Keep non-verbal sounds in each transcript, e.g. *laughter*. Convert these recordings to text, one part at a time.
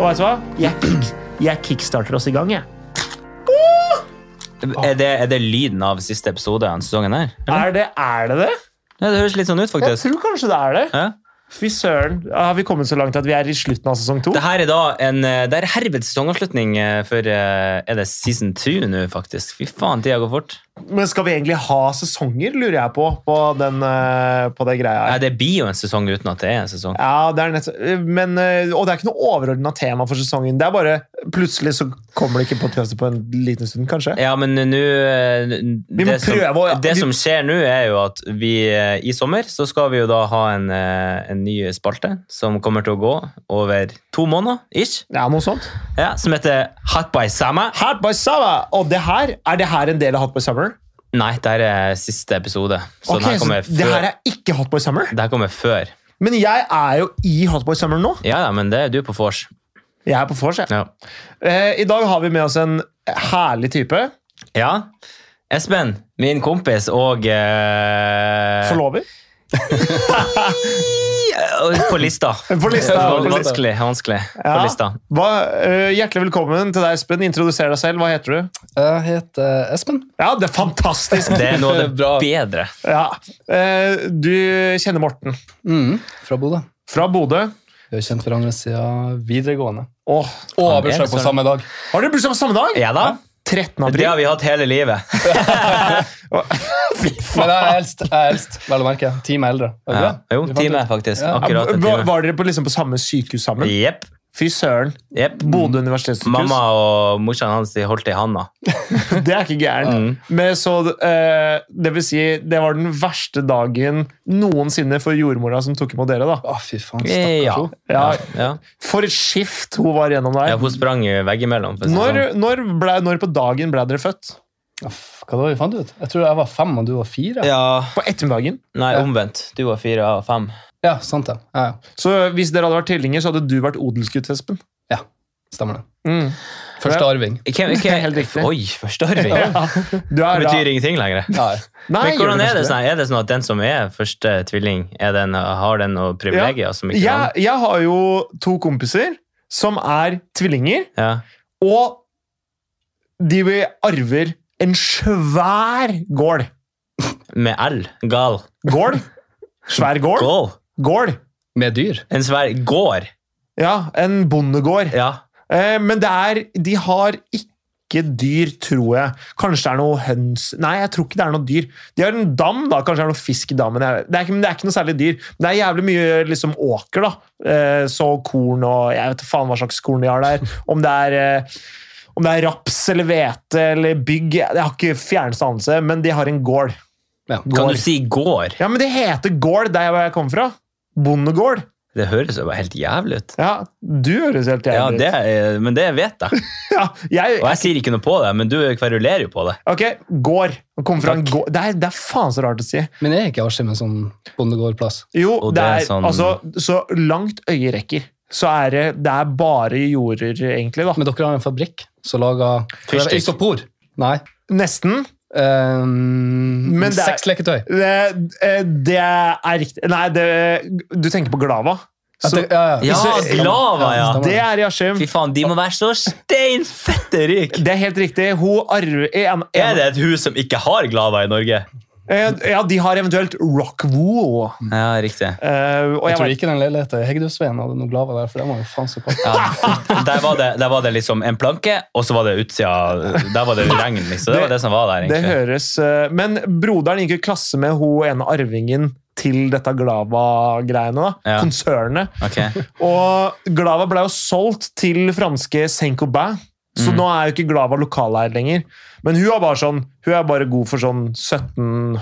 vet du hva? Jeg, kick- jeg kickstarter oss i gang, jeg. Ah. Er det, er det lyden av siste episode av denne sesongen her? Er det er det? det? Ja, det høres litt sånn ut, Jeg faktisk. tror kanskje det er det. Ja. Fy søren. Har vi kommet så langt at vi er i slutten av sesong to? Det her er da en eh, Det er herved sesongavslutning eh, for eh, Er det season 2 nå, faktisk? Fy faen, tida går fort. Men skal vi egentlig ha sesonger, lurer jeg på, på, den, eh, på det greia Nei, her. det blir jo en sesong uten at det er en sesong. Ja, det er nett, men, eh, og det er ikke noe overordna tema for sesongen. Det er bare plutselig så kommer det ikke podkast på en liten stund, kanskje. Ja, men nå eh, n- Vi må det, som- prøve å- det vi- som skjer nå, er jo at vi eh, i sommer så skal vi jo da ha en, eh, en ny spalte som kommer til å gå over to måneder ish, Ja, noe sånt. ja, som heter Hot by Sama. Hot by Summer! Og det her, er det her en del av Hot by Summer? Nei, det her er siste episode, så Ok, den her så kommer det her før. er ikke Hot by Summer? Det her kommer før. Men jeg er jo i Hot by Summer nå. Ja, ja, men det er du på vors. Jeg er på vors, jeg. Ja. Eh, I dag har vi med oss en herlig type. ja. Espen, min kompis og eh, Forlover. eh, På lista. På lista, på lista. Vanskelig. vanskelig. På Ja. lista. Hva, eh, hjertelig velkommen til deg, Espen. Introduser deg selv. Hva heter du? Jeg heter Espen. Ja, det er fantastisk! Det er noe av det Bra. bedre. *laughs* Ja. Eh, du kjenner Morten Mm. Fra Bodø. fra Bodø. Vi har kjent hverandre siden videregående. Åh, Og Han har er bursdag på søren. samme dag. har dere bursdag på samme dag? Ja da. 13. Det har april. vi hatt hele livet. *laughs* Fy faen. Men jeg er eldst, jeg er eldst vel å merke. Time eldre. Er det Ja. bra? Jo, Vi fant time, ut. faktisk. Ja. Akkurat en Var, time. var dere på, liksom, på samme sykehus sammen? Jepp. Fy søren. Jepp. Bodø universitetssykehus. Mm. Mamma og morsan hans de holdt i handa. Det er ikke gærent. Mm. Men så, eh, det vil si, det var den verste dagen noensinne for jordmora som tok imot dere, da. Å, fy faen. Ja. Stakkars henne. Ja, Ja. for et skift hun var gjennom der. Ja, hun sprang jo veggimellom. for å si det Når, sånn. når, ble, når på dagen ble dere født? Uff, Hva var det vi fant ut? Jeg tror jeg var fem, og du var fire. Ja, På ettermiddagen. Nei, omvendt. Du var fire, jeg var fem. Ja, sant det. Ja, ja. Så hvis dere hadde vært tvillinger, så hadde du vært odelsgutt, Espen. Stemmer det. Mm. Første arving. Hvem, hvem, Helt riktig. Oi, forstarving! Ja. Det Du er da- betyr ingenting lenger. Ja, ja. Nei, Men gjør hvordan du er det, kanskje sånn? er det sånn at den som er første tvilling, er den, har den noen privilegier som ikke Jeg, han? jeg har jo to kompiser som er tvillinger, Ja. og de arver en svær gård. Med L. Gal. Gård. Svær gård. Gål. Gård. Med dyr. En svær gård. Ja, en bondegård. Ja. Eh, men det er, de har ikke dyr, tror jeg. Kanskje det er noe høns Nei, jeg tror ikke det er noe dyr. De har en dam, da. Kanskje det er noe fisk i dammen. Jeg- Det er, ikke, men det er ikke noe særlig dyr. Men det er jævlig mye liksom, åker, da. Eh, så korn og Jeg vet da faen hva slags korn de har der. Om det er eh, om det er raps eller hvete eller bygg Jeg har ikke fjerneste anelse, men de har en gård. Ja. Kan Gård. du si gård? Ja, men det heter gård der jeg kommer fra. Bondegård. Det høres jo bare helt jævlig ut. Ja, du høres helt Ja, jævlig ut. det, er- men det vet jeg. Ja, jeg, Og jeg sier ikke noe på det, men du kverulerer jo på det. Ok, går. Han kommer fra en gård. Det er, det er faen så rart å si. Men jeg er ikke Askim en sånn bondegårdplass. Jo, Og det, det er er, sånn- altså, så langt øyet rekker, så er det, det er bare jorder, egentlig, da. Men dere har en fabrikk som lager Fyrstikk. Isopor. Nei. Nesten. Um, Men det er- Seks leketøy. Det, eh, det er riktig Nei, det, du tenker på Glava. At Så, det- ja, ja. Ja, Iso- Glava, ja. stemmer. det er i Askim. Fy faen, de må være så steinfette rik! Det er helt riktig. Hun arver en, Er en, det et hus som ikke har glava i Norge? eh, Ja, de har eventuelt Rockwool. Ja, riktig. Eh, og Jeg jeg tror vet- ikke den leiligheten i Hegdehusveien hadde noe glava der, for den var jo faen *laughs* så kort. Ja, der, var det, der var det liksom en planke, og så var det utsida Der var det regn, liksom. Det var det som var der, Det egentlig. høres eh, Men broderen gikk i klasse med hun ene arvingen til dette Glava-greiene. da, Ja. Konsernet. Ok. Og Glava ble jo solgt til franske Saint-Cobain, så Mm. nå er jo ikke Glava lokaleier lenger. Men hun er bare sånn Hun er bare god for sånn 17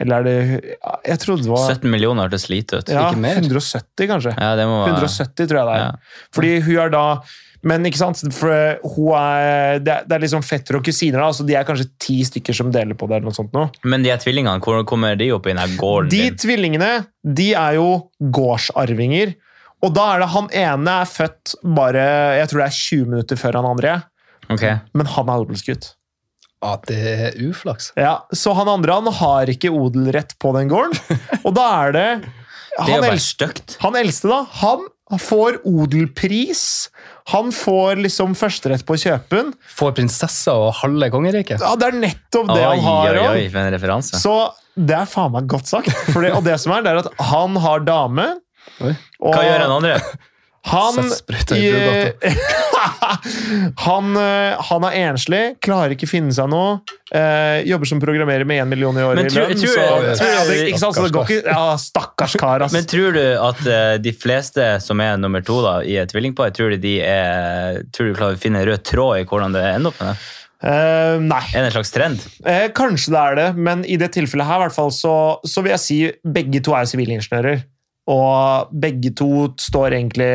Eller er det Jeg trodde det var 17 millioner hørtes lite ut. ja, ikke mer. 170, kanskje. Ja, det må være 170, tror jeg det er. Ja. Fordi hun er da Men ikke sant, for hun er, det er, det er liksom fetter og kusiner, da, så de er kanskje ti stykker som deler på det. eller noe sånt nå. Men de her tvillingene, hvordan kommer de opp i den her gården De din? tvillingene de er jo gårdsarvinger. Og da er det han ene er født bare jeg tror det er 20 minutter før han andre. Ok. Men han er odelsgutt. Ja, det er uflaks. Ja, så han andre han har ikke *laughs* odelrett på den gården. Og da er det Det er han, jo bare eldste, stygt. han eldste, da. Han Han får odelpris. Han får liksom førsterett på kjøpen. Får prinsesser og halve kongeriket. Ja, det er nettopp det oi, han har. oi, Ron. oi, for en referanse. Så det er faen meg godt sagt. For det, og det som er, det er at han har dame. Oi. Og Hva gjør han andre? *laughs* Han, Sett sprøyta i Eh, *laughs* han, eh, han er enslig, klarer ikke finne seg noe. eh, jobber som programmerer med 1 million i året Men i tror- lønn. tror- så, tror- ja, det, ikke sant, så det går ikke ja, Stakkars kar, ass. Men tror du at eh, de fleste som er nummer to da, i et tvillingpar, tror du de er, tror du klarer å finne en rød tråd i hvordan det ender opp med det? Eh, nei. Er det en slags trend? Eh, kanskje det er det, men i det tilfellet her i hvert fall, så, så vil jeg si begge to er sivilingeniører. Og begge to står egentlig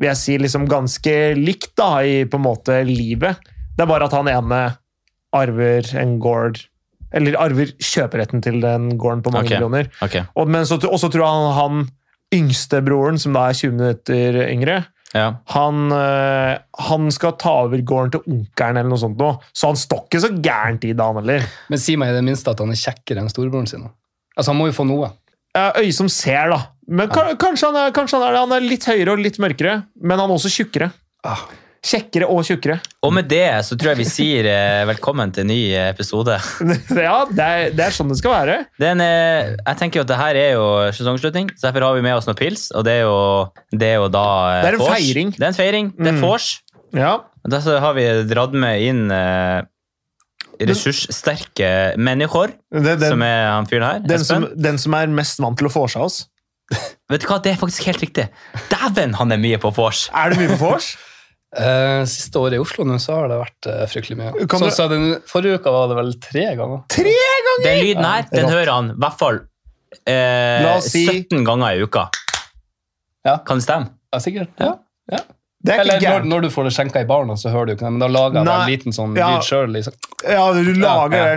vil jeg si, liksom ganske likt da, i på en måte livet. Det er bare at han ene arver en gård Eller arver kjøperetten til den gården på mange Ok. millioner. Ok, Og men så, og så tror jeg han, han yngste broren, som da er 20 minutter yngre, ja. han, eh, han skal ta over gården til onkelen eller noe sånt. Nå. Så han står ikke så gærent i det, han heller. Men si meg i det minste at han er kjekkere enn storebroren sin. da. Altså, Han må jo få noe. Eh, øye som ser, da. Men ka- kanskje, han er, kanskje han er det. Han er litt høyere og litt mørkere, men han er også tjukkere. Ah. Kjekkere og tjukkere. *laughs* Og med det så tror jeg vi sier eh, velkommen til en ny episode. ja, det er, det er sånn det skal være. Det er en, eh, jeg tenker jo at det her er jo sesongslutning, så derfor har vi med oss noen pils, og det er jo, det er jo da eh, Det er en vors. feiring. Det er en feiring. Det Mm. er vors. Ja. Og Da så har vi dratt med inn eh, ressurssterke mennesker, Den, som den, er han fyren her. den, som, Espen. den som er mest vant til å få seg oss. Vet du hva, det er faktisk helt riktig. Dæven, han er mye på vors! Er det mye på vors? Eh, siste året i Oslo nå, så har det vært eh, fryktelig mye. Kan Så, du- så den Forrige uka var det vel tre ganger. Tre! Den lyden her, den hører han i hvert fall eh, La oss si- 17 ganger i uka. Ja. Kan det stemme? Ja, sikkert. Ja. Det er Eller ikke når, gærent. når du får det skjenka i baren, så hører du ikke det, men da lager jeg Nei. en liten sånn Ja. lyd sjøl. Liksom. Ja, du Ja, lager ja, ja.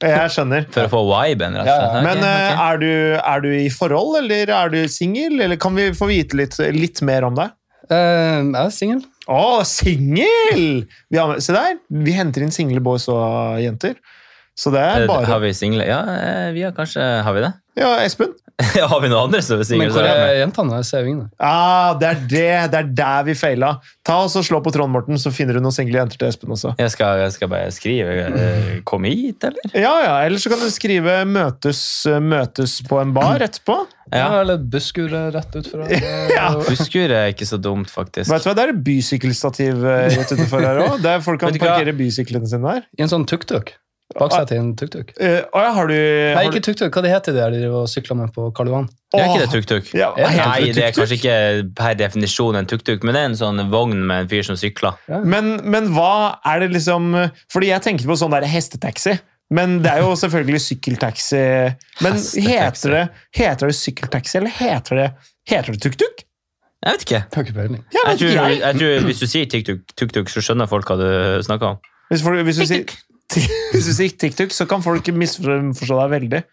den. Jeg skjønner. For å få viben, rett og Ja, slett. ja. Ok, Men eh, ok. er, du, er du i forhold, eller er du singel? Eller kan vi få vite litt, litt mer om deg? Eh, jeg er singel. Å, singel! Vi har- Se der, vi henter inn single boys og jenter. Så det er Eh, Har bare vi single? Ja, eh, vi har kanskje Har vi det? Ja, Espen. *laughs* har vi noen andre som er single? Men så hvor er jeg med. er jentene? Jeg ser jo ingen. Ah, det er det! Det er der vi feila. Ta oss og Slå på Trond Morten, så finner du noen single jenter til Espen også. Jeg skal, jeg skal bare skrive eh, 'kom hit', eller? Ja, ja, Eller så kan du skrive 'møtes, møtes på en bar' etterpå. Ja. Ja. Eller busskuret rett ut fra Ja. Busskur er ikke så dumt, faktisk. Vet du hva, Det er et bysykkelstativ eh, rett utenfor her òg. Der folk kan Vet du hva? parkere bysyklene sine der. I en sånn tuk-tuk. Baksetet i en tuk-tuk. Eh, Å ja, har du Nei, har du- ikke tuk-tuk. Hva det heter det der de driver og sykler med på Karl Johan? Det er ikke det Åh, tuk-tuk? ja, hva heter Nei, det er tuk-tuk? kanskje ikke per definisjon en tuk-tuk, men det er en sånn vogn med en fyr som sykler. Men, men hva er det liksom Fordi jeg tenkte på sånn der hestetaxi. Men det er jo selvfølgelig sykkeltaxi. Men Hestetaxi. heter det, heter det sykkeltaxi, eller heter det Heter det tuk-tuk? Jeg vet ikke. Jeg har ikke peiling. Jeg Jeg vet tror, ikke, jeg. jeg tror Hvis du sier tuk-tuk, tuk-tuk, så skjønner folk hva du snakker om. Hvis, folk, hvis, du sier, *laughs* hvis du sier tuk-tuk, så kan folk misforstå deg veldig.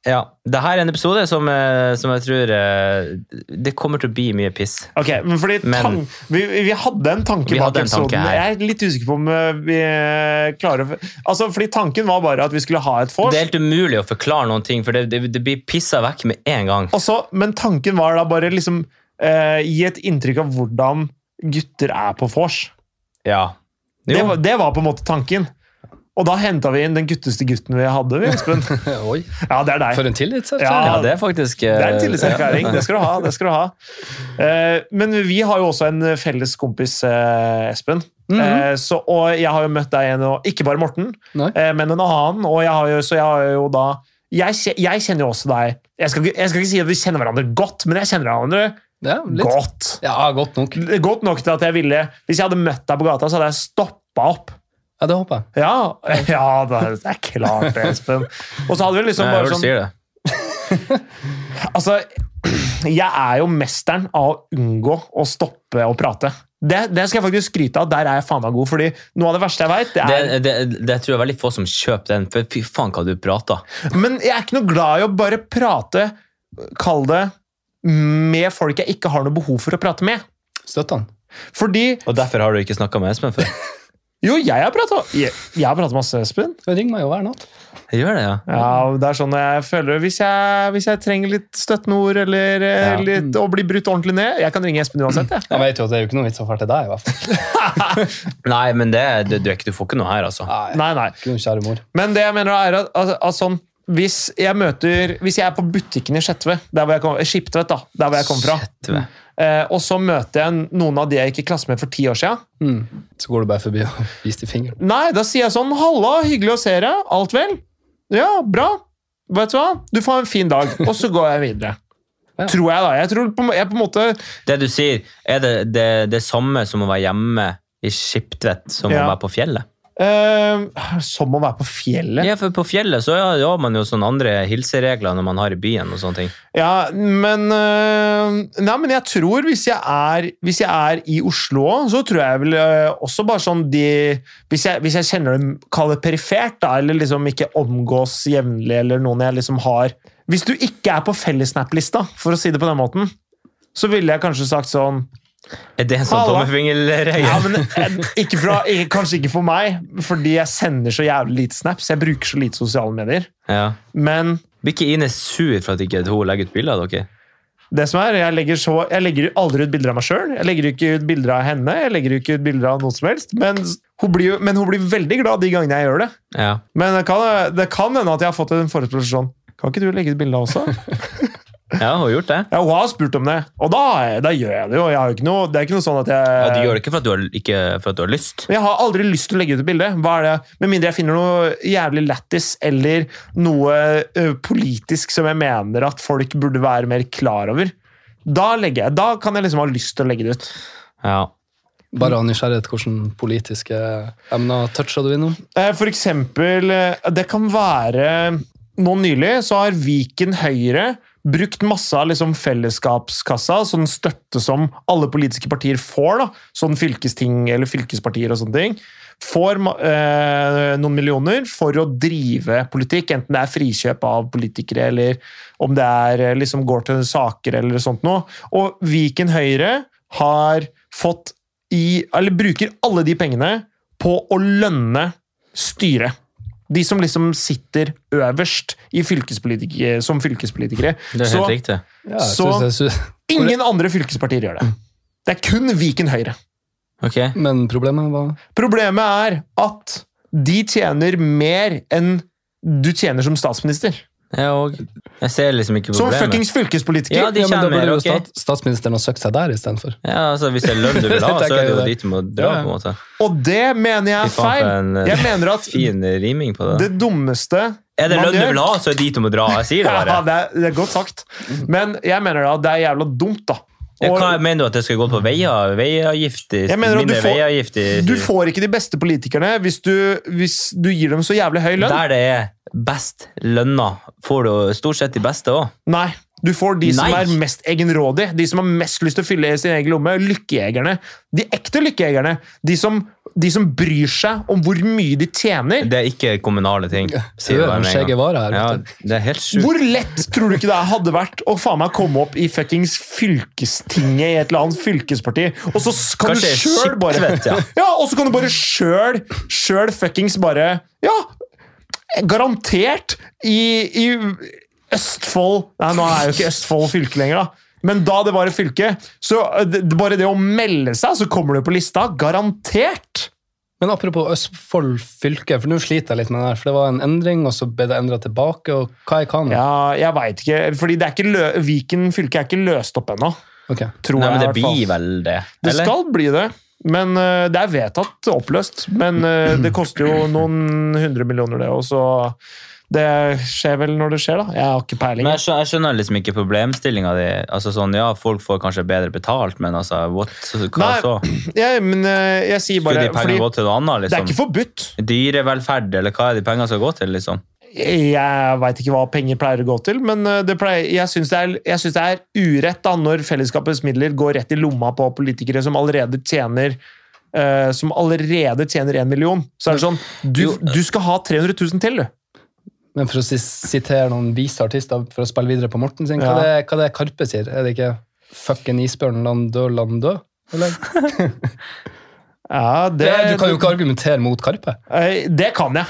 Ja, det her er en episode som, eh, som jeg tror eh, Det kommer til å bli mye piss. Ok, men fordi Men- tan vi, vi hadde en tanke Vi bak hadde en episoden. tanke her. Jeg er litt usikker på om eh, vi eh, klarer å Altså, fordi Tanken var bare at vi skulle ha et vors. Det er helt umulig å forklare noen ting, for det, det, det blir pissa vekk med en gang. Og så- men tanken var da bare liksom eh, gi et inntrykk av hvordan gutter er på vors. Ja. Det Jo. var, det var på en måte tanken. Og da henta vi inn den gutteste gutten vi hadde. vi, Espen. *laughs* *laughs* Oi, Ja, det er deg. for en tillitserklæring. Ja. ja, det er faktisk eh, Det er en tillitserklæring. Det skal du ha. det skal du ha. Eh, Men vi har jo også en felles kompis, eh, Espen. Mhm. Eh, Så, og jeg har jo møtt deg igjen, og ikke bare Morten, Nei. eh, men en annen. Og jeg har jo, så jeg har jo da jeg, kje- jeg kjenner jo også deg. Jeg skal, ikke- jeg skal ikke si at vi kjenner hverandre godt, men jeg kjenner hverandre Ja, litt. godt. Ja, godt nok. Godt nok til at jeg ville Hvis jeg hadde møtt deg på gata, så hadde jeg stoppa opp. Ja, det håper jeg. Ja, *laughs* ja det er- det er klart det, Espen. Og så hadde vi liksom Nei, jeg bare hører du sånn sier det. Altså, *clears throat* jeg er jo mesteren av å unngå å stoppe å prate. Det, det skal jeg faktisk skryte av. Der er jeg faen meg god, fordi noe av det verste jeg veit, det er Det, det, det tror jeg er veldig få som kjøper den, for fy faen hva du prater. Men jeg er ikke noe glad i å bare prate, kall det, med folk jeg ikke har noe behov for å prate med. Støtter han. Fordi Og derfor har du ikke snakka med Espen før. Jo, jeg har prata jeg, jeg har pratet masse, Espen. Du ringer meg jo hver natt. *laughs* Jeg gjør det, ja. Ja, det er sånn jeg føler Hvis jeg, hvis jeg trenger litt støttende ord eller eh, Ja. litt, å bli brutt ordentlig ned Jeg kan ringe Espen uansett, jeg. Jeg vet jo at det er jo ikke noe vits å dra til deg, i hvert fall. Nei, men det, du, du, er ikke, du får ikke noe her, altså. Nei, Nei, nei. ikke noe kjære mor. Men det jeg mener er at, at, at sånn hvis jeg møter, hvis jeg er på butikken i Skjetve, der hvor jeg kom, Skiptvet da, der hvor jeg kom fra, Shit, vet du. eh, og så møter jeg noen av de jeg gikk i klasse med for ti år siden, Mm. Så går du bare forbi og *laughs* viser til fingeren. Nei, da sier jeg sånn Halla, hyggelig å se deg. Alt vel? Ja, bra. Vet du hva? Du får ha en fin dag. Og så går jeg videre. Ja. Tror jeg, da. Jeg tror på, jeg på en måte Det du sier, er det det, det samme som å være hjemme i Skiptvet som å Ja. være på fjellet? eh, Som å være på fjellet. Ja, for på fjellet så har ja, har man jo sånne andre hilseregler når man har i byen og sånne ting. Ja, men eh, Nei, men jeg tror hvis jeg er, hvis jeg er i Oslo òg, så tror jeg vel eh, også bare sånn de hvis jeg, hvis jeg kjenner dem Kall det perifert, da, eller liksom ikke omgås jevnlig, eller noen jeg liksom har Hvis du ikke er på fellesnap-lista, for å si det på den måten, så ville jeg kanskje sagt sånn Er det en sånn Halla. tommefingerregel? Ja, men eh, ikke fra, eh, Kanskje ikke for meg, fordi jeg sender så jævlig lite snaps. Jeg bruker så lite sosiale medier. Ja. Men Blir ikke Ine sur for at ikke hun legger ut bilder av dere? det som er, jeg legger, så, jeg legger aldri ut bilder av meg sjøl. Jeg legger ikke ut bilder av henne, jeg legger ikke ut bilder av noe som helst. Men hun blir, jo- men hun blir veldig glad de gangene jeg gjør det. Ja. Men det kan, det kan hende at jeg har fått en forespørsel sånn Kan ikke du legge ut bilde av *laughs* også? ja, hun har gjort det. Ja, hun har spurt om det, og da, har jeg- da gjør jeg det jo. Jeg har jo ikke noe, det er ikke noe sånn at jeg Ja, du gjør det ikke for at du har, ikke for at du har lyst. Men Jeg har aldri lyst til å legge ut et bilde. Hva er det? Med mindre jeg finner noe jævlig lættis eller noe ø, politisk som jeg mener at folk burde være mer klar over. Da, legger jeg, da kan jeg liksom ha lyst til å legge det ut. Ja. Bare av nysgjerrighet, hvordan politiske emner toucha du innom? Eh, For eksempel, eh, det kan være Nå nylig så har Viken Høyre brukt masse av liksom fellesskapskassa, sånn støtte som alle politiske partier får, da, sånn fylkesting eller fylkespartier og sånne ting, får ma- eh, noen millioner for å drive politikk, enten det er frikjøp av politikere, eller om det er eh, liksom går til saker eller sånt noe. Og Viken Høyre har fått i, eller bruker alle de pengene på å lønne styret. De som liksom sitter øverst i fylkespolitik- som fylkespolitikere. Det er Så helt riktig. Ja, jeg Så- synes det er su- ingen andre fylkespartier gjør det. Det er kun Viken Høyre. Ok. *laughs* Men problemet var Problemet er at de tjener mer enn du tjener som statsminister. Jeg, og, jeg ser liksom ikke Som problemet. fuckings fylkespolitiker! Ja, de ja, men Da kommer, burde jo ok. stat, statsministeren ha søkt seg der istedenfor. Ja, altså Hvis det er lønn du vil ha, Det tenker så er det jo jeg det. dit du må dra. Ja, ja. på en måte. Og det mener jeg Fy er faen, feil! for en eh, Jeg mener at fin riming på det. det dummeste Er det man lønn du gjør- vil ha, så er det dit du må dra. Jeg sier det Ja, bare. det er, det er godt sagt. Men jeg mener da at det er jævla dumt, da. Ja, Og- Hva mener du at det skal gå på veier? Veiavgift i Jeg mener at du mindre får- veiavgift i Du får ikke de beste politikerne hvis du, hvis du gir dem så jævlig høy lønn. Der det er best lønna, får du stort sett de beste òg. Nei. Du får de som Nei. er mest egenrådige, de som har mest lyst til å fylle sin egen lomme. Lykkejegerne. De ekte lykkejegerne. De som, de som bryr seg om hvor mye de tjener. Det er ikke kommunale ting. Ser du bare en med en skjegg gang. vare her? Ja, vet du. det er helt sjukt. Hvor lett tror du ikke det hadde vært å faen meg komme opp i fuckings fylkestinget i et eller annet fylkesparti, og så kan Kanskje du sjøl bare Skiptvet, ja. *laughs* Ja, og så kan du bare sjøl, sjøl fuckings bare Ja, garantert i, i Østfold Nei, nå er jo ikke Østfold fylke lenger, da. Men da det var et fylke, så eh, det, det- bare det å melde seg, så kommer du på lista. Garantert! Men apropos Østfold fylke, for nå sliter jeg litt med det her. For det var en endring, og så ble det endra tilbake, og hva jeg kan. Ja, jeg veit ikke. Fordi det er ikke lø Viken fylke er ikke løst opp ennå, Ok. tror Nei, jeg. men i det hvert fall. blir vel det. Det eller? skal bli det. Men eh, det er vedtatt oppløst. Men eh, det koster jo noen hundre millioner, det òg, så det skjer vel når det skjer, da. Jeg har ikke peiling. Men jeg skjønner, jeg skjønner liksom ikke problemstillinga di. Altså sånn, ja, folk får kanskje bedre betalt, men altså, what, hva Nei, så? Jeg, men eh, jeg sier Skulle bare de fordi pengene gå til noe annet? det er Liksom? ikke forbudt. Dyrevelferd, eller hva er de pengene skal gå til? liksom? Jeg veit ikke hva penger pleier å gå til, men eh, det pleier, jeg syns det, er- jeg synes det er urett da, når fellesskapets midler går rett i lomma på politikere som allerede tjener eh, som allerede tjener én million. Så er det sånn Du, Jo, eh. du skal ha 300 000 til, du. Men for å si- sitere noen vise artister for å spille videre på Morten sin, hva Ja. det hva det er Karpe sier? Er det ikke 'fucken isbjørn, la han dø, la han dø'? Eller? Ja, *laughs* det, Det, du kan jo ikke argumentere mot Karpe. Eh, Det kan jeg.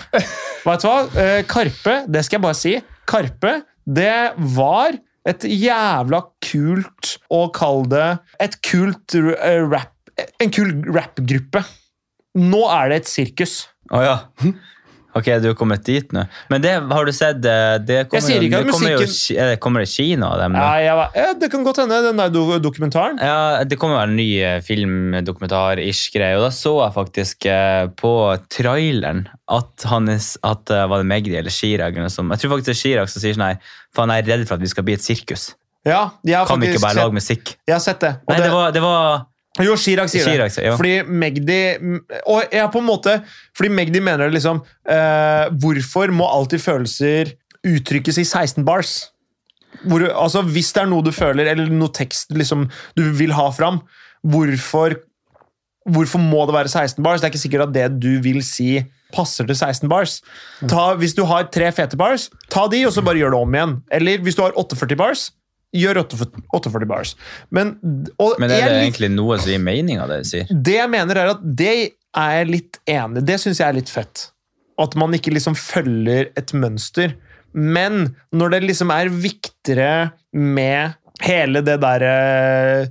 Vet du hva? Eh, Karpe, det skal jeg bare si. Karpe, det var et jævla kult å kalle det et kult r- eh, rap, En kul rappgruppe. Nå er det et sirkus. Å ja. Ok, du har kommet dit nå. Men det har du sett eh, det kommer, Jeg sier jo- ikke at det kommer, jo, musikken- Ki- eh, kommer det Kina av dem nå? Ja, jeg, var- ja, det kan godt hende, den der do- dokumentaren. Ja, det kommer vel en ny eh, filmdokumentar-ish greie, og da så jeg faktisk eh, på traileren at Hannes, at eh, var det Magdi eller Chirag eller noe sånt. Jeg tror faktisk det er Chirag som sier sånn her, faen jeg er redd for at vi skal bli et sirkus. Ja, jeg har Kan vi faktisk ikke bare sett, lage musikk? jeg har sett det. Og Nei, det var, det var Jo, Chirag sier det. Chirag sier- ja. Fordi Magdi Og jeg er på en måte Fordi Magdi mener det liksom eh, Hvorfor må alltid følelser uttrykkes i 16 bars? Hvor, altså, hvis det er noe du føler, eller noe tekst liksom, du vil ha fram, hvorfor, hvorfor må det være 16 bars? Det er ikke sikkert at det du vil si, passer til 16 bars. Ta, hvis du har tre fete bars, ta de, og så bare gjør det om igjen. Eller hvis du har 48 bars, gjør 48, 48 bars. Men, og Men er jeg det lik- egentlig noe som gir mening av det du sier? det jeg mener er at det er jeg litt enig Det syns jeg er litt fett. At man ikke liksom følger et mønster. Men når det liksom er viktigere med hele det derre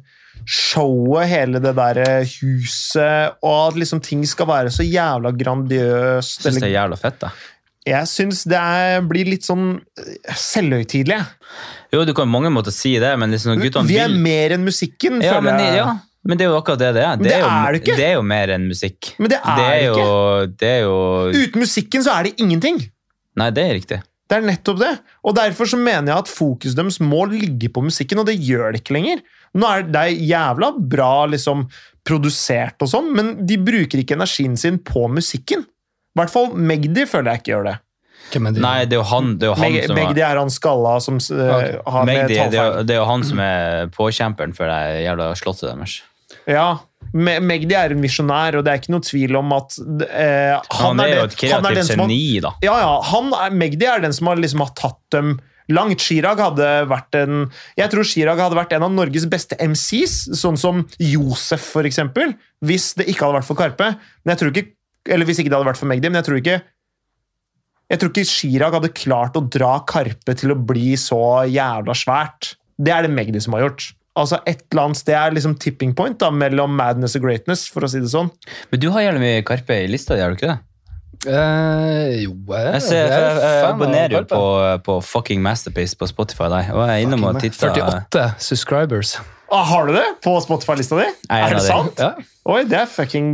showet, hele det derre huset, og at liksom ting skal være så jævla grandiøst Synes det eller, er jævla fett da. Jeg syns det er, blir litt sånn eh, selvhøytidelig. jeg. Jo, du kan på mange måter si det, men liksom når guttene Vi er vil... mer enn musikken, Ja føler men, jeg. ja, men det er jo akkurat det det er. det jo, er det ikke. Det er jo mer enn musikk. Men det er det jo, Det er jo... Uten musikken så er det ingenting. Nei, det er riktig. Det er nettopp det. Og derfor så mener jeg at fokuset deres må ligge på musikken, og det gjør det ikke lenger. Nå er det er jævla bra liksom, produsert og sånn, men de bruker ikke energien sin på musikken. I hvert fall Magdi føler jeg ikke gjør det. Hvem er de? Nei, det er jo han, det er jo han Meg, som... har- Magdi er han skalla som eh, Ok. har med Magdi, det, er, tallfeil. jo- det er jo han som er påkjemperen for det jævla slottet deres. Ja. Me- Magdi er en visjonær, og det er ikke noe tvil om at eh, Han, han, er, jo er et det- han er den kreativt som har geni, da. Ja, ja. Han er, Magdi er den som har, liksom, har tatt dem langt. Chirag hadde vært en Jeg tror Chirag hadde vært en av Norges beste MCs, sånn som Josef, for eksempel, hvis det ikke hadde vært for Karpe. Men jeg tror ikke, eller hvis ikke det hadde vært for Magdi, men jeg tror ikke jeg tror ikke Chirag hadde klart å dra Karpe til å bli så jævla svært. Det er det Magdi som har gjort. Altså et eller annet sted er liksom tipping point da, mellom madness og greatness, for å si det sånn. Men du har jævlig mye Karpe i lista, gjør du ikke det? Eh, jo, jeg, Jeg, ser, jeg jeg, er jeg, fan av abonnerer jo Karpe. på, på fucking Masterpiece på Spotify, der, og jeg er innom og titter. 48 subscribers. Ah, har du det på Spotify-lista di? er en Er av det de. sant? Ja. Oi, det er fucking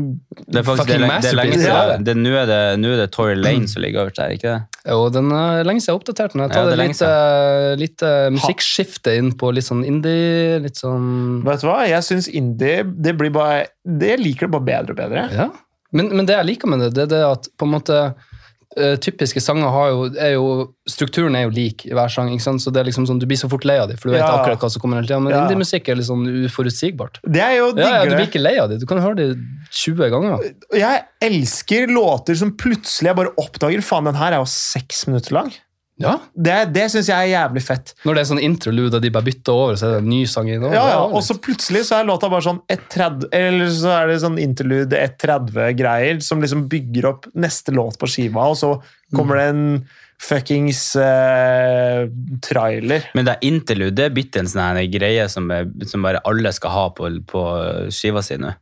Det er faktisk det, Fucking er le- det er lenge Masterpiece, det siden. er Det, nå er det, nå er det Tory Lane som ligger øverst der, ikke det? Jo, den er lenge siden jeg oppdaterte den. Ja, Jeg tar det er et lenge lite, lite musikkskifte inn på litt sånn indie, litt sånn Vet du hva? Jeg syns indie det blir bare, det liker det bare bedre og bedre. Ja. Men, men det jeg liker med det, det er det at på en måte eh, typiske sanger har jo, er jo Strukturen er jo lik i hver sang, ikke sant? så det er liksom sånn, du blir så fort lei av dem. For du vet Ja. akkurat hva som kommer hele tiden. Men Ja. indie-musikk er litt sånn uforutsigbart. Det er jo Ja, ja, Du digger blir ikke lei av dem. Du kan høre dem 20 ganger. det. Jeg elsker låter som plutselig jeg bare oppdager Faen, den her er jo seks minutter lang. Ja. Det, det syns jeg er jævlig fett. Når det er sånn interlude, og de bare bytter over, så er det en ny sang innom. Ja, Det er ja, jo Og litt- så plutselig så er låta bare sånn 1.30 Eller så er det sånn interlude 1.30-greier som liksom bygger opp neste låt på skiva, og så kommer det en fuckings eh, trailer. Men det er interlude, det er blitt en sånn her greie som, er, som bare alle skal ha på, på skiva si nå.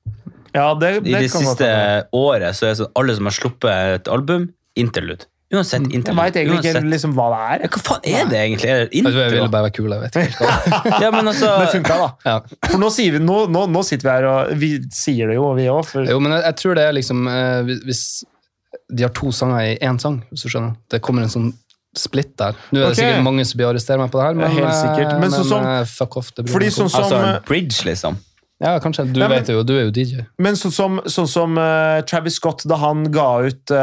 Ja, det, I det det kan godt siste hende. året så er det sånn alle som har sluppet et album, interlude. Uansett Mm. Jeg interlude. veit egentlig Uansett. ikke liksom hva det Ja, er. Hva faen er det egentlig? Er det Jeg tror jeg intro? ville bare være kul, jeg vet ikke. Ja, men altså, *laughs* Det funka, da. Ja. For nå, sier vi, nå, nå, nå sitter vi her og vi sier det jo, vi òg. For Jo, men jeg, jeg tror det er liksom eh, hvis- Hvis de har to sanger i én sang, hvis du skjønner. Det kommer en sånn splitt der. Nå er det Ok. sikkert mange som blir arrestert meg på det her, men, Helt sikkert. eh, Men sånn som- eh, fuck off. Det blir fordi noe sånn sånt. som, altså en bridge, liksom. Ja, kanskje. Du Nei, men- vet jo, du er jo DJ. men sånn som, sånn som eh, Travis Scott, da han ga ut uh,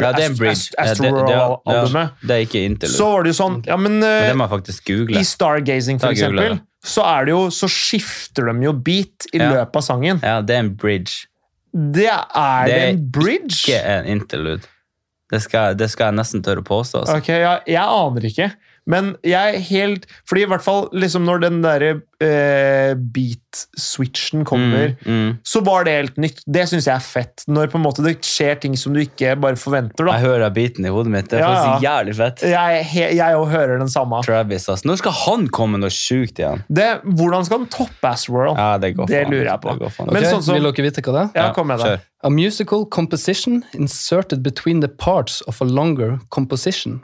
Ja, det er en bridge. Ja, det- det- ja, Astroworld-albumet, Det er ikke interlude. så var det jo sånn Ja, men Men det eh, må jeg faktisk google. i Stargazing, for Da googler jeg eksempel, så, er det jo, så skifter de jo beat i Ja. løpet av sangen. Ja, det er en bridge. Det er det Det er en bridge? Ikke en interlude. Det skal, det skal jeg nesten tørre å påstå. Altså. Ok, ja, Jeg aner ikke. Men jeg er helt Fordi i hvert fall liksom når den derre eh, beat-switchen kommer, Mm, mm. så var det helt nytt. Det syns jeg er fett. Når på en måte det skjer ting som du ikke bare forventer. Jeg da. hører biten i hodet mitt. Det er Ja, Eh. faktisk jævlig fett. Jeg, er he- jeg òg hører den samme. Travis, ass. Når skal han komme noe sjukt igjen? Det, hvordan skal den toppe Ass World? Ja, det går Det faen. lurer jeg på. Det går faen. Men Ok, sånn som- Vil dere vite hva det er? Ja, kom med det. kjør. A musical composition inserted between the parts of a longer composition.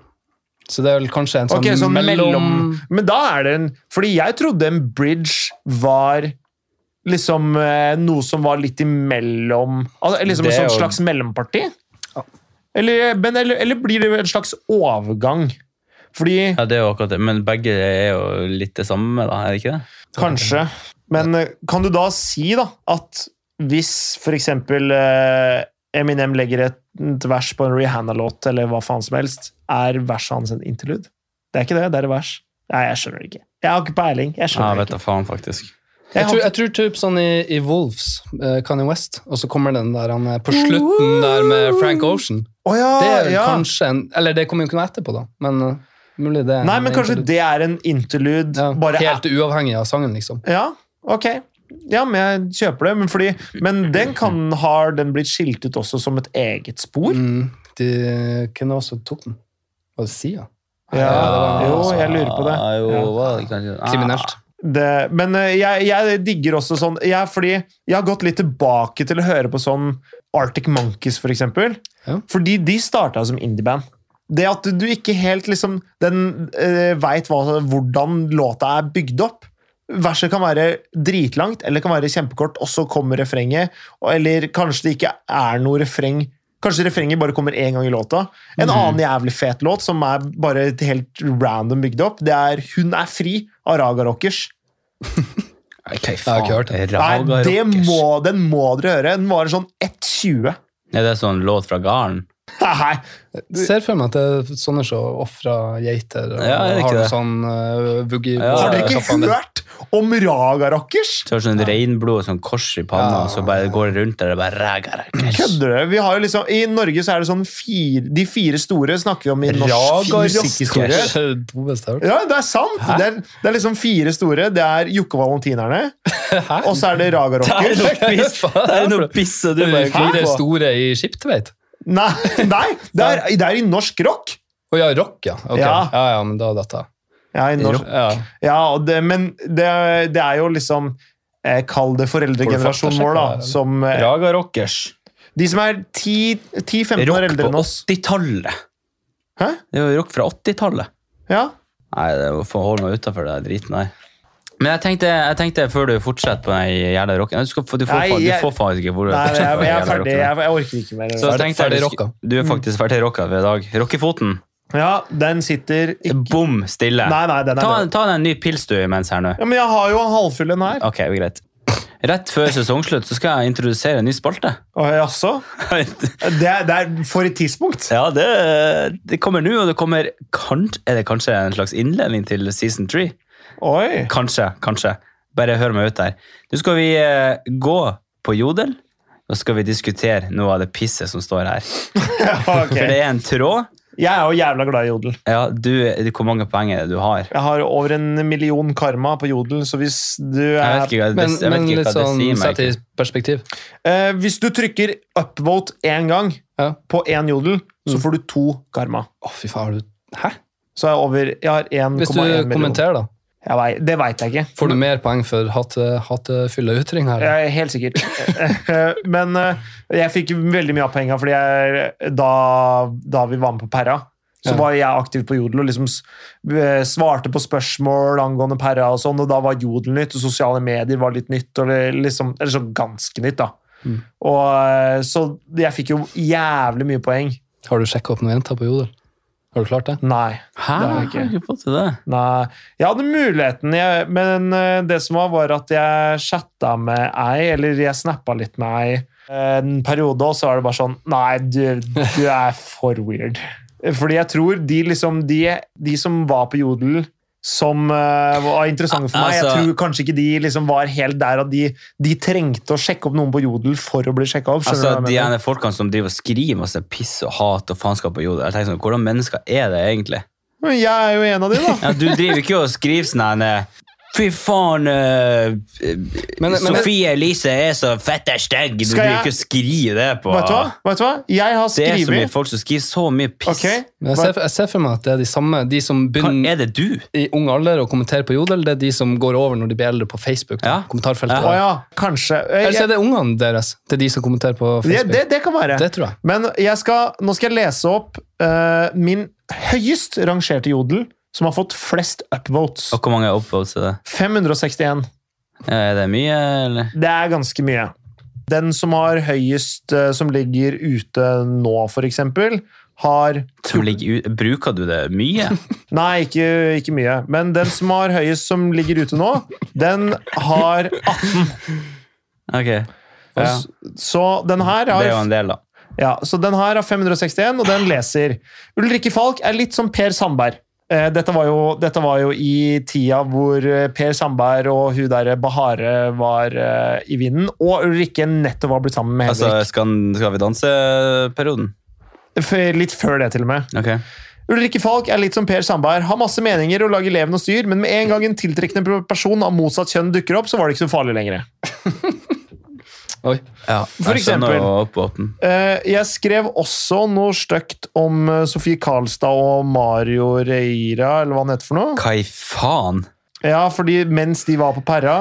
Så det er vel kanskje en sånn Ok, så mellom... mellom... Men da er det en Fordi jeg trodde en bridge var liksom eh, noe som var litt imellom altså, Liksom Det et er sånt jo- slags mellomparti? Eller, men, eller, eller blir det en slags overgang? Fordi Ja, det er jo akkurat det. Men begge er jo litt det samme, da, er det ikke det? Kanskje. Men eh, kan du da si da at hvis for eksempel eh, Eminem legger et, et vers på en Rihanna-låt, eller hva faen som helst, er verset hans en interlude? Det er ikke det, det er et vers. Nei, jeg skjønner det ikke. Jeg har ikke peiling. Jeg Ja, skjønner det vet da faen, faktisk. ikke. Jeg Jeg tror, har jeg tror typ sånn i, i Wolves, eh, Kanye West, og så kommer den der han er på slutten der med Frank Ocean. Å ja, Det er vel Ah, ja. kanskje en Eller det kommer jo ikke noe etterpå, da, men eh, mulig det er en Nei, men kanskje interlude. det er en interlude ja, bare Helt uavhengig av sangen, liksom. Ja, ok. Ja, men jeg kjøper det. Men, fordi, men den kan, har den blitt skilt ut også som et eget spor? Mm, de, hvem var det som tok den? Var det Sia? Ja, altså, Ja, det jo, var- jeg lurer på det. Ja, jo, Ja. hva er det kanskje? Ah. Kriminelt. det, men eh, jeg, jeg digger også sånn jeg, Fordi jeg har gått litt tilbake til å høre på sånn Arctic Monkeys, for eksempel. Ja. Fordi de starta som indieband. Det at du ikke helt liksom Den uh, veit hva- hvordan låta er bygd opp. Verset kan være dritlangt eller kan være kjempekort, og så kommer refrenget. og- Eller kanskje det ikke er noe refreng. Kanskje refrenget bare kommer én gang i låta. En Mhm. annen jævlig fet låt som er bare helt random bygd opp, det er 'Hun er fri' av Raga Rockers. Ok, Jeg har ikke hørt Nei, faen. Raga det Rockers. må, den må dere høre. Den varer sånn 1,20. Er det sånn låt fra garden? Nei, Ser for meg at det er sånne som ofrer geiter og Ja, er det ikke har noe det? sånn uh, boogie Ja, har dere ja, ikke hørt om Raga Rockers? Så er det sånn regnblod sånn kors i panna, Ja. og så bare går det rundt der og bare raga rockers. Kødder du? Vi har jo liksom, I Norge så er det sånn fire, de fire store snakker vi om i norsk Raga musikkhistorie. Rockers. Hæ? Ja, det er sant! Det er, det er liksom fire store. Det er Jokke Valentinerne, og så er det Raga Det Rockers. er noe piss, det er noe piss og du bare Fire Hæ? store i Skiptveit? Nei, *laughs* nei det, er, det er i norsk rock! Å ja, rock, ja. Ok. Ja. Ja. ja, men da datt jeg. Ja, i norsk, Ja. ja og det, men det, det er jo liksom eh, Kall det foreldregenerasjonen vår, da. Som, eh, Raga rockers. de som er 10 10-15 år Rock eldre på enn oss. 80-tallet. Hæ? Det er jo rock fra 80-tallet. Ja. Nei, det må få holde meg utenfor det driten der. Men jeg tenkte, jeg tenkte før du fortsetter på den jævla rocken Du, skal, få- du, får, Nei, faen- du jeg- får faktisk ikke hvor du Nei, jeg, fortsetter på jeg, den er *laughs* jævla ferdig. rocken. Jeg, Mm. jeg orker ikke mer. Så Ferdig- tenkte jeg ferdig du sk- rocka. Du er faktisk ferdig rocka for i dag. Rockefoten. Ja, den sitter ikke Bom stille. Nei, nei, den er ta, død. ta deg en ny pils du imens her nå. Ja, men jeg har jo en halvfull en her. Ok, greit. Rett før sesongslutt så skal jeg introdusere en ny spalte. Å, Jaså? Det, er- det er for et tidspunkt. *laughs* ja, det, det kommer nå, og det kommer kanskje, Er det kanskje en slags innledning til season three? Oi. *laughs* Kanskje, kanskje. Bare hør meg ut der. Nå skal vi eh, gå på Jodel, og skal vi diskutere noe av det pisset som står her. For det Ok. er en tråd. Jeg er jo jævla glad i jodel. Ja, du, Hvor mange poeng er det du har? Jeg har over en million karma på jodel, så hvis du Jeg er vet ikke, hva det- Men, jeg vet men ikke litt hva det sånn sier meg. sett i perspektiv. eh, Hvis du trykker upvote én gang Ja. Mm. på én jodel, så får du to karma. Å, fy faen, har du Hæ? Så jeg, er over, jeg har 1,1 Hvis du million. kommenterer, da. Jeg vei- det veit jeg ikke. Får du mer poeng for hate- hatefylla ytring her? Jeg er helt sikkert. *laughs* Men eh, jeg fikk veldig mye av penga fordi jeg, da, da vi var med på Perra, så Ja. var jeg aktiv på Jodel og liksom s- eh, svarte på spørsmål angående Perra og sånn, og da var Jodel nytt, og sosiale medier var litt nytt, og det liksom, eller så ganske nytt, da. Mm. Og, eh, så jeg fikk jo jævlig mye poeng. Har du sjekka opp noen jenter på Jodel? Har du klart det? Nei. Det Hæ? har Har jeg ikke. ikke. fått til det. Nei, jeg hadde muligheten, jeg, men eh, det som var, var at jeg chatta med ei, eller jeg snappa litt med ei eh, en periode, og så var det bare sånn Nei, du, du er for weird. Fordi jeg tror de liksom De, de som var på Jodel som eh, var interessante for meg. Altså- jeg tror kanskje ikke de liksom var helt der at de, de trengte å sjekke opp noen på Jodel for å bli sjekka opp. skjønner Altså, du hva de jeg mener? ene folkene som driver og skriver masse piss og hat og faenskap på jorda. Jeg tenker sånn, Hvordan mennesker er det egentlig? Men jeg er jo en av de, da. Ja, du driver ikke og skriver sånn her eh, Fy faen, eh, eh, Men- men- Sofie Elise er så fette stygg. Du Skal driver jeg- ikke og skriver det på Vet du hva? Vet du hva? Jeg har Det er så mye skrevet folk som skriver så mye piss. Ok. Men jeg Hva- ser, jeg ser for meg at det er de samme, de som Hva, begynner er det du? i ung alder og kommenterer på Jodel, det er de som går over når de blir eldre på Facebook. da, Ja. Kommentarfeltet. Ja. Å ja, kanskje. Eller så Jeg, er det ungene deres. Det er de som kommenterer på det, Facebook. det, det kan være. Det tror jeg. Men jeg skal, nå skal jeg lese opp eh, min høyest rangerte jodel, som har fått flest upvotes. Og hvor mange upvotes er det? 561. Ja, Er det mye, eller? Det er ganske mye. Den som har høyest, eh, som ligger ute nå, for eksempel, har Som ligger ut- Bruker du det mye? Nei, ikke, ikke mye. Men den som har høyest, som ligger ute nå, den har 18. *laughs* Ok. Ja. Så den her Det har er jo en del, da. Ja, så den her har 561, og den leser. Ulrikke Falk er litt som Per Sandberg. Eh, dette, var jo, dette var jo i tida hvor eh, Per Sandberg og hun der eh, Bahare var eh, i vinden, og Ulrikke nettopp var blitt sammen med Altså, Henrik. skal, skal vi danse-perioden? F- litt før det, til og med. Ok. Ulrikke Falk er litt som Per Sandberg. Har masse meninger og lager leven og styr, men med en gang en tiltrekkende person av motsatt kjønn dukker opp, så var det ikke så farlig lenger. Oi. Ja, For jeg skjønner eksempel- å opp- åpen. Eh, Jeg skrev også noe støkt om eh, Sofie Karlstad og Mario Reira, eller hva han heter for noe. Hva i faen? Ja, fordi mens de var på perra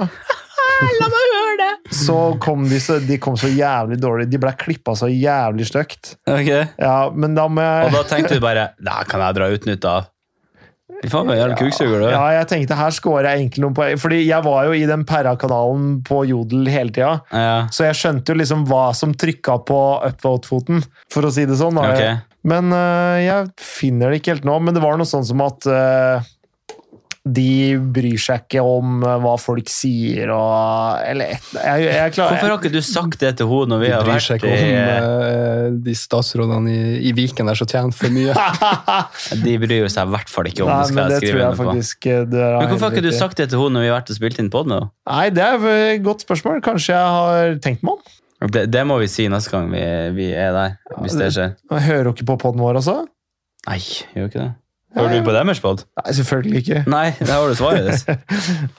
så kom de så, de kom så jævlig dårlig. De ble klippa så jævlig stygt. Ja, men da må Og jeg da tenkte du bare Nei, kan jeg dra utnytt av? Fy faen, jeg er en kuksuger, du. ja, jeg tenkte her scorer jeg egentlig noen poeng. Fordi jeg var jo i den perra-kanalen på Jodel hele tida. Ja. Så jeg skjønte jo liksom hva som trykka på upvote-foten, for å si det sånn. Da. Ok. Men øh, jeg finner det ikke helt nå. Men det var noe sånn som at øh, de bryr seg ikke om øh, hva folk sier og Eller et, jeg, jeg, jeg klarer Hvorfor har ikke du sagt det til henne når vi De har bryr seg vært ikke om i eh, de statsrådene i, i Viken der som tjener *laughs* for mye. De bryr jo seg i hvert fall ikke om Nei, men det, skal det jeg tror skrive jeg under på. faktisk øh, dere har Men hvorfor helt har ikke du rett i. sagt det til henne når vi har vært og spilt inn pod med henne? Nei, det er et godt spørsmål. Kanskje jeg har tenkt meg om. Det, det må vi si neste gang vi, vi er der, hvis det skjer. Jeg hører jo ikke på poden vår, altså. Nei, gjør ikke det. Hører du på deres pod? Nei, selvfølgelig ikke. Nei, der har du svaret ditt.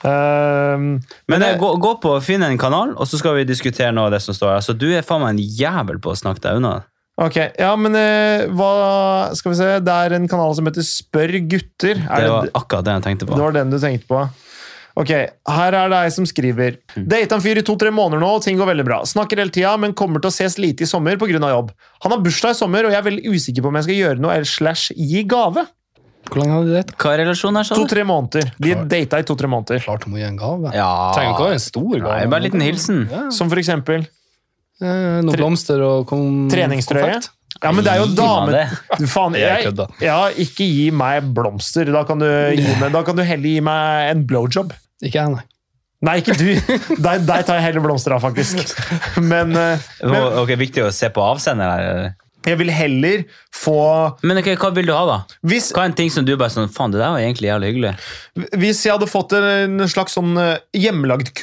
Ehm, *laughs* Men Men eh, det- gå, gå på og finn en kanal, og så skal vi diskutere noe av det som står her. Så du er faen meg en jævel på å snakke deg unna. ok, ja, men eh, hva Skal vi se. Det er en kanal som heter Spør gutter. Er Det det, var akkurat det jeg tenkte på. Det var den du tenkte på. Ok, Her er det ei som skriver. Mm. Data en fyr i to-tre måneder nå, og ting går veldig bra. Snakker hele tida, men kommer til å ses lite i sommer pga. jobb. Han har bursdag i sommer, og jeg er veldig usikker på om jeg skal gjøre noe eller slash gi gave. Hvor lenge hadde de data? Hva er relasjonen her, sa du? To-tre måneder. De data i to-tre måneder. Klart hun må gi en gave. Ja Trenger ikke å være en stor gave. Nei, bare en liten hilsen. Ja. Som for eksempel Eh, Noen Tre- blomster og kom treningstrøye. konfekt. Ja, men det er jo Gi meg dame... det. Du, faen, Det er jeg, kødda. ja, ikke gi meg blomster. Da kan du, gi meg, da kan du heller gi meg en blowjob. Ikke jeg, nei. Nei, ikke du. Deg, deg tar jeg heller blomster av, faktisk. Men, eh, men Og- Ok, Viktig å se på avsender her. eller? jeg vil heller få Men ok, hva vil du ha, da? Hvis, Hva er en ting som du bare sånn Faen, det der var egentlig jævlig hyggelig. hvis jeg hadde fått en slags sånn eh, hjemmelagd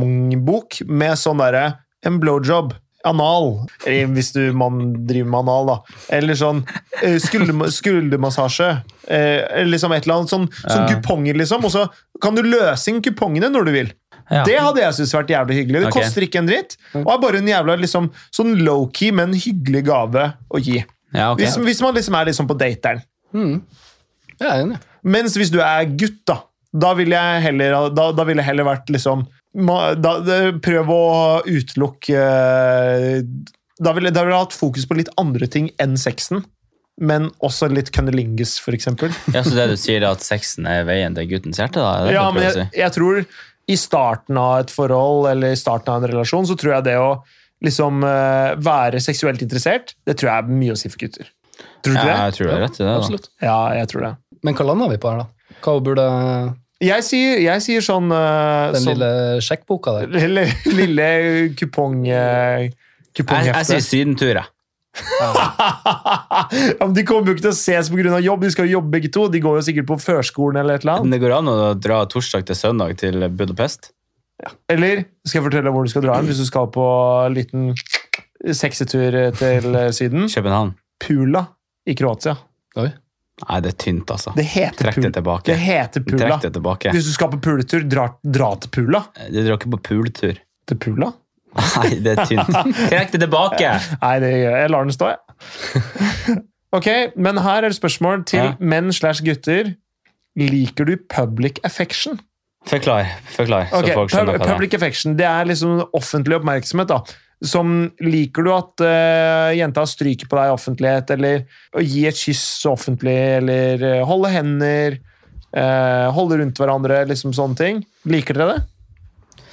kupongbok med sånn derre En blowjob. Anal. eh, Hvis du, man driver med anal, da. Eller sånn eh, skulderma- *laughs* skuldermassasje. Eh, Eller liksom et eller annet. Sånn, sånn Ja. kuponger, liksom. Og så kan du løse inn kupongene når du vil. Ja. Det hadde jeg syntes vært jævlig hyggelig. Det Ok. Mm. koster ikke en dritt. Og er bare en jævla liksom, sånn low-key, men hyggelig gave å gi. Ja, ok. Hvis, hvis man liksom er liksom på dateren. Mm. Jeg er enig. Mens hvis du er gutt, da, da ville jeg heller, da, da ville jeg heller vært liksom ma- da, det- Prøv å utelukke eh, Da ville da ville jeg hatt fokus på litt andre ting enn sexen. Men også litt cunnilingus, for eksempel. Ja, Så det du sier, er at sexen er veien til guttens hjerte? da? Er det Ja, det du men prøver å jeg, jeg tror i starten av et forhold eller i starten av en relasjon, så tror jeg det å liksom eh, være seksuelt interessert, det tror jeg er mye å si for gutter. Tror du si? ikke Ja, det? jeg tror du har rett i det. da. Absolutt. Ja, jeg tror det. Men hva landa vi på her, da? Hva burde Jeg sier, jeg sier sånn eh, den sånn- lille sjekkboka der? Lille, lille kupong... eh, Jeg, jeg Kuponghefte. sier sydentur, jeg. *laughs* ja, men de kommer jo ikke til å ses pga. jobb, de skal jo jobbe begge to. De går jo sikkert på førskolen eller et eller Men annet. det går an å dra torsdag til søndag til Budapest? Eller skal jeg fortelle hvor du skal dra hen hvis du skal på en liten sexetur til eh, Syden? Mm. København. Pula i Kroatia. Oi. Nei, det er tynt, altså. Det heter, Trekk det pul tilbake. det heter Pula. Trekk det tilbake. Hvis du skal på puletur, dra, dra til Pula. Du drar ikke på *laughs* pooltur. Til Pula? Nei, det er tynt. Trekk det tilbake! Nei, det gjør jeg. Jeg lar den stå, jeg. *laughs* Ok, men her er det spørsmål til Ja. menn slash gutter. Liker du public affection? Forklar, forklar, så Ok, folk skjønner pub- hva det er. Public affection, det er liksom offentlig oppmerksomhet, da. Som liker du at eh, jenta stryker på deg i offentlighet, eller å gi et kyss offentlig, eller eh, holde hender, eh, holde rundt hverandre, liksom sånne ting. Liker dere det?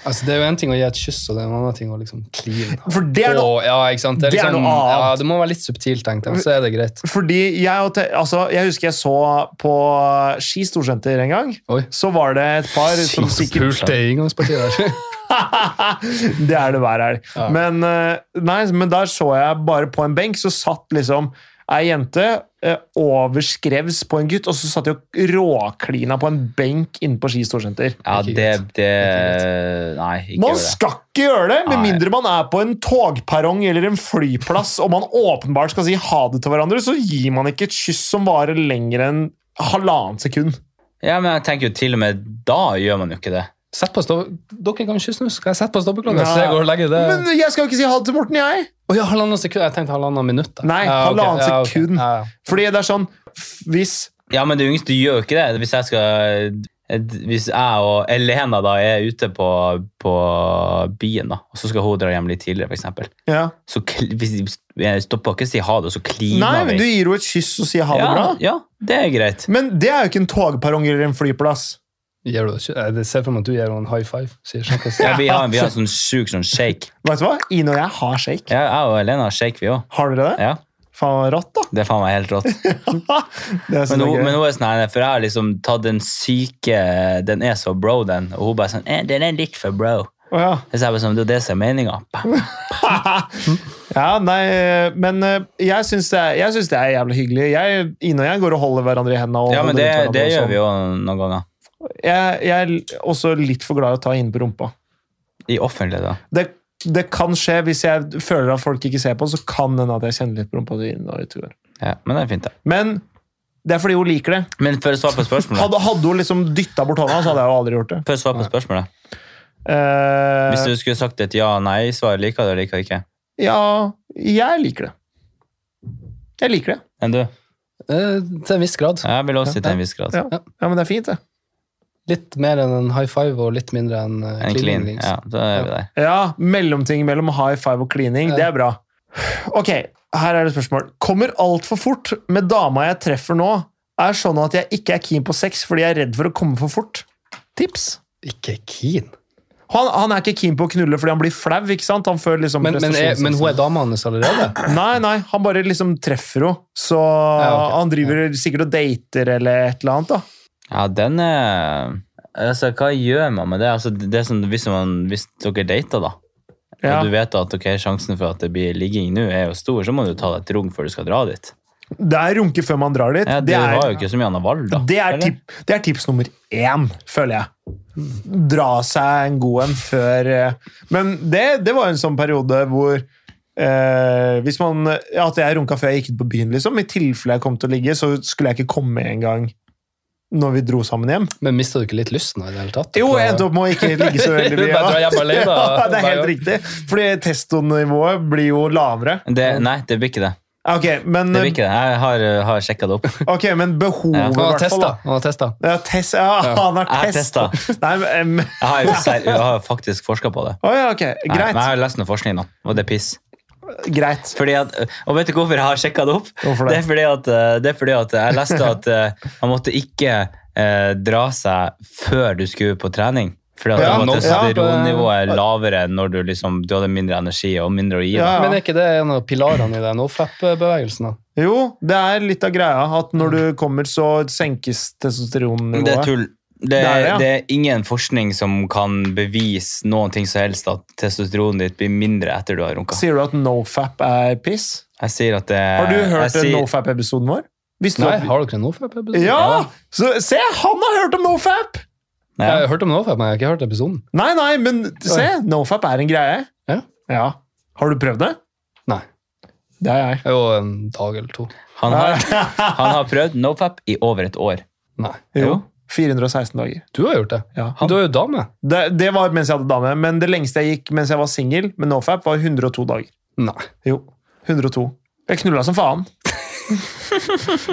Altså, det er jo en ting å gi et kyss, og det er en annen ting å liksom kline. For det er noe Å, ja, ikke sant? Det er, det er liksom, noe annet. Ja, det må være litt subtilt, tenkte jeg, men så er det greit. Fordi jeg, og te- altså, jeg husker jeg så på Ski Storsenter en gang. Oi. Så var det et par *laughs* som sikkert *laughs* Pulte i inngangspartiet der. *laughs* det er det hver helg. Ja. Men, eh, nei, men der så jeg bare på en benk, så satt liksom ei jente eh, overskrevs på en gutt, og så satt de og råklina på en benk inne på Ski storsenter. Ja, Ikke det, greit. det Nei, ikke Man gjør det. skal ikke gjøre det, med Nei. mindre man er på en togperrong eller en flyplass og man åpenbart skal si ha det til hverandre, så gir man ikke et kyss som varer lenger enn halvannet sekund. Ja, men jeg tenker jo til og med da gjør man jo ikke det. Sett på stopp... Dere kan kysse nå, så skal jeg sette på stoppeklokka? Så jeg går og legger det Men jeg skal jo ikke si ha det til Morten, jeg! Å ja, halvannet sekund. Jeg tenkte halvannet minutt. da. Nei, Ja, ok, halvannet ja, ok. sekund. Ja, ja. Fordi det er sånn f- Hvis Ja, men det yngste gjør jo ikke det. Hvis jeg skal hvis jeg og Elena da er ute på, på byen, da, og så skal hun dra hjem litt tidligere, for eksempel, ja. så kl- hvis jeg stopper ikke å si ha det, og så Nei, kliner men du gir jo et kyss og sier ha det ja, bra. Ja, det er greit. Men det er jo ikke en togperrong eller en flyplass. Gir du det ikke? Jeg ser for meg at du gir henne en high five. Sier snakkes. Ja, vi, har, vi har en sånn sjuk sånn shake. Vet du hva? Ine og jeg har shake. Ja, jeg og Elena har shake, vi òg. Har dere det? Ja, Faen rått, da. det er faen meg helt rått. det er *laughs* så Men hun, gøy. men hun er sånn, nei, nei, for jeg har liksom tatt den syke Den er så bro, den. Og hun bare sånn eh, Den er litt for bro. Å, ja. Så jeg bare sånn, Det er jo det som er meninga. ja, nei, men eh, jeg syns det, er- jeg syns det er jævlig hyggelig. Jeg, Ine og jeg går og holder hverandre i hendene. Og Ja, men holder det, rundt hverandre det og gjør sånn. vi jo noen ganger. Jeg, jeg er også litt for glad i å ta Ine på rumpa. I offentlig, da. Det, det kan skje hvis jeg føler at folk ikke ser på, så kan det hende at jeg kjenner litt på rumpa til Ine. når jeg tror. Ja, men det er fint, det. Men det er fordi hun liker det. Men for å svare på spørsmålet Hadde, hadde hun liksom dytta bort hånda, så hadde jeg jo aldri gjort det. for å svare på spørsmålet. Eh, Hvis du skulle sagt et ja-nei-svar, liker du det eller liker du ikke? Ja, jeg liker det. Jeg liker det. Enn du? Eh, Til en viss grad. Jeg vil også si til en viss grad. Ja, ja men det er fint, det. Litt mer enn en high five og litt mindre enn eh, En clean. liksom. Ja, da er vi der. Ja, Mellomting mellom high five og klining, det er bra. Ok, her er det spørsmål. Kommer altfor fort med dama jeg treffer nå, er sånn at jeg ikke er keen på sex fordi jeg er redd for å komme for fort. Tips. Ikke keen. Han, han er ikke keen på å knulle fordi han blir flau. ikke sant? Han føler liksom Men, men, er, prestasjons- men hun er dama hans allerede? Nei, nei, han bare liksom treffer henne. Så ok. han driver sikkert og dater eller et eller annet. da. Ja, den er Altså, hva gjør man med det? Altså, det er sånn, hvis, man, hvis dere dater, da, Ja. og du vet at ok, sjansen for at det blir ligging nå er jo stor, så må du ta deg et rom før du skal dra dit. Det er runke før man drar dit. Ja, det, det, er, var jo ikke så mye annet valg, da. det, er eller? tip, det er tips nummer én, føler jeg. Dra seg en god en før eh, Men det, det var en sånn periode hvor eh, hvis man, ja, At jeg runka før jeg gikk ut på byen, liksom. I tilfelle jeg kom til å ligge, så skulle jeg ikke komme en gang når vi dro sammen hjem. Men mista du ikke litt lysten av det i det hele tatt? Jo, jeg endte opp med å ikke ligge så veldig mye. Bare dra hjem alene, da. *laughs* Ja, det er helt riktig. Fordi testonivået blir jo lavere. Det, nei, det blir ikke det. Ok, men, Det blir ikke det. Jeg har, eh, har sjekka det opp. ok, men behovet, Ja. i Han har hvert fall, testa. da. Han har testa. Ja, test, ja, han har Jeg har testa. *laughs* Nei, men, em, Jeg *laughs* har, jo ser, jeg har faktisk forska på det. å ja, ok, Nei, greit. men jeg har lest noe forskning nå, og det er piss. greit. Fordi at, og vet du hvorfor jeg har sjekka det opp? Hvorfor Det det? er fordi at, eh, det er fordi at jeg leste at eh, man måtte ikke eh, dra seg før du skulle på trening. Fordi at Ja, da var nå- ja, testosteronnivået lavere når du, liksom, du hadde mindre energi og mindre å gi. Ja, da. ja. Men er ikke det en av pilarene i den noflap-bevegelsen? da? Jo, det er litt av greia at når du kommer, så senkes Det er testosteronnivået. tull. Det, Det er det, ja. det er ingen forskning som kan bevise noen ting som helst at testosteronet ditt blir mindre etter du har runka. Sier du at nofap er piss? Jeg sier at det, Har du hørt Eh, jeg sier, nofap-episoden vår? Visste du Nei, at- har dere en noflap-episode? Ja! Så, se, han har hørt om nofap! Ja. Jeg har hørt om noflap, men jeg har ikke hørt episoden. Nei, nei, men se, nofap er en greie. Ja. Har du prøvd det? Nei. Det er jeg. Det er jo en dag eller to. Han har, han har prøvd nofap i over et år. Nei. Jo. Jo. 416 dager. Du har gjort det. Ja. Men Du er jo dame. Det, det var mens jeg hadde dame, men det lengste jeg gikk mens jeg var singel med nofap, var 102 dager. Nei. Jo, 102. Jeg knulla som faen.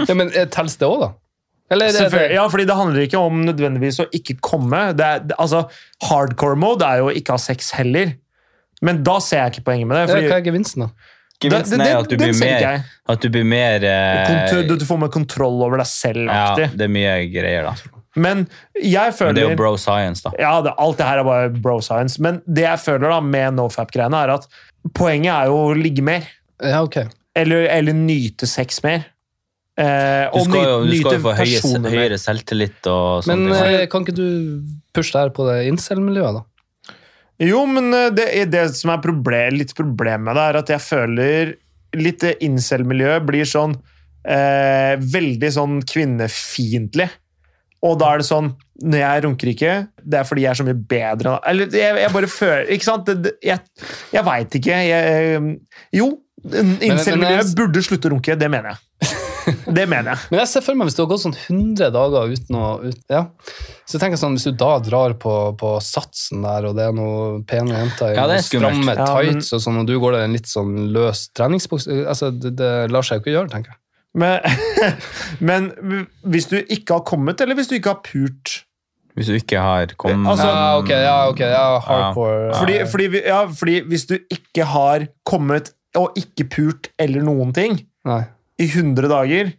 Ja, men eh, telles det òg, da? Eller er det, Selvfølgelig. Ja, fordi Det handler ikke om nødvendigvis å ikke komme. Det er, det, altså, Hardcore mode er jo å ikke ha sex heller. Men da ser jeg ikke poenget med det. Ja, Fordi, Hva er gevinsten, da? Gevinsten Den- er den- jo at du den blir ser ikke mer, jeg. at du blir mer eh, Kontur- du, du får mer kontroll over deg Ja, selv-aktig. det er mye greier, da. Men jeg Men føler det er jo bro science, da. Ja, det, alt det her er bare bro science. Men det jeg føler da med nofap-greiene, er at poenget er jo å ligge mer. Ja, ok. Eller, eller nyte sex mer. Eh, Du og skal jo, nyte, du skal nyte jo få høye, personer mer. høyere selvtillit og Men sånne ting. eh, kan ikke du pushe det her på det incel-miljøet, da? Jo, men eh, det, er det som er problem, litt problem med det, er at jeg føler litt det incel-miljøet blir sånn eh, veldig sånn kvinnefiendtlig. Og da er det sånn Når jeg runker ikke, det er fordi jeg er så mye bedre enn- Eller jeg, jeg bare føler Ikke sant? Det, det, jeg jeg veit ikke. Jeg, eh, jo, incel-miljøet jeg- burde slutte å runke. Det mener jeg. Det mener jeg. Men jeg ser for meg hvis du har gått sånn 100 dager uten å ut, ja. Så tenker jeg sånn, Hvis du da drar på, på satsen der, og det er noen pene jenter i Ja, det er noen skummelt. stramme Ja, men- tights, og sånn, og du går der i en litt sånn løs treningsbukse altså, det, det lar seg jo ikke gjøre, tenker jeg. Men, *laughs* men hvis du ikke har kommet, eller hvis du ikke har pult Hvis du ikke har kommet Altså- eh, ja, ok, ja, ok, ja, hardcore. Ja. Fordi, fordi, vi- ja, fordi hvis du ikke har kommet og ikke pult eller noen ting Nei. i 100 dager,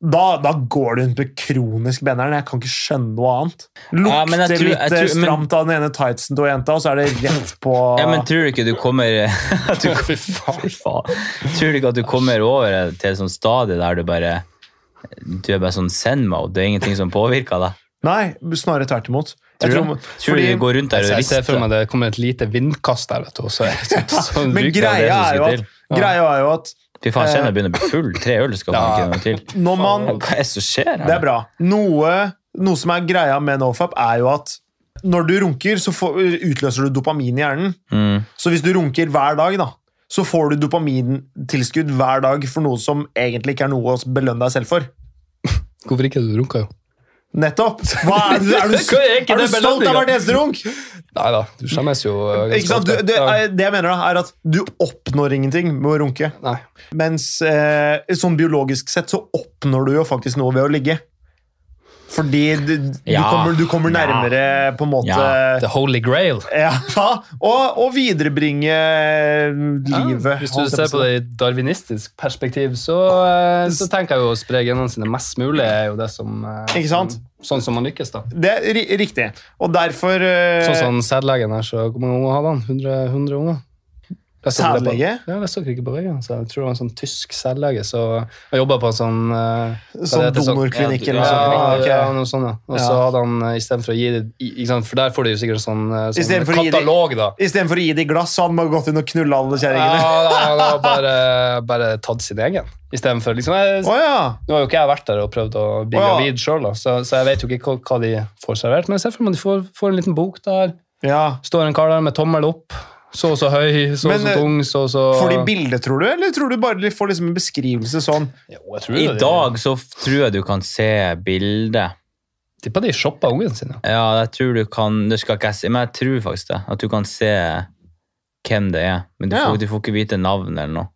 da, da går du rundt med kronisk benderen. Jeg kan ikke skjønne noe annet. Ja, men Lukter jeg tror- litt eh, jeg tror- men- stramt av den ene tightsen til jenta, og så er det rett *laughs* på Ja, men tror du ikke du kommer *laughs* at du, Fy faen. Tror du ikke at du kommer over til et sånt stadie der du bare Du er bare sånn send-mode? Det er ingenting som påvirker deg? Nei, snarere tvert imot. Jeg Tror, tror- du? tror du fordi- du går rundt der Altså, og Jeg, jeg ser for rister? meg det kommer et lite vindkast der, vet du. og Så, er det sånn- *laughs* *laughs* sånn men ryker det greia som er, skal jo at, til. Eh, greia er jo at Fy faen, jeg kjenner jeg begynner å bli full. Tre øl skal man Ja. ikke noe til. når man Hva er det som skjer her? Det er bra. Noe, noe som er greia med nofap, er jo at når du runker, så får, utløser du dopamin i hjernen. Mm. Så hvis du runker hver dag, da, så får du dopamintilskudd hver dag for noe som egentlig ikke er noe å belønne deg selv for. Hvorfor ikke? Du runka jo. Nettopp! Hva er, du- *laughs* er, du, Hva er ikke er du det stolt av hvert eneste runk? Nei da, du skjemmes jo. eh, ganske Ikke sant? Du, ofte. det, Ja. er- det jeg mener, da, er at du oppnår ingenting med å runke. Nei. Mens eh, sånn biologisk sett så oppnår du jo faktisk noe ved å ligge. Fordi du, du, Ja. kommer, du kommer nærmere på en måte Ja, The Holy Grail. Ja, *laughs* og, og viderebringe livet. Hvis du holdt jeg ser på å på si. det i darwinistisk perspektiv, så, eh, så tenker jeg jo å spre genene sine mest mulig er jo det som eh, Ikke sant? som- Sånn som man lykkes, da. Det er ri- riktig. Og derfor eh, Sånn som sædlegen her, så hvor mange unger hadde han? 100, 100 unger? Jeg så det på- Sædlege? Ja, jeg så det ikke på veggen. Så jeg tror det var en sånn tysk sædlege. Så jeg jobba på en sånn eh, hva Sånn det heter, donorklinikk eller ja, noe sånt. ja, Ja, ok. noe sånt, ja. Og Ja. så hadde han eh, istedenfor å gi det i- ikke sant, For der får du jo sikkert sånn, eh, I stedet sånn for å gi det- katalog, da. Istedenfor å gi det i glass, så hadde man gått inn og knulla alle kjerringene. Ja, da, han har bare, bare tatt sin egen. Istedenfor liksom jeg, Å ja. Nå har jo ikke jeg vært der og prøvd å Å, bli ja. gravid sjøl, så, så jeg vet jo ikke hva, hva de får servert. Men jeg ser for meg de får, får en liten bok der. ja. Står en kar der med tommel opp. Så og så høy, så og Men, så eh, tung, så og så Får de bilde, tror du, eller tror du bare de får liksom en beskrivelse sånn? Jo, jeg tror I det. dag så f- tror jeg du kan se bildet. Tipper de shoppa ungene sine. Ja, jeg tror du kan Det skal ikke jeg si, men jeg tror faktisk det. At du kan se hvem det er. Men du Ja. får, du får ikke vite navnet eller noe.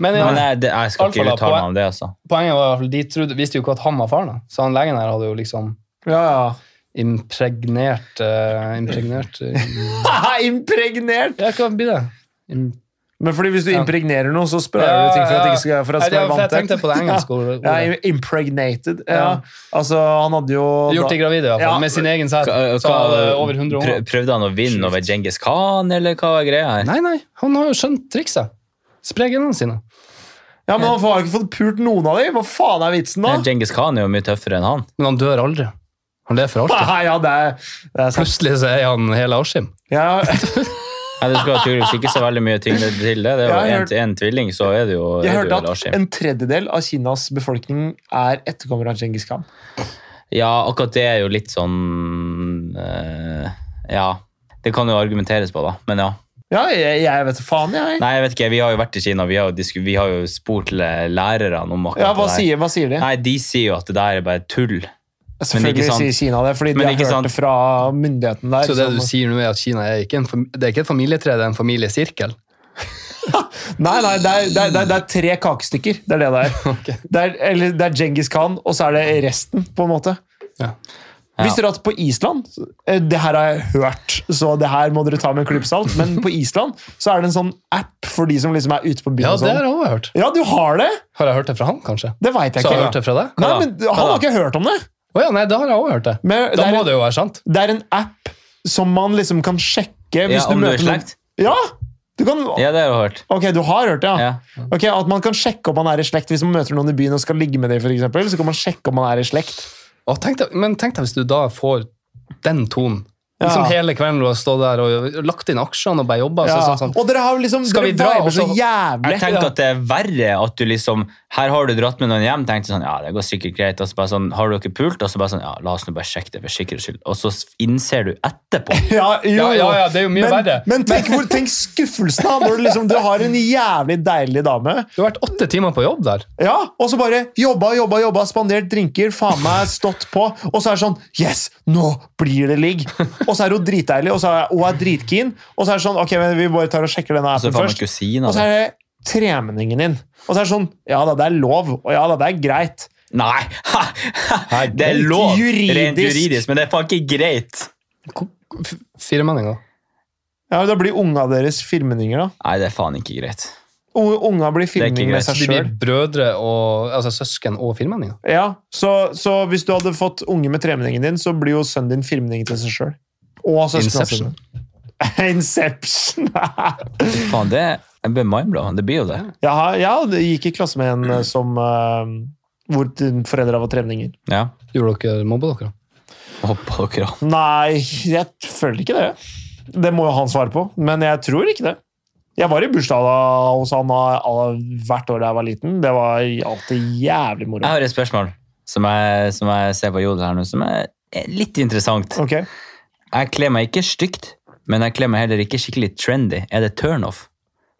Men, ja, Men jeg, det, jeg skal Alfa ikke da, uttale poen- meg om det, altså. poenget var i hvert fall de trodde, visste jo ikke at han var faren, da. så han legen her hadde jo liksom Ja, *laughs* impregnert eh, *laughs* Impregnert eh, ja. Impregnert! Ja, hva blir det? Im Men fordi hvis du Ja. impregnerer noe, så sprayer Ja, du ting for at ja. det ikke skal, for at det Nei, skal det være var- for Jeg vanntett. tenkte på det engelske ordet. *laughs* Ja, impregnated. Ja. Ja. Altså, han hadde jo Gjort de gravide, i hvert fall. Ja. Med sin egen sæd. Hva- Så han hadde hva- over 100 prøv- år. Prøvde han å vinne over Djengis Khan, eller hva var greia her? Nei, nei, han har jo skjønt trikset. Spre genene sine. Ja, men han har ikke fått pult noen av dem! Hva faen er vitsen da? Nei, Djengis Khan er jo mye tøffere enn han. Men han dør aldri. Han lever for alltid. Nei, *laughs* ja, det er, det er sant. Plutselig så er han hele Askim. Ja, Nei, det skal tydeligvis ikke så veldig mye tyngde til det. Det Jeg har er jo en, hørt- en tvilling, så er det jo jeg er det jo hørte at Lashim. en tredjedel av Kinas befolkning er etterkommere av Djengis Khan. Ja, akkurat det er jo litt sånn eh, Ja. Det kan jo argumenteres på, da. Men ja. Ja, jeg, jeg vet faen, jeg. Nei, jeg vet ikke, vi har jo vært i Kina, vi har jo, disku- vi har jo spurt læ- lærerne om akkurat Ja, hva det der. sier, hva sier de? Nei, de sier jo at det der er bare tull. Selvfølgelig ikke sant. sier Kina det, fordi de Men har ikke hørt sant. det fra myndighetene der. Så det du som- sier nå, er at Kina er ikke en, fam- det er ikke et familietre, det er en familiesirkel? Nei, nei, det er, det, er, det, er, det er tre kakestykker. Det er det det *laughs* er. Ok. Det er, eller, det er Genghis Khan, og så er det resten, på en måte. Ja. Visste dere at på Island eh, Det her har jeg hørt, så det her må dere ta med en klype salt. Men på Island så er det en sånn app for de som liksom er ute på byen. Ja, og det har sånn. jeg også hørt. Ja, du har det! Har jeg hørt det fra han, kanskje? Det veit jeg Så har jeg ikke. hørt det fra deg? Nei, da? men Hva Han da? har ikke hørt om det. Å ja, nei, da har jeg også hørt det. Men det, Da er må en, det jo være sant. det er en app som man liksom kan sjekke hvis Ja, du om du er møter i noen- slekt? Ja! Du kan, Ja, det har jeg hørt. Ok, du har hørt Ah, det, ja. Ja. Ok, At man kan sjekke om man er i slekt hvis man møter noen i byen og skal ligge med dem. For eksempel, så kan man sjekke om man er i slekt. Å, tenk deg, men tenk deg hvis du da får den tonen. Liksom Ja. hele kvelden du har stått der og lagt inn aksjene og bare jobba. Ja. Så, sånn, sånn. Og dere har liksom Skal dere vi dra, viber og så så- jævlig. Jeg tenker at det er verre at du liksom Her har du dratt med noen hjem, tenkte sånn Ja, det går sikkert greit. Og så bare sånn Har du ikke pult? Og så bare sånn Ja, la oss nå bare sjekke det for sikkerhets skyld. Og så innser du etterpå. Ja, jo, Ja, ja, jo. ja, det er jo mye men, verre. Men tenk, hvor, tenk skuffelsen da, når du, liksom, du har en jævlig deilig dame, Du har vært åtte timer på jobb der. ja, og så bare jobba, jobba, jobba, spandert drinker, faen meg stått på, og så er det sånn Yes, nå blir det ligg! Og så er hun dritdeilig, og så er hun er dritkeen, og så er det sånn Ok, men vi bare tar og sjekker denne *laughs* Så appen faen meg først. kusina Og så er det tremenningen din. Og så er det sånn Ja da, det er lov, og ja da, det er greit. Nei! Ha, ha, *laughs* det er Rent lov, juridisk. rent juridisk, men det er faen ikke greit. F- Firmenninger. Ja, men Da blir unga deres firmendinger, da. Nei, det er faen ikke greit. U- Unga blir er ikke firmendinger med greit. seg De sjøl. blir brødre og altså søsken og firmenninger. Ja, så, så hvis du hadde fått unge med tremenningen din, så blir jo sønnen din firmenning til seg sjøl. Og søsknene sine. Inception. *laughs* Inception! Faen, det jeg blir mindblown. Det blir jo det. jeg, har, jeg gikk i klasse med en eh, som eh, Hvor foreldra var tremenninger. Ja. Gjorde dere mobba dere? Hoppa dere av. Nei, jeg føler ikke det. Det må jo han svare på, men jeg tror ikke det. Jeg var i bursdag da hos han da- da- hvert år da jeg var liten. Det var alltid jævlig moro. Jeg har et spørsmål som jeg, som jeg ser på Jodel her nå, som er er litt interessant. Ok. Jeg kler meg ikke stygt, men jeg kler meg heller ikke skikkelig trendy. Er det turnoff?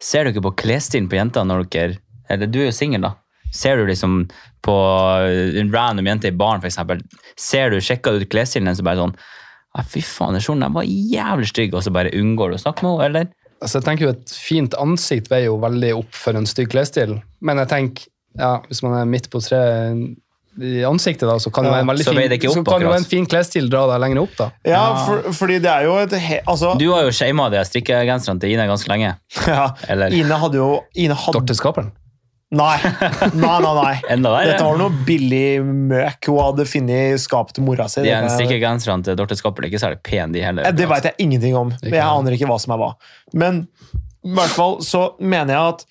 Ser dere på klesstilen på jenter når dere Eller du er jo singel, da. Ser du liksom på eh, en random jente i baren, for eksempel, ser du, sjekker du ut klesstilen hennes og bare sånn ja, Fy faen, den kjolen der var jævlig stygg, og så bare unngår du å snakke med henne, eller? Altså, jeg tenker jo Et fint ansikt veier jo veldig opp for en stygg klesstil, men jeg tenker, ja, hvis man er midt på treet i ansiktet, da, så kan jo Ja, en veldig så veier det fin, ikke opp så kan jo akkurat. en fin klesstil dra deg lenger opp. da. Ja, for, fordi det er jo et he... Altså, Du har jo shama de strikkegenserne til Ina ganske lenge. *laughs* ja, Eller Ine hadde jo Ine hadde Dorte Skaperen. Nei, nei, nei. nei. *laughs* enda Dette verre. var noe billig møk hun hadde funnet i skapet til mora si. De her Det, strikkegenserne til Dorte Skappel er ikke særlig pene, de heller. Eh, det veit jeg ingenting om. men Jeg aner ikke hva som er hva. Men i hvert fall så mener jeg at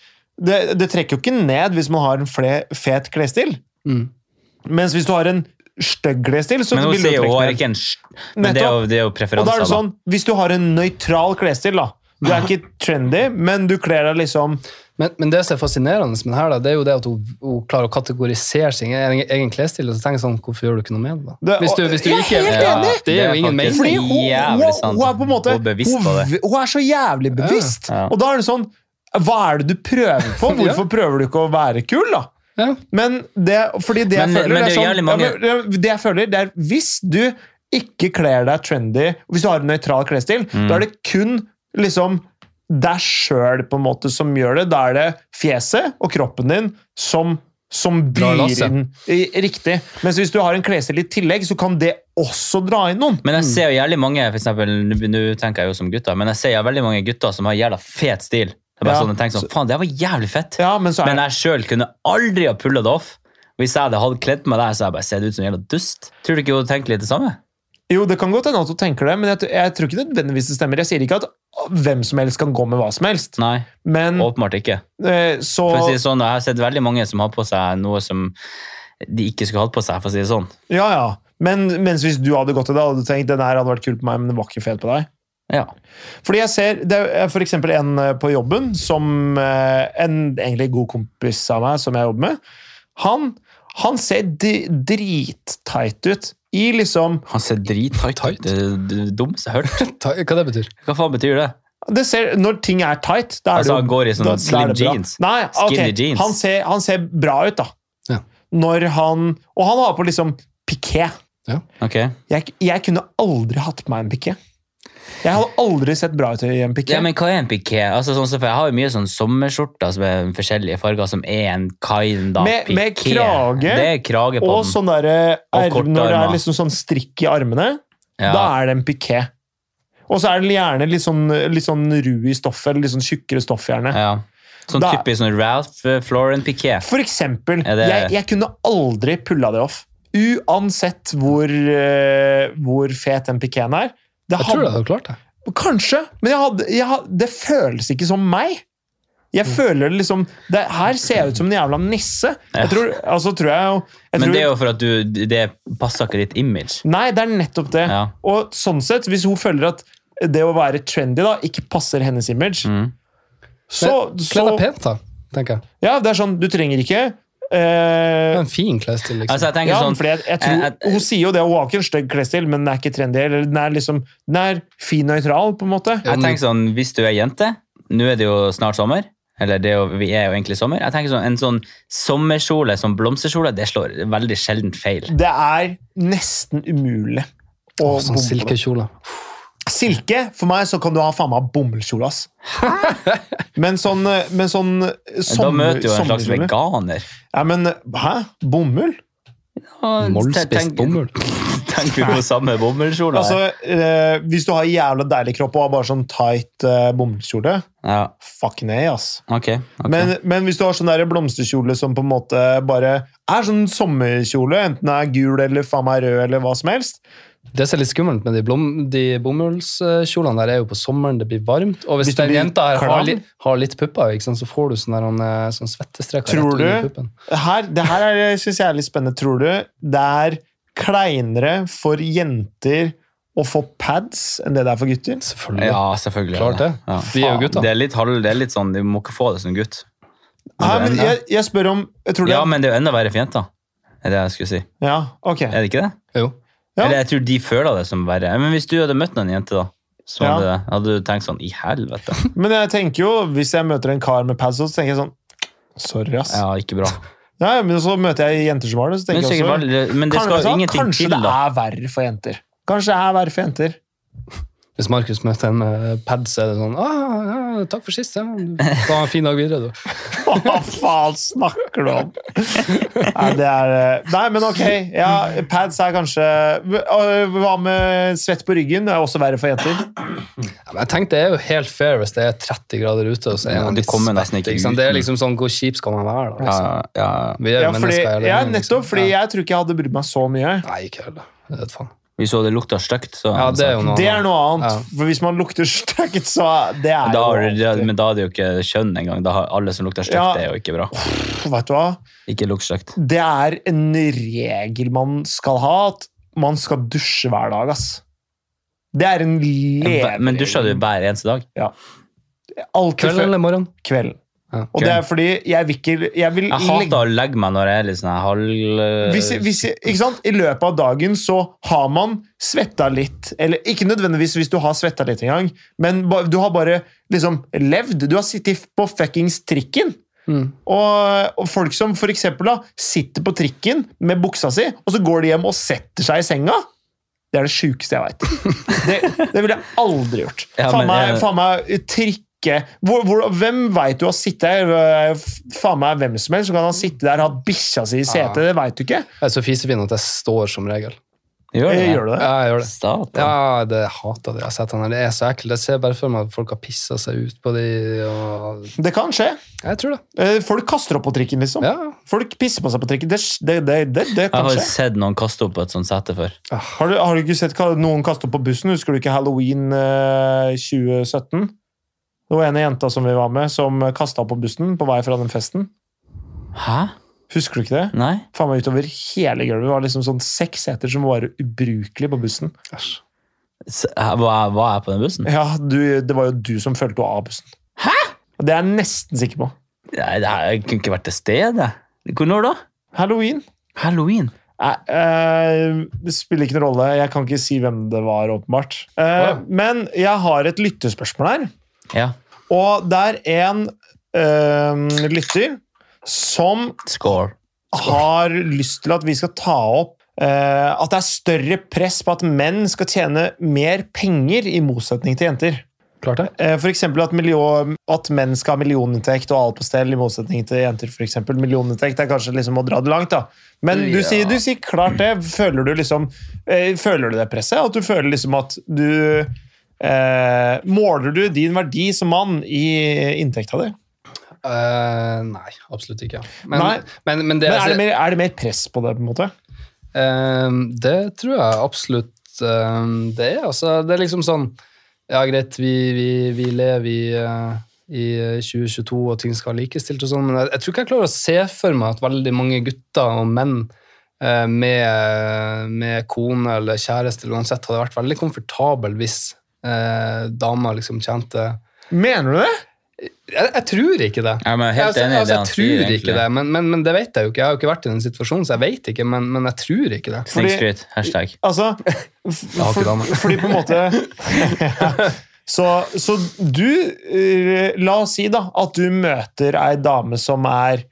det, det trekker jo ikke ned hvis man har en fle, fet klesstil. Mm. Mens hvis du har en stygg klesstil, så Men hun vil du sier jo trekke hun har ned. ikke en sj- Men det er jo, det er jo Og da preferanser, er det da. sånn, Hvis du har en nøytral klesstil, da Du er ikke trendy, men du kler deg liksom Men, men det som er fascinerende med her, da, det er jo det at hun, hun klarer å kategorisere sin egen, egen klesstil. Og så tenker jeg sånn, hvorfor gjør du ikke noe med det? da? Det- Hvis du, hvis du Jeg er ikke, helt Ja, enig! det er jo ingen faktisk- mening. Fordi hun, hun, Jævlig sant. hun er på en måte Hun er bevisst på det. hun- Hun er så jævlig bevisst. Ja. Og da er det sånn Hva er det du prøver *laughs* på? Ja. Hvorfor prøver du ikke å være kul, da? Ja. Men det, fordi det jeg Men- føler, men det, det er er sånn, jævlig mange- ja, men det, det jeg føler, det er hvis du ikke kler deg trendy, hvis du har en nøytral klesstil, Mm. da er det kun liksom deg sjøl på en måte som gjør det. Da er det fjeset og kroppen din som, som Drar byr lasset. inn i- riktig. Mens hvis du har en klesstil i tillegg, så kan det også dra inn noen. Men jeg ser jo jævlig mange, for eksempel, nå nå tenker jeg jo som gutter, men jeg ser jo veldig mange gutter som har jævla fet stil. Det er bare Ja. sånn, jeg tenker sånn, faen, det var jævlig fett. Ja, men så er Men jeg selv kunne aldri ha pullet det off. Hvis jeg hadde hatt kledd meg der, så hadde jeg bare sett ut som en jævla dust. Tror du ikke hun tenker litt det samme? Jo, det kan godt hende at hun tenker det, men jeg, t- jeg tror ikke nødvendigvis det stemmer. Jeg sier ikke at hvem som helst kan gå med hva som helst, Nei, men åpenbart ikke. eh, så For å si det sånn, jeg har sett veldig mange som har på seg noe som de ikke skulle hatt på seg, for å si det sånn. Ja, ja. Men mens hvis du hadde gått til det, hadde du tenkt den her hadde vært kul på meg, men den var ikke fet på deg. Ja. Fordi jeg ser, Det er for eksempel en eh, på jobben, som eh, en egentlig god kompis av meg, som jeg jobber med. Han, han ser di- dritteit ut i liksom Han ser drittight Tight? ut. Det er det dummeste jeg har hørt. Ta- Hva det betyr? Hva faen betyr det? Det ser, når ting er tight da er Altså, det jo, han går i sånne da- da er slim det bra. jeans. Nei, ok, Skinny jeans. Han ser, han ser bra ut, da. Ja. Når han Og han har på liksom piké. Ok. Jeg, jeg kunne aldri hatt på meg en piké. Jeg hadde aldri sett bra ut i en piké. Ja, men hva er en piké? Altså, sånn, som- for jeg har jo mye sånn sommerskjorter som er forskjellige farger, som er en kind av Med- piké. med krage, Det er krage på og den. sånn derre Og erm- korte Når det er armer. liksom sånn strikk i armene, Ja. da er det en piké. Og så er den gjerne litt sånn, litt sånn ru i stoffet, eller litt sånn tjukkere stoff, gjerne. ja. Sånn Da- typisk sånn Ralph eh, Lauren piké. For eksempel, Ja, jeg, det- jeg kunne aldri pulla det off. Uansett hvor, eh, hvor fet den pikeen er. Det Jeg had- tror du hadde klart det. Kanskje, men jeg hadde, jeg had- det føles ikke som meg. Jeg føler det liksom det, Her ser jeg ut som en jævla nisse. Ja. Jeg tror, altså, tror jeg, jo- jeg Men tror, det er jo for at du Det passer ikke ditt image. Nei, det er nettopp det. Ja. Og sånn sett, hvis hun føler at det å være trendy da, ikke passer hennes image, Mm. så, Kle deg så pent, da, tenker jeg. Ja, det er sånn, du trenger ikke Det eh, er en fin klesstil, liksom. Altså, jeg tenker ja, sånn fordi jeg, jeg tror, jeg- jeg- Hun sier jo det, hun har ikke en stygg klesstil, men den er ikke trendy. Eller den er liksom, den er fin nøytral, på en måte. Ja, Jeg men- tenker sånn, Hvis du er jente Nå er det jo snart sommer. Eller det er jo, vi er jo egentlig sommer. Jeg tenker sånn, En sånn sommerkjole som blomsterkjole, det slår veldig sjelden feil. Det er nesten umulig å Sånn bomme på det. silkekjole. Silke, for meg så kan du ha faen meg bomullskjole, ass. Men sånn, men sånn da sommer- møter du jo en slags sommerkjole. veganer. Ja, men hæ? Bomull? Og Mollspist tenk- bomull. *laughs* Tenker du på samme bomullskjole? Altså, eh, hvis du har jævla deilig kropp og har bare sånn tight eh, bomullskjole, ja, fuck nei, ass. ok. ok. Men, men hvis du har sånn der blomsterkjole som på en måte bare er sånn sommerkjole, enten den er gul eller faen meg rød eller hva som helst Det som er litt skummelt med de, blom, de bomullskjolene der, er jo på sommeren, det blir varmt. Og hvis, Hvis du den blir jenta her har, klam? li, har litt pupper, ikke sant, så får du sånne, der, eh, sånne svettestreker Tror rett under du? puppen. her, Det her er- eh, synes jeg er litt spennende. Tror du det er kleinere for jenter å få pads enn det det er for gutter? Selvfølgelig. Ja, selvfølgelig. er Klart det. Ja. Vi er jo gutter. Det er litt, halv- det er litt sånn, Du må ikke få det som gutt. Hæ, det er men enda- jeg, jeg spør om jeg tror det, Ja, men det er jo enda verre for jenter. Er det jeg skulle si. ja, ok. Er det ikke det? Jo. Ja. Eller jeg tror de føler det som verre. Men hvis du hadde møtt en jente, da, som Ja. hadde, hadde du tenkt sånn I helvete. *laughs* Men jeg tenker jo, hvis jeg møter en kar med pads, så tenker jeg sånn Sorry, ass. Ja, ikke bra. Ja, men så møter jeg jenter som har det. så tenker Men, jeg sikkert også... bare- men det skal kanskje, jo ingenting kanskje til, det da. er verre for jenter. Kanskje det er verre for jenter. Hvis Markus møter en med pads, så er det sånn ah, ja, 'Takk for sist. Ja. Du får ha en fin dag videre, du.' Hva faen snakker du om? Nei, det er eh, Nei, men ok. Ja, pads er kanskje Og eh, Hva med svett på ryggen? Det er også verre for jenter. Ja, men jeg tenkte Det er jo helt fair hvis det er 30 grader ute. Og så er Ja, man du litt kommer nesten svett, ikke sant? ut, Det er men- liksom sånn, Hvor kjip skal man være? da? Ja, Liksom? ja. Vi er jo Ja, fordi, mennesker. hele ja, gjengen, nettopp. liksom. Fordi Ja. jeg tror ikke jeg hadde brydd meg så mye. Nei, ikke heller. Jeg vet faen. Vi så det lukta stygt, så altså. Ja, det er jo noe Det er noe Ja. annet. For hvis man lukter sterkt, så Det er da, jo har du- alltid- Men da er det jo ikke kjønn engang. Da har alle som lukter stygt, Ja. det er jo ikke bra. Pff, Vet du hva? Ikke lukt stygt. Det er en regel man skal ha, at man skal dusje hver dag, ass. Det er en leveregel. Men dusja du hver eneste dag? Alltid Kvelden før eller morgenen? kvelden. Ja. Og det er fordi jeg vil ikke Jeg vil Jeg hater å legge meg når jeg er litt sånn her halv hvis, hvis, ikke sant? I løpet av dagen så har man svetta litt. Eller ikke nødvendigvis hvis du har svetta litt engang, men ba, du har bare liksom levd. Du har sittet på fuckings trikken. Mm. Og, og folk som for eksempel da, sitter på trikken med buksa si, og så går de hjem og setter seg i senga. Det er det sjukeste jeg veit. Det, det ville jeg aldri gjort. Ja, faen, men meg, jeg- faen meg trikke hvor, hvor, Hvem veit du har sittet her? Øh, f- Faen meg hvem som helst som kan ha sittet der og hatt bikkja si i Ja. setet. Det veit du ikke. Jeg er så fisefin at jeg står som regel. Gjør Eh, det? Gjør du det? Ja, jeg gjør det. Satan. Ja, det jeg hater det. Jeg har sett han her. Det er så ekkelt. Jeg ser bare for meg at folk har pissa seg ut på de og Det kan skje. Jeg tror det. Eh, Folk kaster opp på trikken, liksom. Ja. Folk pisser på seg på trikken. Det, det, det, det, det Jeg kan har skje. sett noen kaste opp på et sånt sete før. Har du, har du ikke sett ka- noen kaste opp på bussen? Husker du ikke Halloween eh, 2017? Det var en av jenta som vi var med, som kasta opp på bussen på vei fra den festen. Hæ? Husker du ikke det? Nei? Faen meg utover hele gulvet. Det var liksom sånn seks seter som var ubrukelig på bussen. Æsj. S- eh, hæ, Var, var jeg på den bussen? Ja, du, Det var jo du som fulgte henne av bussen. Hæ?! Det er jeg nesten sikker på. Nei, det her- jeg kunne ikke vært til stede. Hvor når da? Halloween. Halloween. Nei, eh, det spiller ikke noen rolle. Jeg kan ikke si hvem det var, åpenbart. Eh, Å ja. Men jeg har et lyttespørsmål her. Ja. Og det er en eh, lytter som Score. har lyst til at vi skal ta opp eh, at det er større press på at menn skal tjene mer penger, i motsetning til jenter. Klart det? Eh, for eksempel at, miljø, at menn skal ha millioninntekt og alt på stell, i motsetning til jenter. For eksempel. millioninntekt er kanskje liksom å dra det langt, da. Men du, Ja. sier, du sier klart det. Føler du liksom eh, Føler du det presset? At du føler liksom at du eh, Måler du din verdi som mann i inntekta di? Eh, nei, absolutt ikke. Men, Nei. men, men det, Men er det, mer, er det mer press på det, på en måte? Ehm, det tror jeg absolutt ehm, det er. Altså, det er liksom sånn Ja, greit, vi, vi, vi lever i, eh, i eh, 2022, og ting skal likestilt og sånn, men jeg, jeg tror ikke jeg klarer å se for meg at veldig mange gutter og menn eh, med, med kone eller kjæreste eller uansett hadde vært veldig komfortabel hvis eh, dama liksom tjente Mener du det? jeg, jeg tror ikke det. Ja, men jeg er helt Altså, enig i altså, det han jeg sier, tror egentlig. ikke det, men, men, men det vet jeg jo ikke. Jeg har jo ikke vært i den situasjonen, så jeg vet ikke, men, men jeg tror ikke det. Fordi- Snikskryt. Hashtag. Altså Jeg har ikke for, dame. Fordi på en måte Så, så du eh, La oss si da at du møter ei dame som er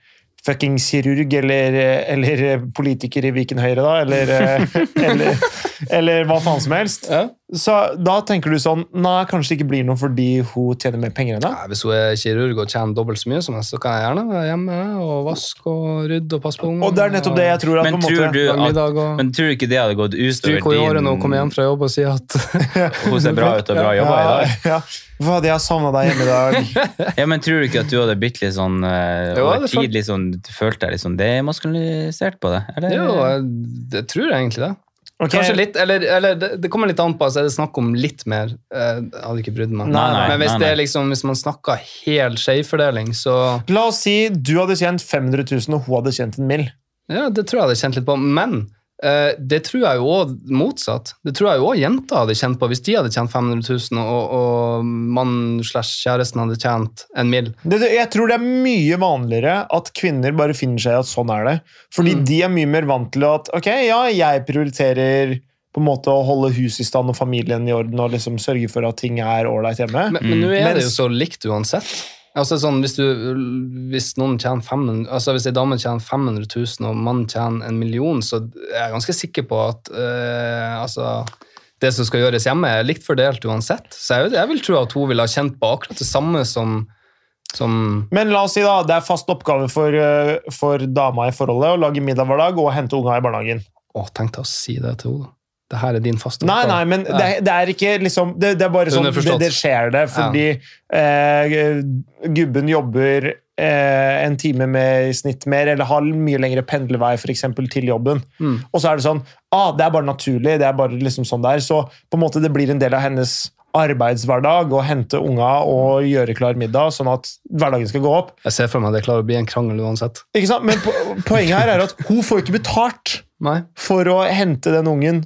fucking kirurg eller, eh, eller politiker i Viken Høyre, da, eller, eh, eller, eller hva faen som helst. Ja. Så da tenker du sånn Nei, kanskje det ikke blir noe fordi hun tjener mer penger enn deg. Nei, hvis hun er kirurg og tjener dobbelt så mye som meg, så kan jeg gjerne være hjemme og vaske og rydde og passe på ungene. Og det er nettopp det jeg tror at Men på en måte tror, du lage at, middag og- men tror du ikke det hadde gått utover Stryk henne i håret når hun kommer hjem din fra jobb og sier at *laughs* Hun ser bra ut og *laughs* bra jobba i dag. Ja, ja. Hva, jeg har savna deg hjemme i *laughs* dag. Ja, men tror du ikke at du hadde blitt litt sånn eh, Jo, over det er sant. tid litt sånn, Du følte deg litt sånn demaskulinisert på det? Eller? Jo, jeg- det tror jeg egentlig det. Ok. Kanskje litt, eller, eller det, det kommer litt an på. Altså, er det snakk om litt mer? Eh, Jeg hadde ikke brydd meg. Nei, nei, Men hvis, nei, det er liksom, hvis man snakker hel skjevfordeling, så La oss si du hadde tjent 500 000, og hun hadde tjent en mill. Ja, det tror jeg hadde kjent litt på. Men eh, det tror jeg jo òg motsatt. Det tror jeg jo òg jenter hadde kjent på hvis de hadde tjent 500 000, og, og mannen slash kjæresten hadde tjent en mill. Det, det- jeg tror det er mye vanligere at kvinner bare finner seg i at sånn er det. Fordi Mm. de er mye mer vant til at ok, ja, jeg prioriterer på en måte å holde huset i stand og familien i orden og liksom sørge for at ting er ålreit hjemme. Men, men Mm. nå er det jo Mens- så likt uansett. Altså sånn, hvis, du, hvis noen tjener 500, altså hvis en dame tjener 500 000 og mannen tjener en million, så er jeg ganske sikker på at eh, altså, det som skal gjøres hjemme, er likt fordelt uansett. Så jeg, jeg vil tro at hun ville ha kjent på akkurat det samme som, som Men la oss si da, det er fast oppgave for, eh, for dama i forholdet å lage middag hver dag og hente unga i barnehagen. Å, tenk deg å si det til henne. Det her er din faste Nei, nei, men det, er- det er ikke liksom Det, det er bare sånn det, Underforstått. det skjer det, fordi eh, gubben jobber eh, en time med i snitt mer, eller har mye lengre pendlervei for eksempel, til jobben. Mm. Og så er det sånn ah, Det er bare naturlig. det er bare liksom sånn det er, Så på en måte det blir en del av hennes arbeidshverdag å hente unga og gjøre klar middag, sånn at hverdagen skal gå opp. Jeg ser for meg det klarer å bli en krangel uansett. Ikke sant? Men po poenget her er at hun får ikke betalt Nei. for å hente den ungen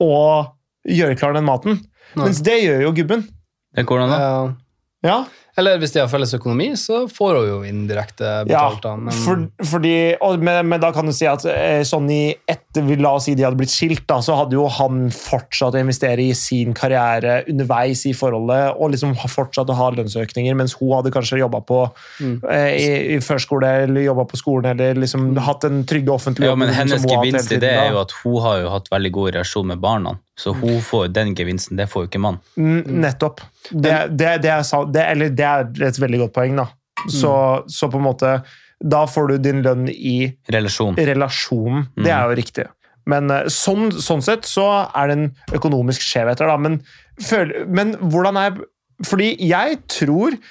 og gjøre klar den maten. Nei. Mens det gjør jo gubben. Det går an, da. Eh, Ja, eller hvis de har felles økonomi, så får hun jo indirekte ja. betalt. da, men, For, fordi, og, men, men da kan du si at eh, sånn i etter, vi- La oss si de hadde blitt skilt, da, så hadde jo han fortsatt å investere i sin karriere underveis i forholdet og liksom ha- fortsatt å ha lønnsøkninger, mens hun hadde kanskje jobba på Mm. eh, i, i førskole eller jobba på skolen eller liksom hatt en trygge offentlige Ja, men hennes gevinst i det er jo at at hun har jo hatt veldig god relasjon med barna. Så Mm. hun får den gevinsten, det får jo ikke mann. Nettopp. Det, det, det, er, sant- det, eller det er et veldig godt poeng, da. Så, så på en måte Da får du din lønn i Relasjon. Eh, relasjonen. Det er jo riktig. Men eh, sånn, sånn sett så er det en økonomisk skjevhet her, da. Men, føl, men hvordan er Fordi jeg tror eh,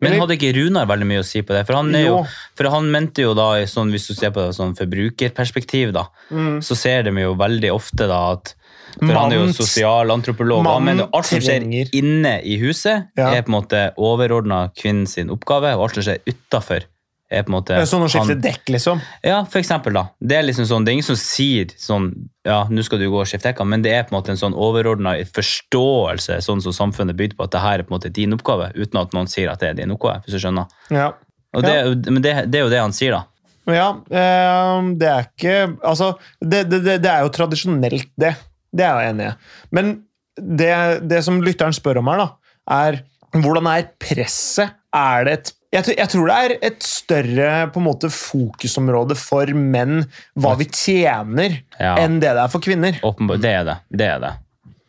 Men hadde ikke Runar veldig mye å si på det? For han, er jo, Jo. for han mente jo da, i sånn, hvis du ser på det i sånn forbrukerperspektiv, da, Mm. så ser de jo veldig ofte da at For han er jo Mannen- sosialantropolog, og han mannen mener alt som skjer trenger- inne i huset, Ja. er på en måte overordna kvinnens oppgave, og alt som skjer utafor, er på en måte Sånn å skifte han- dekk, liksom. Ja, for eksempel da. Det er liksom sånn, det er ingen som sier sånn, ja, nå skal du gå og skifte dekkene, men det er på en måte en sånn overordnet forståelse, sånn som samfunnet byr på, at det her er på en måte din oppgave, uten at noen sier at det er din oppgave, hvis du skjønner. Ja. Og det, er jo- Men det, det er jo det han sier da. ja eh, det er ikke Altså, det, det, det, det er jo tradisjonelt, det. Det er jeg enig i. Men det, det som lytteren spør om her, da, er Hvordan er presset? Er det et jeg, tror- jeg tror det er et større på en måte, fokusområde for menn hva vi tjener, Ja. enn det det er for kvinner. Åpenbart. Det er det. Det er det.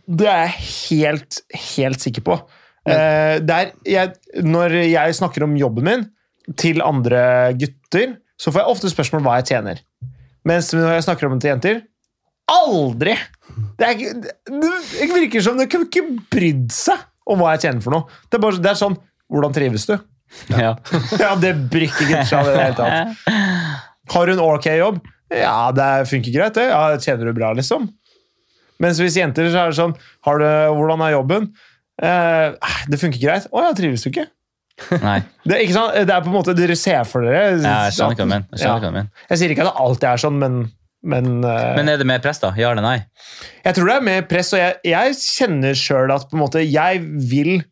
Det er jeg helt, helt sikker på. Eh, det er, jeg, når jeg snakker om jobben min til andre gutter, så får jeg ofte spørsmål hva jeg tjener. Mens når jeg snakker om det til jenter aldri! Det, er, ikke- det, det virker som de kunne ikke brydd seg om hva jeg tjener for noe. Det er, bare, det er sånn Hvordan trives du? Ja. *laughs* Ja, det brykker ikke seg. i Det hele tatt. Har hun ok jobb? Ja, det funker greit, det. Ja, tjener du bra, liksom? Mens hvis jenter, så er det sånn har du, Hvordan er jobben? Eh, det funker greit. Å ja, trives du ikke? Nei. Det, ikke sant? det er på en måte Dere ser for dere Ja, jeg skjønner hva du mener. Jeg skjønner hva du mener. Jeg sier ikke at det alltid er sånn, men, men, eh, Men er det mer press, da? Ja eller nei? jeg tror det er mer press, og jeg, jeg kjenner sjøl at på en måte jeg vil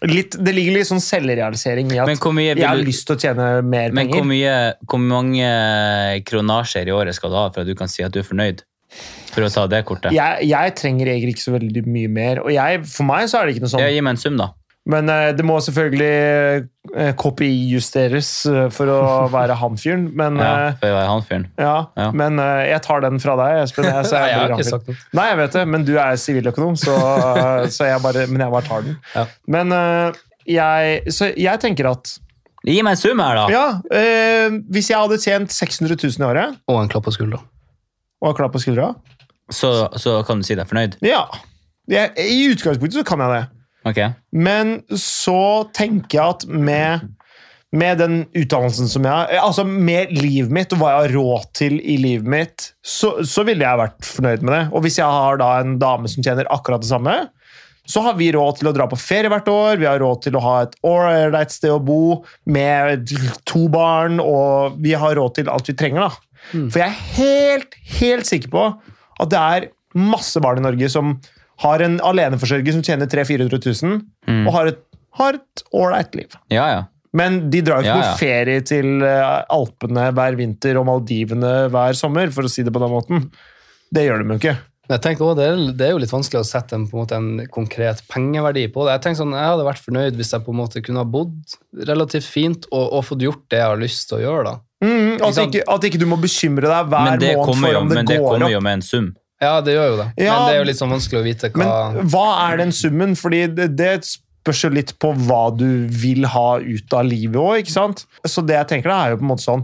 litt, Det ligger litt sånn selvrealisering i at Men hvor mye jeg har vil du lyst til å tjene mer men hvor, penger. mye, hvor mange kronasjer i året skal du ha for at du kan si at du er fornøyd? For å ta det kortet. Ja, Jeg, jeg trenger egentlig ikke så veldig mye mer, og jeg, for meg så er det ikke noe sånn Gi meg en sum, da. Men eh, det må selvfølgelig eh, KPI-justeres eh, for å *laughs* være han fyren. Men, Ja, eh, for å være han fyren. ja, Ja. men eh, jeg tar den fra deg, Espen. *laughs* Jeg, så Nei, jeg jeg har blir han ikke fyren. sagt noe. Nei, jeg vet det, men du er siviløkonom, så, *laughs* eh, så jeg bare, men jeg bare tar den. Ja. Men eh, jeg, så jeg tenker at Gi meg en sum her, da! Ja, eh, hvis jeg hadde tjent 600 000 i året Og en klapp på skuldra. og var klar på skuldra Så, så kan du si deg fornøyd. Ja. Jeg, I utgangspunktet så kan jeg det. Ok. Men så tenker jeg at med, med den utdannelsen som jeg har, altså med livet mitt og hva jeg har råd til i livet mitt, så, så ville jeg vært fornøyd med det. Og hvis jeg har da en dame som tjener akkurat det samme, så har vi råd til å dra på ferie hvert år, vi har råd til å ha et ålreit sted å bo med to barn, og vi har råd til alt vi trenger. da. Mm. For jeg er helt, helt sikker på at det er masse barn i Norge som har en aleneforsørger som tjener 300 000-400 000, Mm. og har et har et ålreit liv. Ja, ja. Men de drar jo ikke Ja, ja. på ferie til eh, Alpene hver vinter og Maldivene hver sommer, for å si det på den måten. Det gjør de jo ikke. Men jeg tenkte også, det, er, det er jo litt vanskelig å sette en, på en, måte, en konkret pengeverdi på det. Jeg tenkte sånn, jeg hadde vært fornøyd hvis jeg på en måte kunne ha bodd relativt fint og, og fått gjort det jeg har lyst til å gjøre. da. Mm, Ikke at, sant? ikke, at ikke du må bekymre deg hver Men det måned kommer for jo, om det men det går kommer opp. jo med en sum. Ja, det gjør jo det. Ja. Men det er jo litt sånn vanskelig å vite hva Men hva er den summen? Fordi det, det spørs jo litt på hva du vil ha ut av livet òg, ikke sant? Så det jeg tenker da, er jo på en måte sånn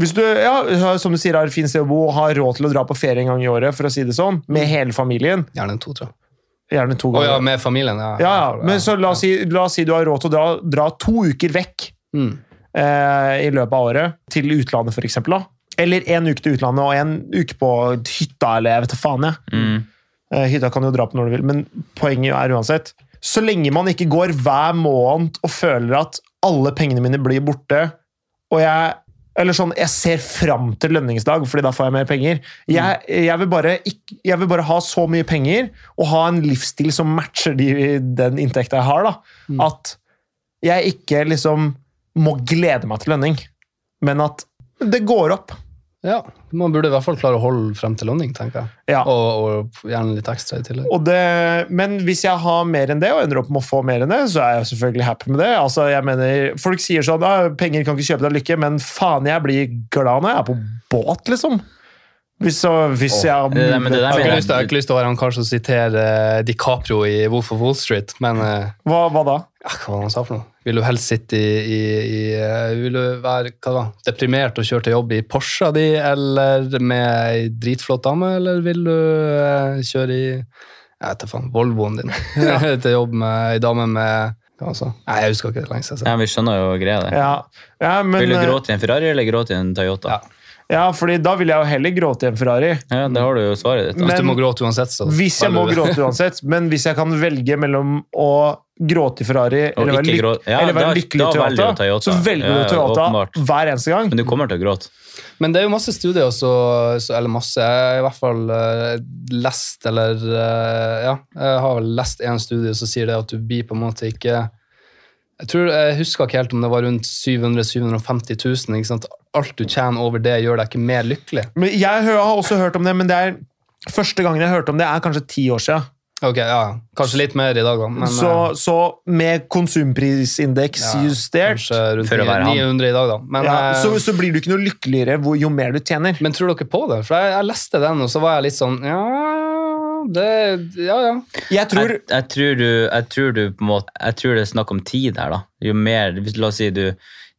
hvis du ja, som du sier, har et fint sted å bo, har råd til å dra på ferie en gang i året, for å si det sånn, med hele familien, Gjerne en to, tror jeg. gjerne to Å ganger. ja, med familien. Ja, ja, ja. Men så la oss, si, la oss si du har råd til å dra, dra to uker vekk Mm. eh, i løpet av året, til utlandet for eksempel, da. Eller en uke til utlandet og en uke på hytta, eller jeg vet da faen jeg. Mm. Eh, Hytta kan du jo dra på når du vil, men poenget er uansett Så lenge man ikke går hver måned og føler at alle pengene mine blir borte, og jeg eller sånn, Jeg ser fram til lønningsdag, fordi da får jeg mer penger. Jeg, jeg, vil bare ikk- jeg vil bare ha så mye penger og ha en livsstil som matcher de, den inntekta jeg har. da, At jeg ikke liksom må glede meg til lønning, men at det går opp. ja. Man burde i hvert fall klare å holde frem til lønning, tenker jeg. Ja. Og, og gjerne litt ekstra i tillegg. Og det, men hvis jeg har mer enn det, og ender opp med å få mer enn det, så er jeg selvfølgelig happy med det. Altså, jeg mener, Folk sier sånn «Ah, 'Penger kan ikke kjøpe deg lykke', men faen, jeg blir glad når jeg er på båt, liksom. Hvis, så, hvis jeg har det der- men det der Jeg har mener ikke jeg- lyst til, jeg har ikke lyst til å være han kar som siterer eh, DiCaprio i Wolf of Wall Street, men eh, hva, hva da? ja, hva var det han sa for noe? Vil du helst sitte i, i, i eh, Vil du være hva da, deprimert og kjøre til jobb i Porscha di, eller med ei dritflott dame, eller vil du eh, kjøre i jeg vet da faen, Volvoen din *laughs* til jobb med ei dame med hva han sa? Nei, jeg husker ikke det lenge siden. Ja, vi skjønner jo greia der. Ja, ja, men, eh, Vil du gråte i en Ferrari eller gråte i en Toyota? Ja. ja, fordi da vil jeg jo heller gråte i en Ferrari. Ja, Da har du jo svaret ditt. da. Men- Hvis Altså, du må gråte uansett, så Hvis jeg må velger du det. gråte uansett, men hvis jeg kan velge mellom å gråte i Ferrari Og eller være, ikke lyk gråte- ja, eller være da- lykkelig da i velger du Toyota, Toyota. så velger du Ja, ja, Toyota åpenbart. hver eneste gang. Men du kommer til å gråte. Men det er jo masse studier, også, så, eller masse, jeg har i hvert fall eh, lest, eller eh, ja, jeg har vel lest en studie som sier det at du blir på en måte ikke Jeg tror, jeg husker ikke helt om det var rundt 700 750 000. Ikke sant? Alt du tjener over det, gjør deg ikke mer lykkelig. Men jeg hø- har også hørt om det, men det er første gangen jeg hørte om det, er kanskje ti år siden. Ok, ja. ja. Kanskje litt mer i dag, da. Men så, eh, så med konsumprisindeks Ja, justert kanskje rundt For å være 900 han. i dag, da. Men, ja, eh, så, så blir du ikke noe lykkeligere hvor, jo mer du tjener. men tror dere på det? For jeg, jeg leste den, og så var jeg litt sånn Ja, det Ja, ja. Jeg tror jeg, jeg, tror du, jeg tror du på en måte Jeg tror det er snakk om tid her, da. Jo mer hvis, La oss si du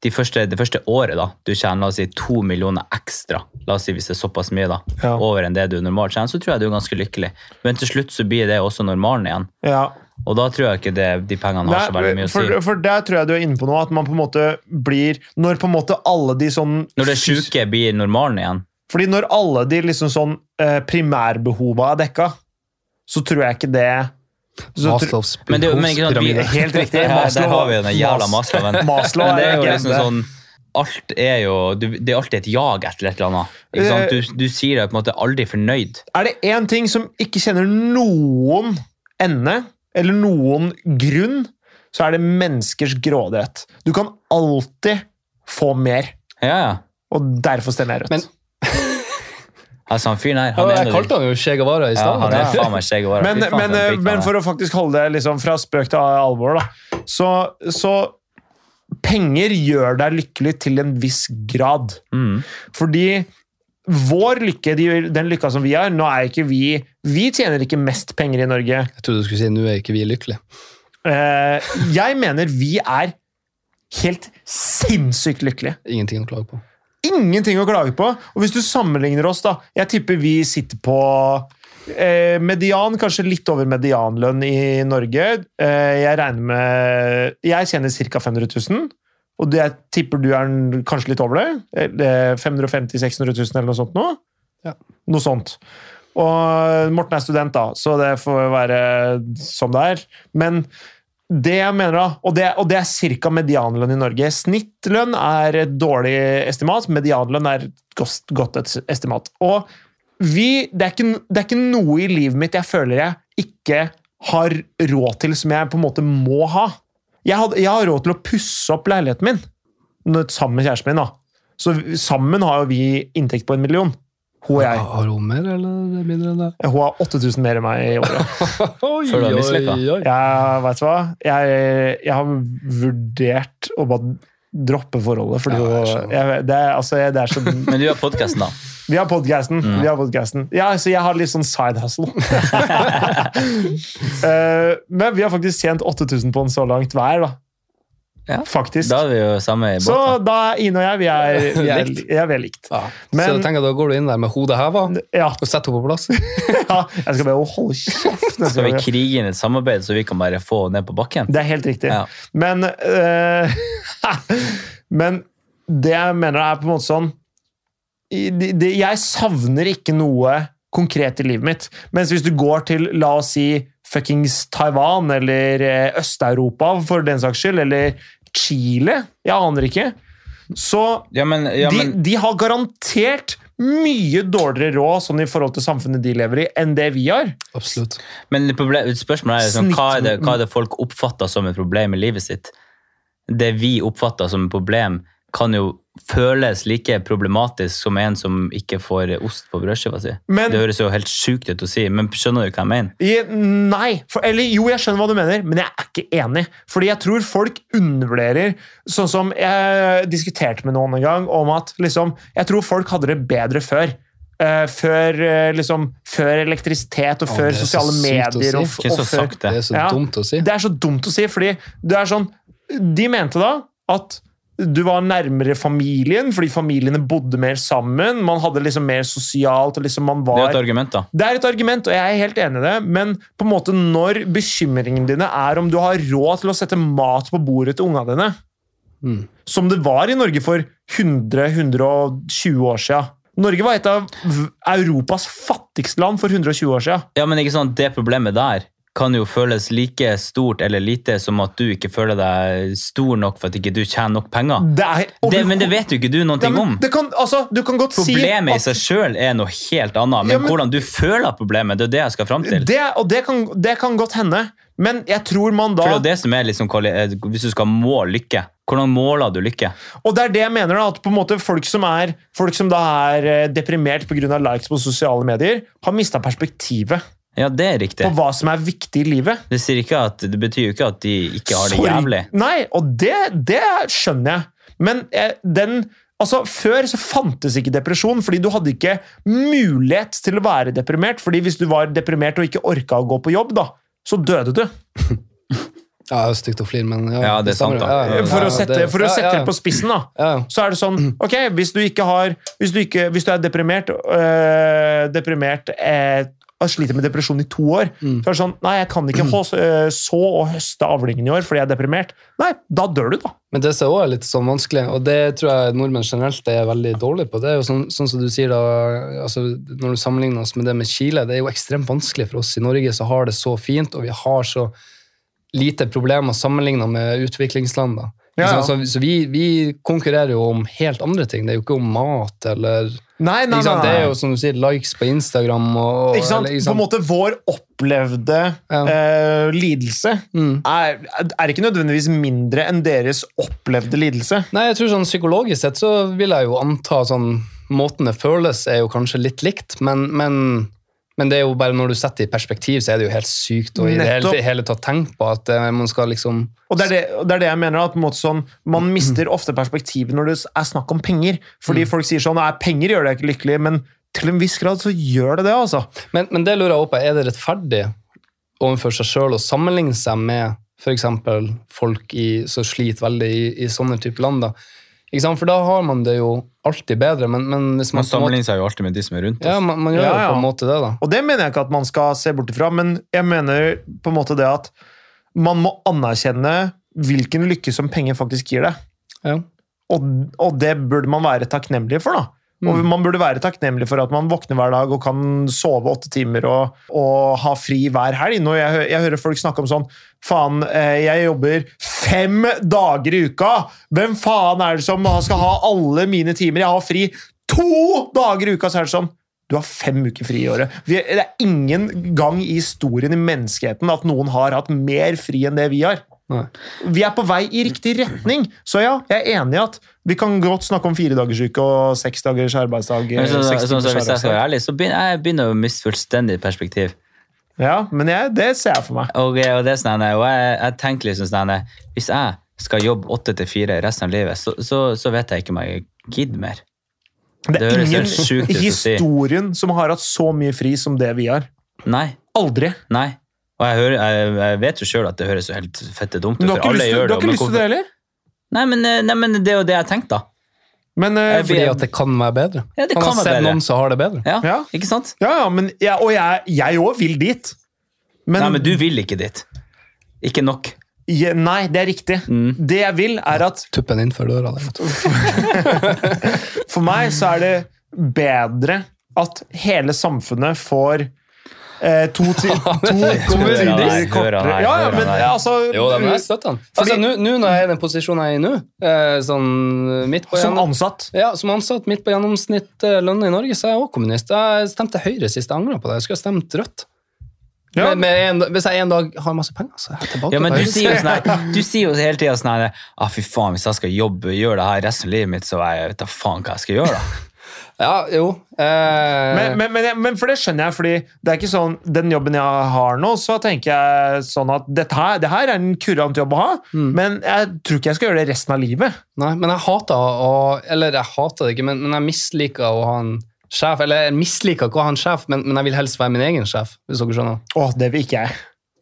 de første, Det første året da, du tjener la oss si, to millioner ekstra, la oss si hvis det er såpass mye, da, Ja. over enn det du normalt tjener, så tror jeg du er ganske lykkelig. Men til slutt så blir det også normalen igjen. ja. Og da tror jeg ikke det, de pengene har så veldig mye å si. for, for der tror jeg du er inne på noe, at man på en måte blir Når på en måte alle de sånn Når det sjuke blir normalen igjen. Fordi når alle de liksom sånn eh, primærbehova er dekka, så tror jeg ikke det så tr- Maslows Men det, er jo- sånn men ikke sant, vi, Det er helt riktig. *laughs* Ja, der har vi jo den jævla Mas- Maslowen. *laughs* Maslow Men *laughs* det er er jo en liksom legende. sånn Alt er jo du, Det er alltid et jag etter et eller annet. Ikke sant? Du, du sier deg på en måte aldri fornøyd. Er det én ting som ikke kjenner noen ende, eller noen grunn, så er det menneskers grådighet. Du kan alltid få mer, Ja, ja. og derfor stemmer jeg rødt. Men- Altså, han fyren her, Ja, han er jeg en av de- kalte han jo Che Guevara i ja, stad. han er Ja. faen meg skjegg og varer. Men, Fy faen, men, eh, for en pikk han men er. for å faktisk holde det liksom fra spøk til alvor, da, så, så Penger gjør deg lykkelig til en viss grad. Mm. Fordi vår lykke, de- den lykka som vi har Nå er ikke vi Vi tjener ikke mest penger i Norge. Jeg trodde du skulle si 'nå er ikke vi lykkelige'. Eh, Jeg mener vi er helt sinnssykt lykkelige. Ingenting å klage på. Ingenting å klage på. Og hvis du sammenligner oss, da Jeg tipper vi sitter på eh, median, kanskje litt over medianlønn i Norge. Eh, jeg regner med Jeg tjener ca. 500 000. Og det, jeg tipper du er n- kanskje litt over det? Eh, 550 000-600 000 eller noe sånt? Nå. Ja. Noe sånt. Og eh, Morten er student, da, så det får være som det er. Men det jeg mener da, og det, og det er ca. medianlønn i Norge. Snittlønn er et dårlig estimat, medianlønn er et godt, godt et estimat. Og vi, det, er ikke, det er ikke noe i livet mitt jeg føler jeg ikke har råd til, som jeg på en måte må ha. Jeg, hadde, jeg har råd til å pusse opp leiligheten min når, sammen med kjæresten min. da. Så vi- sammen har jo vi inntekt på en million. Hun og jeg. Har hun mer eller mindre enn det? Hun har 8000 mer enn meg i året. *laughs* Oi, Føler du deg mislykka? oi. Jeg vet du hva? Jeg, jeg har vurdert å bare droppe forholdet. Fordi Ja, jeg hun- skjønner. jeg, det, er, altså, jeg, det er så *laughs* Men du har podkasten, da. Vi har podcasten. Vi har podcasten. Ja, så jeg har litt sånn side hustle. Eh, men vi har faktisk tjent 8000 på den så langt hver, da. Ja. Faktisk. Da er vi jo samme i så båten. da er Ine og jeg, vi er, vi er, Likt. vi er vel likt. Ja. Men- så tenk at da går du inn der med hodet heva og Ja, setter henne på plass. *laughs* ja, jeg skal bare holde kjeft. neste Skal *laughs* vi gang. krige inn et samarbeid, så vi kan bare få henne ned på bakken? Det er helt riktig. Ja. Men, eh, *laughs* men det jeg mener er på en måte sånn i- det- det- Jeg savner ikke noe konkret i livet mitt. Mens hvis du går til, la oss si, fuckings Taiwan eller eh, Øst-Europa for den saks skyld, eller Chile Jeg aner ikke. Så Ja, men, ja, men de, de har garantert mye dårligere råd sånn i forhold til samfunnet de lever i, enn det vi har. Absolutt. Men problem, spørsmålet er liksom, Snitt- hva, er det, hva er det folk oppfatter som et problem i livet sitt? Det vi oppfatter som et problem, kan jo føles like problematisk som en som ikke får ost på brødskiva si. Men- det høres jo helt sjukt ut å si, men skjønner du hva jeg mener? I, nei. For, eller jo, jeg skjønner hva du mener, men jeg er ikke enig. Fordi jeg tror folk undervurderer Sånn som jeg diskuterte med noen en gang, om at liksom Jeg tror folk hadde det bedre før. Eh, før, eh, liksom, før elektrisitet og Å, før det er så sosiale sykt å medier. si. og f- Hvem som og har før- sagt Det det? er så Ja. dumt å si. det er så dumt å si, fordi det er sånn De mente da at du var nærmere familien, fordi familiene bodde mer sammen. Man hadde liksom mer sosialt, og liksom man Det var er jo et argument, da. det er et argument, og jeg er helt enig i det, men på en måte når bekymringene dine er om du har råd til å sette mat på bordet til ungene dine, Mm. som det var i Norge for 100-120 år siden. Norge var et av v- Europas fattigste land for 120 år siden. Ja, men ikke sant, det problemet der kan jo føles like stort eller lite som at du ikke føler deg stor nok for at ikke du tjener nok penger. Det er Det, men det vet jo ikke du noen Ja, ting men om. det kan, altså, du kan godt si Problemet i at seg sjøl er noe helt annet, men, Ja, men- hvordan du føler problemet, det er det jeg skal fram til. det, og det kan, det kan godt hende, men jeg tror man da For det er jo det som er liksom, kvali- eh, Hvis du skal måle lykke, hvordan måler du lykke? Og det er det jeg mener, da, at på en måte folk som, er, folk som da er eh, deprimert pga. likes på sosiale medier, har mista perspektivet. Ja, det er riktig. på hva som er viktig i livet. Det, sier ikke at, det betyr jo ikke at de ikke har det Sorry. jævlig. Nei, og det, det skjønner jeg. Men eh, den Altså, Før så fantes ikke depresjon, fordi du hadde ikke mulighet til å være deprimert. fordi hvis du var deprimert og ikke orka å gå på jobb, da, så døde du. Ja, det er jo stygt å flire, men ja, Ja, det er sant, da. stemmer. Ja, ja, ja, For å ja, sette, for å ja, sette ja, det på spissen, da. ja, ja. Så er det sånn Ok, hvis du ikke har Hvis du, ikke, hvis du er deprimert, øh, deprimert øh, og sliter med depresjon i to år, Mm. så er det sånn Nei, jeg kan ikke hå- øh, så og høste avlingen i år fordi jeg er deprimert. Nei, da dør du, da. Men det som også er litt sånn vanskelig, og det tror jeg nordmenn generelt er veldig dårlige på, det er jo sånn, sånn som du sier da, altså når du sammenligner oss med det med Chile, det er jo ekstremt vanskelig for oss i Norge som har det så fint, og vi har så lite problemer sammenlignet med utviklingsland da. Ja, ja. Så, så, så vi, vi konkurrerer jo om helt andre ting, det er jo ikke om mat eller... Nei, nei, Ikke sant? nei, Det nei. er jo som du sier, likes på Instagram og... og- Ikke sant? eller, På en måte vår opplevde Ja. eh, lidelse Mm. er, er ikke nødvendigvis mindre enn deres opplevde lidelse. Nei, jeg tror sånn psykologisk sett så vil jeg jo anta sånn Måten det føles er jo kanskje litt likt, men, men, men det er jo bare når du setter det i perspektiv, så er det jo helt sykt å i det hele, Nettopp. i hele tatt tenke på at eh, man skal liksom Og det er det, og det er det jeg mener. at på en måte sånn, Man mister ofte perspektivet når det er snakk om penger. Fordi folk sier sånn «Nei, penger gjør deg ikke lykkelig, men til en viss grad så gjør det det. altså. Men, men det lurer jeg også på, er det rettferdig overfor seg sjøl å sammenligne seg med f.eks. folk i, som sliter veldig i, i sånne type land? da? Ikke sant? For da har man det jo alltid bedre, men, men hvis man, Man sammenligner seg jo alltid med de som er rundt Ja, oss. man, man gjør Ja, jo ja. på en måte det, da. Og det mener jeg ikke at man skal se bort ifra, men jeg mener på en måte det at man må anerkjenne hvilken lykke som penger faktisk gir deg. Ja. Og, og det burde man være takknemlig for, da. Og Man burde være takknemlig for at man våkner hver dag og kan sove åtte timer og, og ha fri hver helg. Når jeg, hø- jeg hører folk snakke om sånn Faen, eh, jeg jobber fem dager i uka! Hvem faen er det som skal ha alle mine timer? Jeg har fri to dager i uka! Så er det sånn Du har fem uker fri i året. Vi, det er ingen gang i historien i menneskeheten at noen har hatt mer fri enn det vi har. Nei. Vi er på vei i riktig retning. Så ja, jeg er enig i at vi kan godt snakke om firedagersuke og seks dagers arbeidsdag. eh, Men sånn, seks sånn, som timers hvis jeg skal arbeidsdag. være ærlig, så begynner jeg begynner å miste fullstendig perspektiv. Ja, men jeg, det ser jeg for meg. Og, og, det er sånn, her, og jeg, jeg tenker liksom sånn her, Hvis jeg skal jobbe åtte til fire resten av livet, så, så, så vet jeg ikke om jeg gidder mer. Det Det er høres helt ingen sjukt ut i å si. historien som har hatt så mye fri som det vi har. Nei. Aldri. nei. Og jeg, hører, jeg, jeg vet jo sjøl at det høres jo helt fette dumt ut, Men du har for ikke alle lyst til, du gjør det. har ikke men lyst til det hvorfor- heller? Nei men, eh, nei, men det er jo det jeg tenkte, da. Men, eh, Jeg Fordi at det kan være bedre. Ja, det Man kan være har sett bedre. noen som har det bedre. Ja, Ja. Ikke sant? ja, ja, men, ja, og jeg òg vil dit. Men, Nei, men du vil ikke dit. Ikke nok. je, nei, det er riktig. Mm. Det jeg vil, er at Tuppen innenfor døra. Der, vet du. For meg så er det bedre at hele samfunnet får eh, *laughs* to, ti, to Hører han timer her, hører kortere han Ja, her, ja, hører han men her. altså Jo, da, men jeg støtter han. Fordi- Altså, nå nå når jeg er i den posisjonen jeg er i nå, eh, sånn midt på Som gjennom... ansatt. Ja, Som ansatt midt på gjennomsnitt eh, lønn i Norge, så er jeg også kommunist. Jeg stemte Høyre sist jeg angret på det. Jeg skulle ha stemt Rødt. Ja, Men med en, hvis jeg en dag har masse penger, så er jeg tilbake Ja, men på du Høyre. sier jo sånn her, du sier jo hele tida sånn her ah, fy faen, hvis jeg skal jobbe, gjøre det her resten av livet mitt, så jeg vet da faen hva jeg skal gjøre, da. Ja, jo. Eh, men, men, men, jeg- men for det skjønner jeg, fordi det er ikke sånn den jobben jeg har nå, så tenker jeg sånn at dette her, det her er en kurant jobb å ha, Mm. men jeg tror ikke jeg skal gjøre det resten av livet. Nei, men jeg hater å Eller jeg hater det ikke, men, men jeg misliker å ha en sjef. Eller jeg misliker ikke å ha en sjef, men, men jeg vil helst være min egen sjef, hvis dere skjønner. Åh, det vil ikke jeg.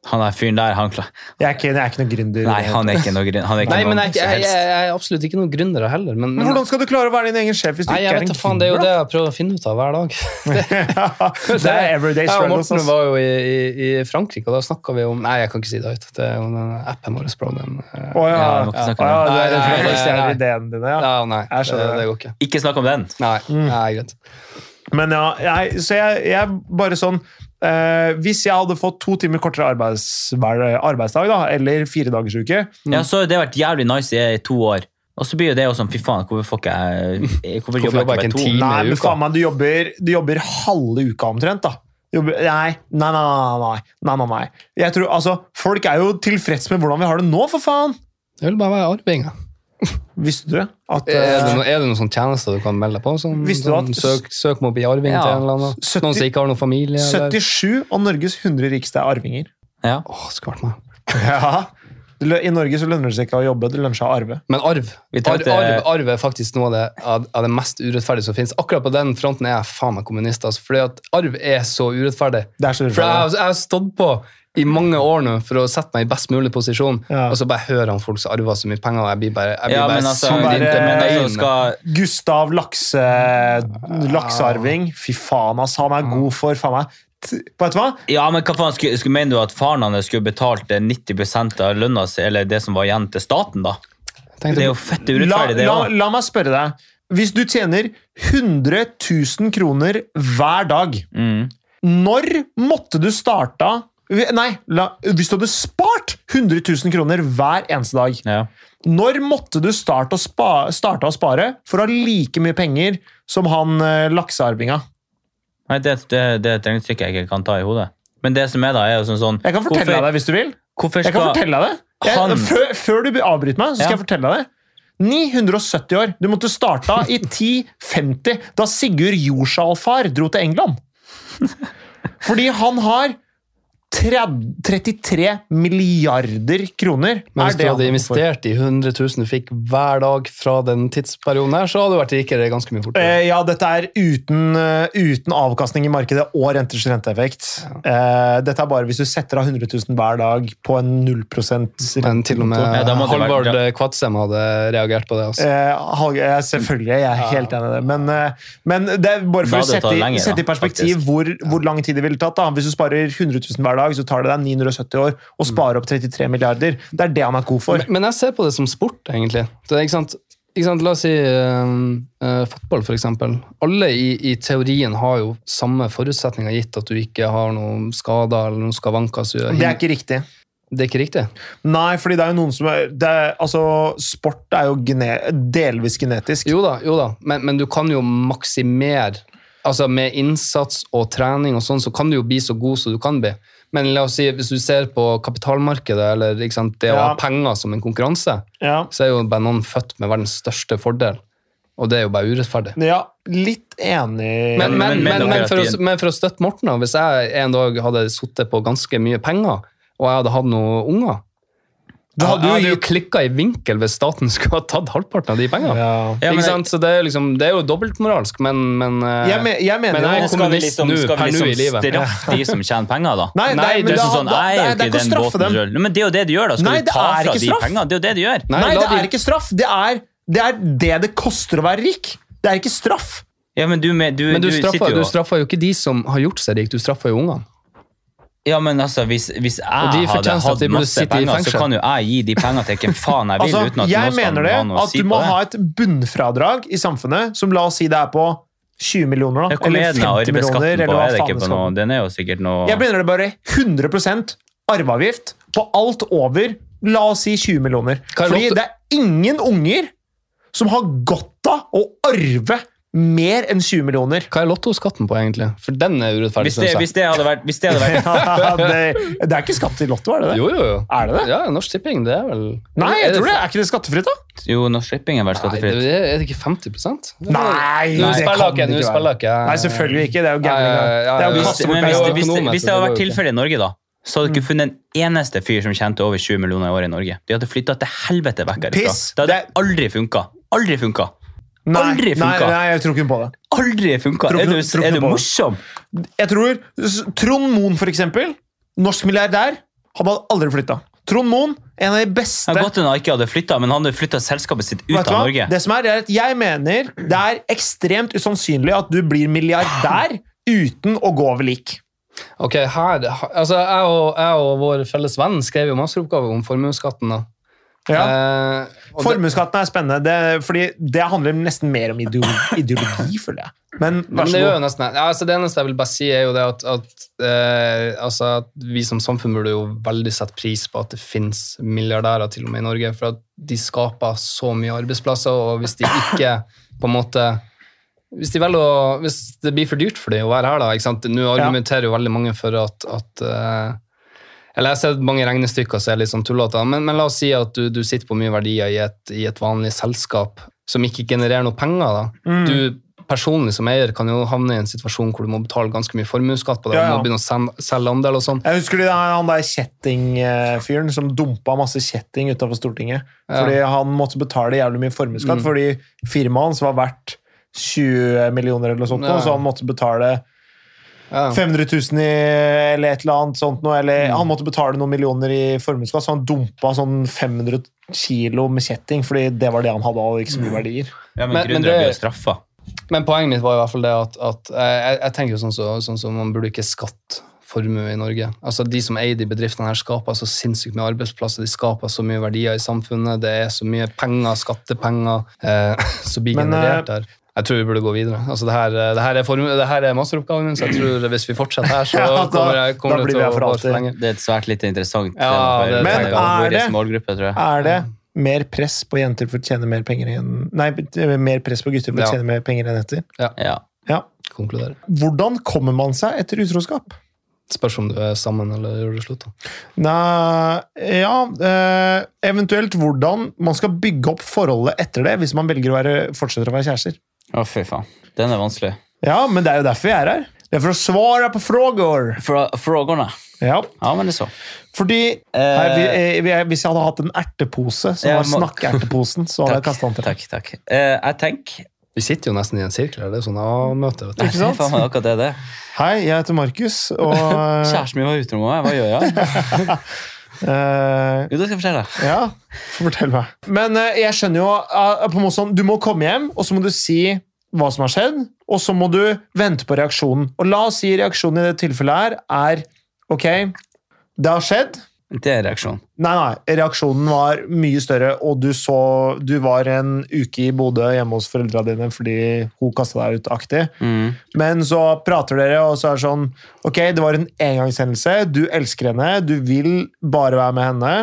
Han der fyren der, han klar... Jeg er ikke, jeg er ikke noen gründer. Nei, han er ikke noe grunn... Han er ikke Nei, men noe jeg, som jeg, jeg, helst. jeg er absolutt ikke noen gründer heller. Men, Men men hvordan skal du klare å være din egen sjef hvis du Nei, ikke jeg er en vet da faen, Det er jo *laughs* det jeg prøver å finne ut av hver dag. *laughs* gründer? *laughs* det er everyday Jeg og struggles. Morten ass. var jo i, i, i Frankrike, og da snakka vi om Nei, jeg kan ikke si det høyt. Det er jo den appen vår. bro, den, eh, Å ja. Ja, vi må ikke snakke om Å, ja, det. det er Nei, derfor nei, jeg stjeler nei. ideen din, ja. Ja, nei, Jeg det, skjønner det. Mm. det går ikke. Ikke snakk om den. Nei, nei greit. Men ja, jeg, så jeg, jeg bare sånn eh, Hvis jeg hadde fått to timer kortere arbeids, hver- arbeidsdag, da, eller fire dagers uke Ja, så har det vært jævlig nice i to år. Og så blir jo det jo sånn, fy faen, hvorfor får ikke jeg Hvorfor jobber jeg jobber ikke jeg ikke med to? en time? Nei, i men uka. faen meg, du jobber, du jobber halve uka omtrent, da. Jobber, nei, nei, nei, nei, nei, nei, nei, nei. Jeg tror, altså, Folk er jo tilfreds med hvordan vi har det nå, for faen! Jeg vil bare være arving. jeg. Visste du at Er det, eh, noe, er det noen sånn tjenester du kan melde deg på? Sånn, Visste du sånn, at- søk, søk om å bli arving Ja. til en eller annen? 70 Noen som ikke har noen familie? Eller? 77 av Norges 100 rikeste er arvinger. *laughs* Ja. Åh, skulle vært meg. Ja. Det lø- I Norge så lønner det seg ikke å jobbe, det lønner seg å arve. Men arv. Vi eh, Arv, tenkte- arv, arv er faktisk noe av det, av- av det mest urettferdige som finnes. Akkurat på den fronten er jeg faen meg kommunist. Altså, fordi at arv er så urettferdig. Det er så For jeg, har- jeg har stått på i mange år nå for å sette meg i best mulig posisjon, Ja. og så bare hører han folk som arver så mye penger, og jeg blir bare, jeg blir ja, bare men altså, sånn bare- det, men altså inn. skal, Gustav Lakse, Laksearving. Fy faen, ass. Han er god for faen meg t- Vet du hva? ja, men hva faen, skulle, skulle, mener du at faren hans skulle betalt eh, 90 av lønna si, eller det som var igjen til staten, da? Tenkte Det er jo fett La, urettferdig, det la, òg. la meg spørre deg. Hvis du tjener 100 000 kroner hver dag, Mm. når måtte du starta Nei, la, hvis du hadde spart 100 000 kroner hver eneste dag, Ja. når måtte du starte å, spa, starte å spare for å ha like mye penger som han eh, laksearvinga? Nei, det, det, det er et regnestykke jeg ikke kan ta i hodet. Men det som er, da, er jo sånn sånn Jeg kan fortelle deg det hvis du vil. hvorfor Jeg kan skal, fortelle deg det. Han- Jeg, før, før du avbryter meg, så skal Ja. jeg fortelle deg det. 970 år. Du måtte starta i 1050, da Sigurd Jorsalfar dro til England. Fordi han har 30, 33 milliarder kroner. Men Er hvis du det han går hadde for? investert i 100 000 du fikk hver dag fra den tidsperioden her, så hadde du vært rikere ganske mye fortere. Eh, ja, dette er uten, eh, uten avkastning i markedet og renters renteeffekt. Eh, dette er bare hvis du setter av 100 000 hver dag på en 0 rente. Men til og med Ja, da måtte det vært- Halvard Kvadsem hadde reagert på det. Altså. Eh, Hal- eh, selvfølgelig, jeg er helt enig i det. Men, eh, men det er bare Da for å hadde det sette, tatt i- lenger, da, sette i perspektiv faktisk. hvor, hvor lang tid det ville tatt. da. Hvis du sparer 100 000 hver dag, så tar det deg 970 år å spare opp 33 milliarder. Det er det han er god for. Mm. Men- Men jeg ser på det som sport, egentlig. Det, er ikke sant? Ikke sant? La oss si eh, eh, fotball, for eksempel. Alle i, i teorien har jo samme forutsetninger, gitt at du ikke har noen skader eller noen skavanker. Så Det er ikke riktig. det er ikke riktig. Nei, fordi det er jo noen som er, det er, altså, Sport er jo gene, delvis genetisk. Jo da, jo da. Men, men du kan jo maksimere Altså Med innsats og trening og sånn, så kan du jo bli så god som du kan bli. Men la oss si, hvis du ser på kapitalmarkedet, eller ikke sant, det å Ja. ha penger som en konkurranse, Ja. så er jo bare noen født med verdens største fordel. Og det er jo bare urettferdig. ja, litt enig Men, men, men- men, men, men- for, å, men for å støtte Morten, da, hvis jeg en dag hadde sittet på ganske mye penger, og jeg hadde hatt noen unger Du jeg hadde jo hadde jo gitt- klikka i vinkel hvis staten *laughs* skulle ha tatt halvparten av de pengene. ja. Ja, men- ikke sant? Så det er, liksom, det er jo dobbeltmoralsk, men, men eh, jeg, me, jeg mener Men jeg jo er Skal vi kommunist liksom, nå, skal per vi nå i liksom livet. straffe de som tjener penger, da? Nei, Nei, nei, men det er da- sånn, sånn, da- jeg er det jo er ikke i ikke å den straffe båten dem. selv. Nei, Men det er jo det du gjør, da. Skal Nei, du det ta er fra ikke de straff. pengene? Det er jo det du gjør. Nei, la det de- er ikke straff. Det er, det er det det koster å være rik. Det er ikke straff. Ja, men du, men du, Men du, straffer, sitter du jo straffer jo ikke de som har gjort seg rik, du straffer jo ungene. Ja, men altså, hvis, hvis jeg Og de hadde fortjener at hatt de burde masse sitte i penger, så fengsel. kan jo jeg gi de pengene til hvem faen jeg vil, uten Altså, at jeg noen skal mener det, ha noe å at si du på må ha det. et bunnfradrag i samfunnet, som la oss si det er på 20 millioner, da. Ja, Hvor er Eller den 50 millioner, arbeidsskatten eller på? hva Er det faen ikke det på skal noe? Den er jo sikkert noe Jeg mener det bare 100 arveavgift på alt over, la oss si 20 millioner. Kan jeg Fordi lov til- det er ingen unger som har godt av å arve mer enn 20 *laughs* millioner. Hva er lottoskatten på, egentlig? For den er urettferdig, hvis det, synes jeg. hvis det hadde vært, hvis det hadde vært det, det er ikke skatt i Lotto, er det det? Jo, jo, jo. Er det det? Ja, Norsk Tipping, det er vel Nei, er jeg tror det. Er ikke det skattefritt, da? Jo, Norsk Shipping har vært Nei, det skattefritt. er er det ikke 50 Nei, Nå det kan spiller ikke jeg, det nå ikke være. spiller ikke jeg. Nei, selvfølgelig ikke. Det er jo Ja, ja, gambling. ja, da. Det er ja, jo ja. Hvis, kaste men bort penger. hvis, det- hvis, det- økonomer, hvis det så det hadde vært går ikke. tilfellet i Norge, da, så hadde du Mm. ikke funnet en eneste fyr som tjente over 20 millioner i året i Norge. De hadde flytta til helvete vekk Piss. herifra. Det hadde aldri funka. Aldri funka. Nei, Aldri nei, funka. nei, jeg tror ikke på det. Aldri funka! Tror Er ikke- du, tror ikke er du på det. morsom? Jeg tror s- Trond Moen, for eksempel. Norsk milliardær. Han hadde aldri flytta. Trond Moen, en av de beste Det er godt hun ikke hadde flytta, men han hadde flytta selskapet sitt ut Vet du hva? av Norge. Det som er, er at jeg mener det er ekstremt usannsynlig at du blir milliardær uten å gå over lik. Ok, her, altså jeg og, jeg og vår felles venn skrev jo masteroppgave om formuesskatten. da. Ja. Eh, og det- Formuesskatten er spennende, det, fordi det handler nesten mer om ideologi, ideologi føler jeg. Men Ja, vær så Men det gjør jo god. nesten det. Ja, altså det eneste jeg vil bare si, er jo det at, at, eh, altså at vi som samfunn burde jo veldig sette pris på at det finnes milliardærer til og med i Norge, for at de skaper så mye arbeidsplasser, og hvis de ikke på en måte hvis, de velger å, hvis det blir for dyrt for dem å være her, da ikke sant? Nå argumenterer jo veldig mange for at, at eh, Eller jeg har sett mange regnestykker som er litt sånn tullete, men, men la oss si at du, du sitter på mye verdier i et, i et vanlig selskap som ikke genererer noe penger. da. Mm. Du personlig som eier kan jo havne i en situasjon hvor du må betale ganske mye formuesskatt på det, Ja, og ja. må begynne å sen- selge andel og sånn. Jeg husker det, han der kjettingfyren som dumpa masse kjetting utenfor Stortinget. Ja. Mm. Fordi han måtte betale jævlig mye formuesskatt, fordi firmaet hans var verdt 20 millioner eller noe sånt, Ja. og så han måtte betale Ja. Mm. 500 000 i, eller et eller annet sånt noe, eller han måtte betale noen millioner i formuesskatt, så han dumpa sånn 500 kilo med kjetting, fordi det var det han hadde av ikke så mye verdier. Ja, men, Men- men gründere det- blir jo straffa. Men poenget mitt var i hvert fall det at, at eh, jeg, jeg tenker jo sånn som så, sånn som man burde ikke skatte formue i Norge. Altså De som eier de bedriftene her, skaper så sinnssykt mye arbeidsplasser, de skaper så mye verdier i samfunnet, det er så mye penger, skattepenger, eh, *laughs* som blir Men, eh, generert der. Jeg tror vi burde gå videre. Altså Det her, eh, det her, er, formue, det her er masteroppgaven min, så jeg tror hvis vi fortsetter her, så *laughs* Ja, da- kommer, jeg, da kommer det blir vi til her å for vare alltid. for lenge. Det er et svært lite interessant Ja, tema for det- Men er vår det- målgruppe, tror jeg. Er det Mm. mer press på jenter for å tjene mer penger enn Nei, mer press på gutter for Ja. å tjene mer penger enn etter? Ja. Ja. Konkludere. Hvordan kommer man seg etter utroskap? Spørs om du er sammen eller gjør det slutt. da. Nei, ja eh, Eventuelt hvordan man skal bygge opp forholdet etter det, hvis man velger å være, fortsetter å være kjærester. Å, fy faen. Den er vanskelig. Ja, men det er jo derfor vi er her. Det er for å svare på frågor. Fra- Frågorna. Ja, Ja, men det er så. fordi nei, vi, eh, vi, er- Hvis jeg hadde hatt en ertepose, som Ja, var må- snakkeerteposen, så hadde jeg kasta den til deg. Takk, takk. Eh, jeg tenker Vi sitter jo nesten i en sirkel her, det er sånn A-møte. vet du. Nei, Ikke sant? faen, det er akkurat det det er. Hei, jeg heter Markus, og *laughs* eh, Kjæresten min var utro med meg. Hva gjør jeg? eh, Jo, det skal jeg fortelle deg. Ja, fortell meg. Men eh, jeg skjønner jo eh, på en måte sånn, Du må komme hjem, og så må du si hva som har skjedd, og så må du vente på reaksjonen. Og la oss si reaksjonen i det tilfellet her er Ok, det har skjedd. Det er reaksjonen. Nei, nei, reaksjonen var mye større, og du så Du var en uke i Bodø hjemme hos foreldra dine fordi hun kasta deg ut aktig. Mm. Men så prater dere, og så er det sånn Ok, det var en engangshendelse. Du elsker henne. Du vil bare være med henne.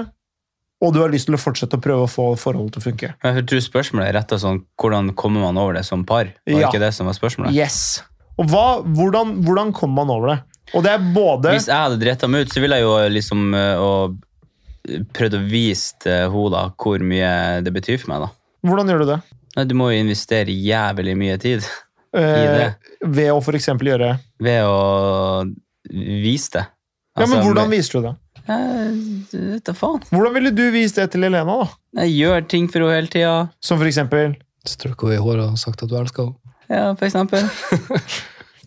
Og du har lyst til å fortsette å prøve å få forholdet til å funke. Men Jeg tror spørsmålet er rett og sånn hvordan kommer man over det som par? Var det Ja. ikke det som var spørsmålet? Yes! Og hva, hvordan, hvordan kommer man over det? Og det er både Hvis jeg hadde dretta meg ut, så ville jeg jo liksom eh, å, eh, prøvd å vise til henne da, hvor mye det betyr for meg. da. Hvordan gjør du det? Nei, Du må jo investere jævlig mye tid Eh, ved å for eksempel gjøre ved å vise det. Ja, men Altså, hvordan viser du det? Jeg vet da faen. Hvordan ville du vist det til Elena, da? Jeg gjør ting for henne hele tida. Som for eksempel Strøk henne i håret og sagt at du elsker henne. Ja, for eksempel.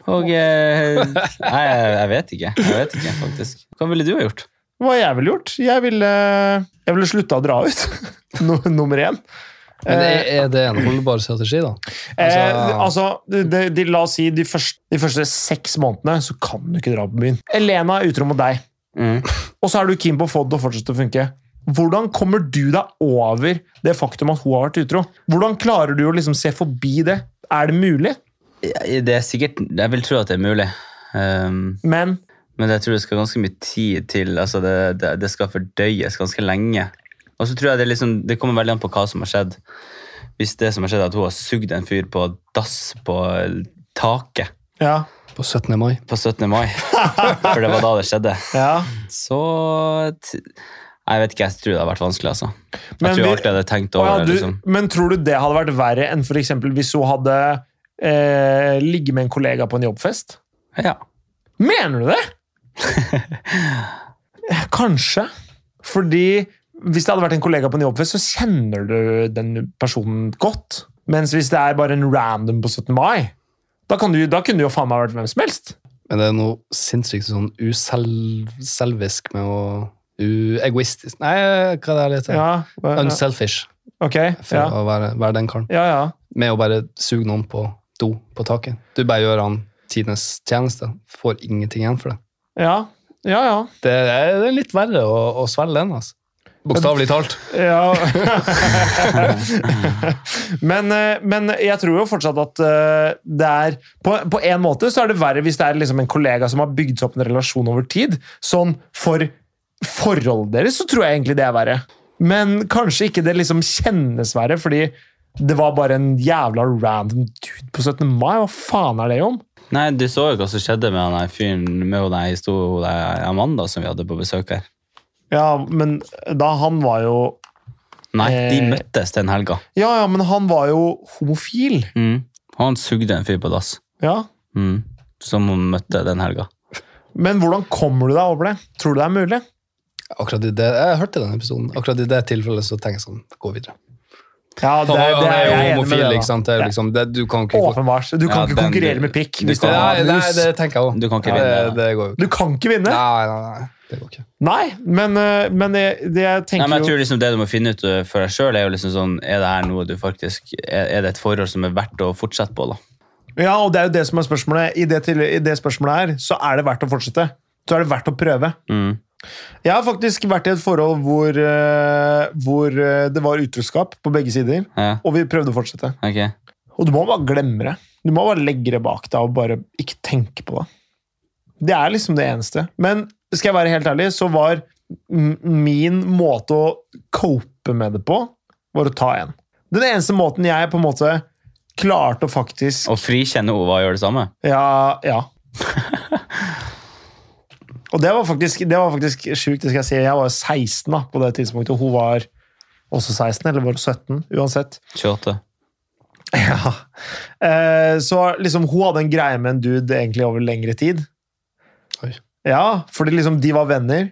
Og eh, Nei, jeg, jeg vet ikke. Jeg vet ikke, faktisk. Hva ville du ha gjort? Hva jeg ville gjort? Jeg ville, jeg ville slutta å dra ut. *laughs* No, nummer Eh, én. Men er, er det en holdbar strategi, da? Eh, altså, de, de, de, la oss si de første, de første seks månedene så kan du ikke dra på byen. Elena er utro mot deg, og så er du keen på å få det til å fortsette å funke. Hvordan kommer du deg over det faktum at hun har vært utro? Hvordan klarer du å liksom se forbi det? Er det mulig? Det er sikkert Jeg vil tro at det er mulig. Um, Men men jeg tror det skal ganske mye tid til. Altså det, det, det skal fordøyes ganske lenge. Og så tror jeg det, er liksom, det kommer veldig an på hva som har skjedd. Hvis det som har skjedd, er at hun har sugd en fyr på dass på taket ja, På 17. mai. på 17. mai, for det var da det skjedde. ja. Så t Jeg vet ikke, jeg tror det hadde vært vanskelig, altså. Jeg Men tror vi- alltid jeg hadde tenkt Å over ja, det. du, liksom. Men tror du det hadde vært verre enn for eksempel hvis hun hadde eh, ligget med en kollega på en jobbfest? Ja. Mener du det? *laughs* Kanskje. Fordi hvis det hadde vært en kollega på en jobbfest, så kjenner du den personen godt. Mens hvis det er bare en random på 17. mai, da, kan du, da kunne du jo faen meg vært hvem som helst. Men det er noe sinnssykt sånn uselvisk med å Uegoistisk Nei, hva er det jeg heter? Ja, hva- ja, Unselfish, ok. for Ja, å være, være den karen. ja. ja. Med å bare suge noen på do på taket. Du bare gjør han tidenes tjeneste. Får ingenting igjen for det. Ja, ja. ja. Det er, det er litt verre å, å svelge den, altså. Bokstavelig talt. Ja *laughs* men, eh, men jeg tror jo fortsatt at eh, det er på, på en måte så er det verre hvis det er liksom en kollega som har bygd seg opp en relasjon over tid. Sånn for forholdet deres så tror jeg egentlig det er verre. Men kanskje ikke det liksom kjennes verre, fordi det var bare en jævla random dude på 17. mai. Hva faen er det om? Nei, du så jo hva som skjedde med han her fyren med hun der, sto, hun der Amanda som vi hadde på besøk her. Ja, men da han var jo Nei, de Eh. møttes den helga. Ja, ja, men han var jo homofil. Mm. Han sugde en fyr på dass. Ja. Mm. Som hun møtte den helga. Men hvordan kommer du deg over det? Tror du det er mulig? Akkurat i det, jeg hørte den episoden. Akkurat i det tilfellet så tenker jeg sånn, gå videre. Ja, Han er, han er jo jeg enig med homofil, det, da. ikke sant? Det er Ja. liksom, det, du kan ikke gå- Åpenbart. Du kan Ja, ikke den- konkurrere med pikk. du Hvis du, kan- har Nei, nei, anus. det tenker jeg òg. Du kan ikke det, vinne. det går jo ikke. du kan ikke vinne! Nei, nei, nei, det går ikke. Nei, men, eh, men det, det jeg Nei, tenker men jeg jo tror liksom Det du må finne ut eh, for deg sjøl, er jo liksom sånn Er det her noe du faktisk Er er det et forhold som er verdt å fortsette på, da? Ja, og det er jo det som er spørsmålet. I det, til, i det spørsmålet her, så er det verdt å fortsette. Så er det verdt å prøve. Mm. Jeg har faktisk vært i et forhold hvor, eh, hvor eh, det var utroskap på begge sider, Ja, og vi prøvde å fortsette. ok. Og du må bare glemme det. Du må bare legge det bak deg og bare ikke tenke på det. Det er liksom det eneste. Men skal jeg være helt ærlig, så var m- min måte å cope med det på, var å ta en. Den eneste måten jeg på en måte klarte å faktisk Og frikjenne Ova og gjøre det samme? Ja. ja. Og det var faktisk, det var faktisk sjukt, det skal jeg si. Jeg var 16 da, på det tidspunktet, og hun var også 16, eller var hun 17? Uansett. 28. Ja. Eh, så liksom, hun hadde en greie med en dude egentlig over lengre tid. Oi. Ja, fordi liksom de var venner.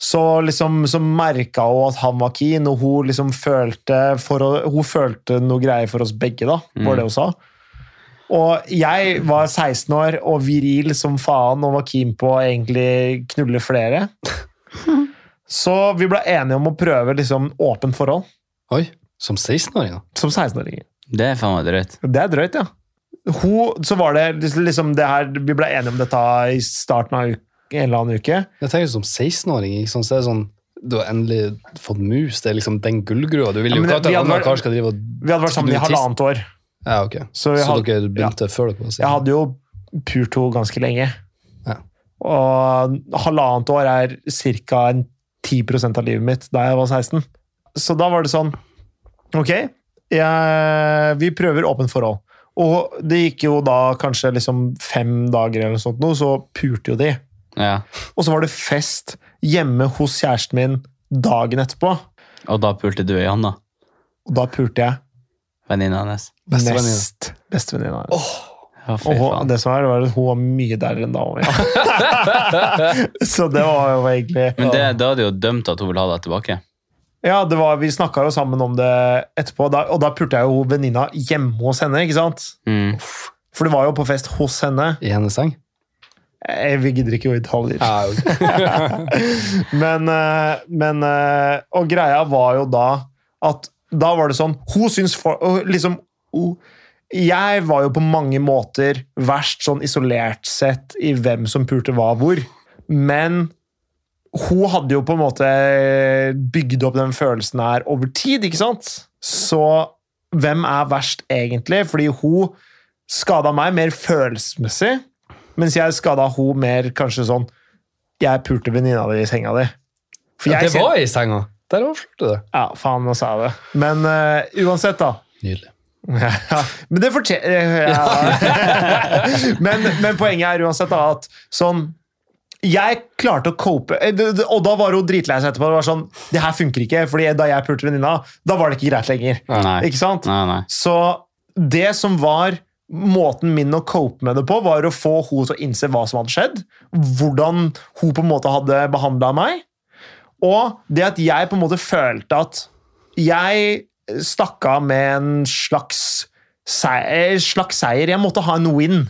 Så liksom så merka hun at han var keen, og hun liksom følte, for å, hun følte noe greier for oss begge, da, var det hun sa. Og jeg var 16 år og viril som faen og var keen på å egentlig knulle flere. Så vi ble enige om å prøve liksom åpent forhold Oi, som 16-åring, da? som 16-åringer. Det er faen meg drøyt. Det er drøyt, ja. Hun, så var det liksom det her, Vi ble enige om dette i starten av uke, en eller annen uke. Jeg tenker som 16-åring, ikke sant? Så er det sånn, du har endelig fått mus, det er liksom den gullgrua. Du vil Ja, men jo ikke det- at en vi annen hadde- kar skal drive og... Vi hadde vært sammen i Du tist- halvannet år. Ja, ok. Så, Så, jeg, hadde, dere begynte før dere var jeg 16? hadde jo pult henne ganske lenge. Ja. Og halvannet år er ca. 10 av livet mitt da jeg var 16. Så da var det sånn Ok, jeg, vi prøver åpent forhold. Og det gikk jo da kanskje liksom fem dager, eller noe sånt, nå, så pulte jo de. Ja. Og så var det fest hjemme hos kjæresten min dagen etterpå. Og da pulte du igjen, da? Og da pulte jeg Venninna hennes? Bestevenninne. nest bestevenninna hennes. Ja, fy og hun, faen. det som er, var at hun var mye der enn da. hun var. *laughs* så det var jo egentlig Men det, da er det jo dømt at hun vil ha deg tilbake. Ja, det var, Vi snakka jo sammen om det etterpå, da, og da pulte jeg jo venninna hjemme hos henne. ikke sant? Mm. For det var jo på fest hos henne. I hennes seng? Jeg, vi gidder ikke å detaljer. Ja, *laughs* ok. Men, eh, men eh, Og greia var jo da at da var det sånn Hun syns for, og liksom, hun- Jeg var jo på mange måter verst sånn isolert sett i hvem som pulte hva hvor. Men hun hadde jo på en måte bygd opp den følelsen her over tid, ikke sant? Så hvem er verst egentlig? Fordi hun skada meg mer følelsesmessig, mens jeg skada hun mer kanskje sånn jeg pulte venninna di i senga di. For Ja, jeg det kjen- var i senga! Der avslørte du det. Ja, faen, nå sa jeg det. Men eh, uansett, da. Nydelig. Ja, men det fortjener *laughs* ja. men, men poenget er uansett da, at sånn jeg klarte å cope, eh, det- det- og da var hun dritlei seg etterpå. Det var sånn, det her funker ikke, fordi da jeg pulte venninna, da var det ikke greit lenger. Nei. Ikke sant? Nei, nei. Så det som var måten min å cope med det på, var å få hun til å innse hva som hadde skjedd. Hvordan hun på en måte hadde behandla meg. Og det at jeg på en måte følte at jeg stakk av med en slags seier, eh, slags seier. Jeg måtte ha en win.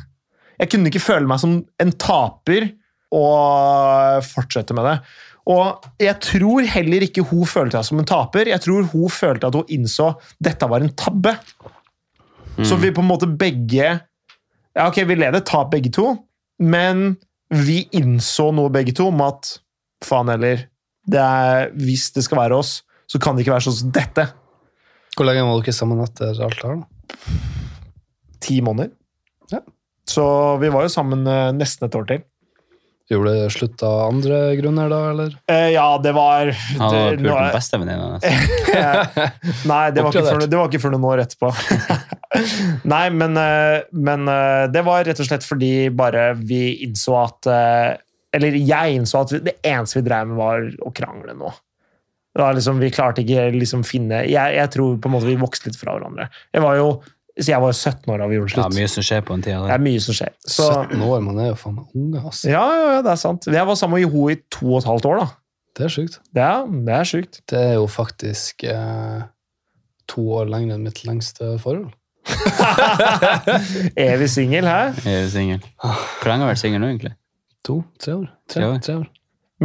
Jeg kunne ikke føle meg som en taper og fortsette med det. Og jeg tror heller ikke hun følte seg som en taper. Jeg tror hun følte at hun innså dette var en tabbe. Mm. Så vi på en måte begge Ja, ok, vi leder tap begge to, men vi innså noe begge to om at faen heller det er, Hvis det skal være oss, så kan det ikke være sånn som dette. Hvor lenge var dere sammen etter alt det her, da? Ti måneder. Ja. Så vi var jo sammen eh, nesten et år til. Gjorde det slutt av andre grunner, da, *laughs* eller? Eh, ja, det var Han det- hadde pult nå den er- *laughs* *laughs* Eh, beste venninna hennes. Nei, det var, ikke før, det var ikke før noen år etterpå. *laughs* Nei, men, eh, men eh, det var rett og slett fordi bare vi innså at eh, Eller jeg innså at det eneste vi drev med, var å krangle nå. Det var liksom, vi klarte ikke liksom finne jeg, jeg tror på en måte vi vokste litt fra hverandre. Jeg var jo så jeg var jo 17 år da vi gjorde Ja, slutt. mye som skjer på en tid. det er mye som skjer. Så, 17 år, man er jo faen meg unge, ass. ja, ja, ja, det er sant. Jeg var sammen med Joho i to og et halvt år, da. Det er sjukt. Det er, det er sjukt. *laughs* Det er jo faktisk eh, to år lenger enn mitt lengste forhold. Evig singel, hæ? Jeg er jo singel. Hvor lenge har du vært singel nå, egentlig? To? Tre år? Tre, Tre år. tre år.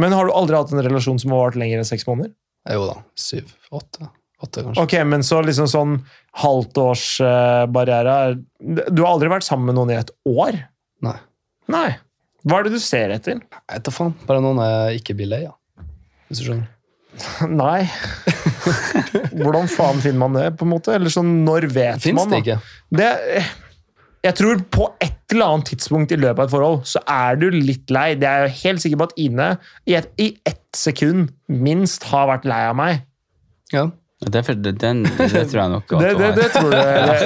Men har du aldri hatt en relasjon som har vart lenger enn seks måneder? Eh, Jo da. Syv? Åtte? Åtte, kanskje. Ok, men så liksom sånn halvtårsbarriere eh, Du har aldri vært sammen med noen i et år? Nei. Nei. Hva er det du ser etter? Jeg vet da faen. Bare noen jeg ikke blir lei av. Hvis du skjønner. *laughs* Nei. Hvordan faen finner man det, på en måte? Eller sånn, når vet Fins man? da? det ikke? Det, jeg tror på et eller annet tidspunkt i løpet av et forhold så er du litt lei. Det er jeg jo helt sikker på at Ine i, et, i ett sekund minst har vært lei av meg. Ja. Det, er for, det, den, det tror jeg nok at Det, du det, har. det tror du.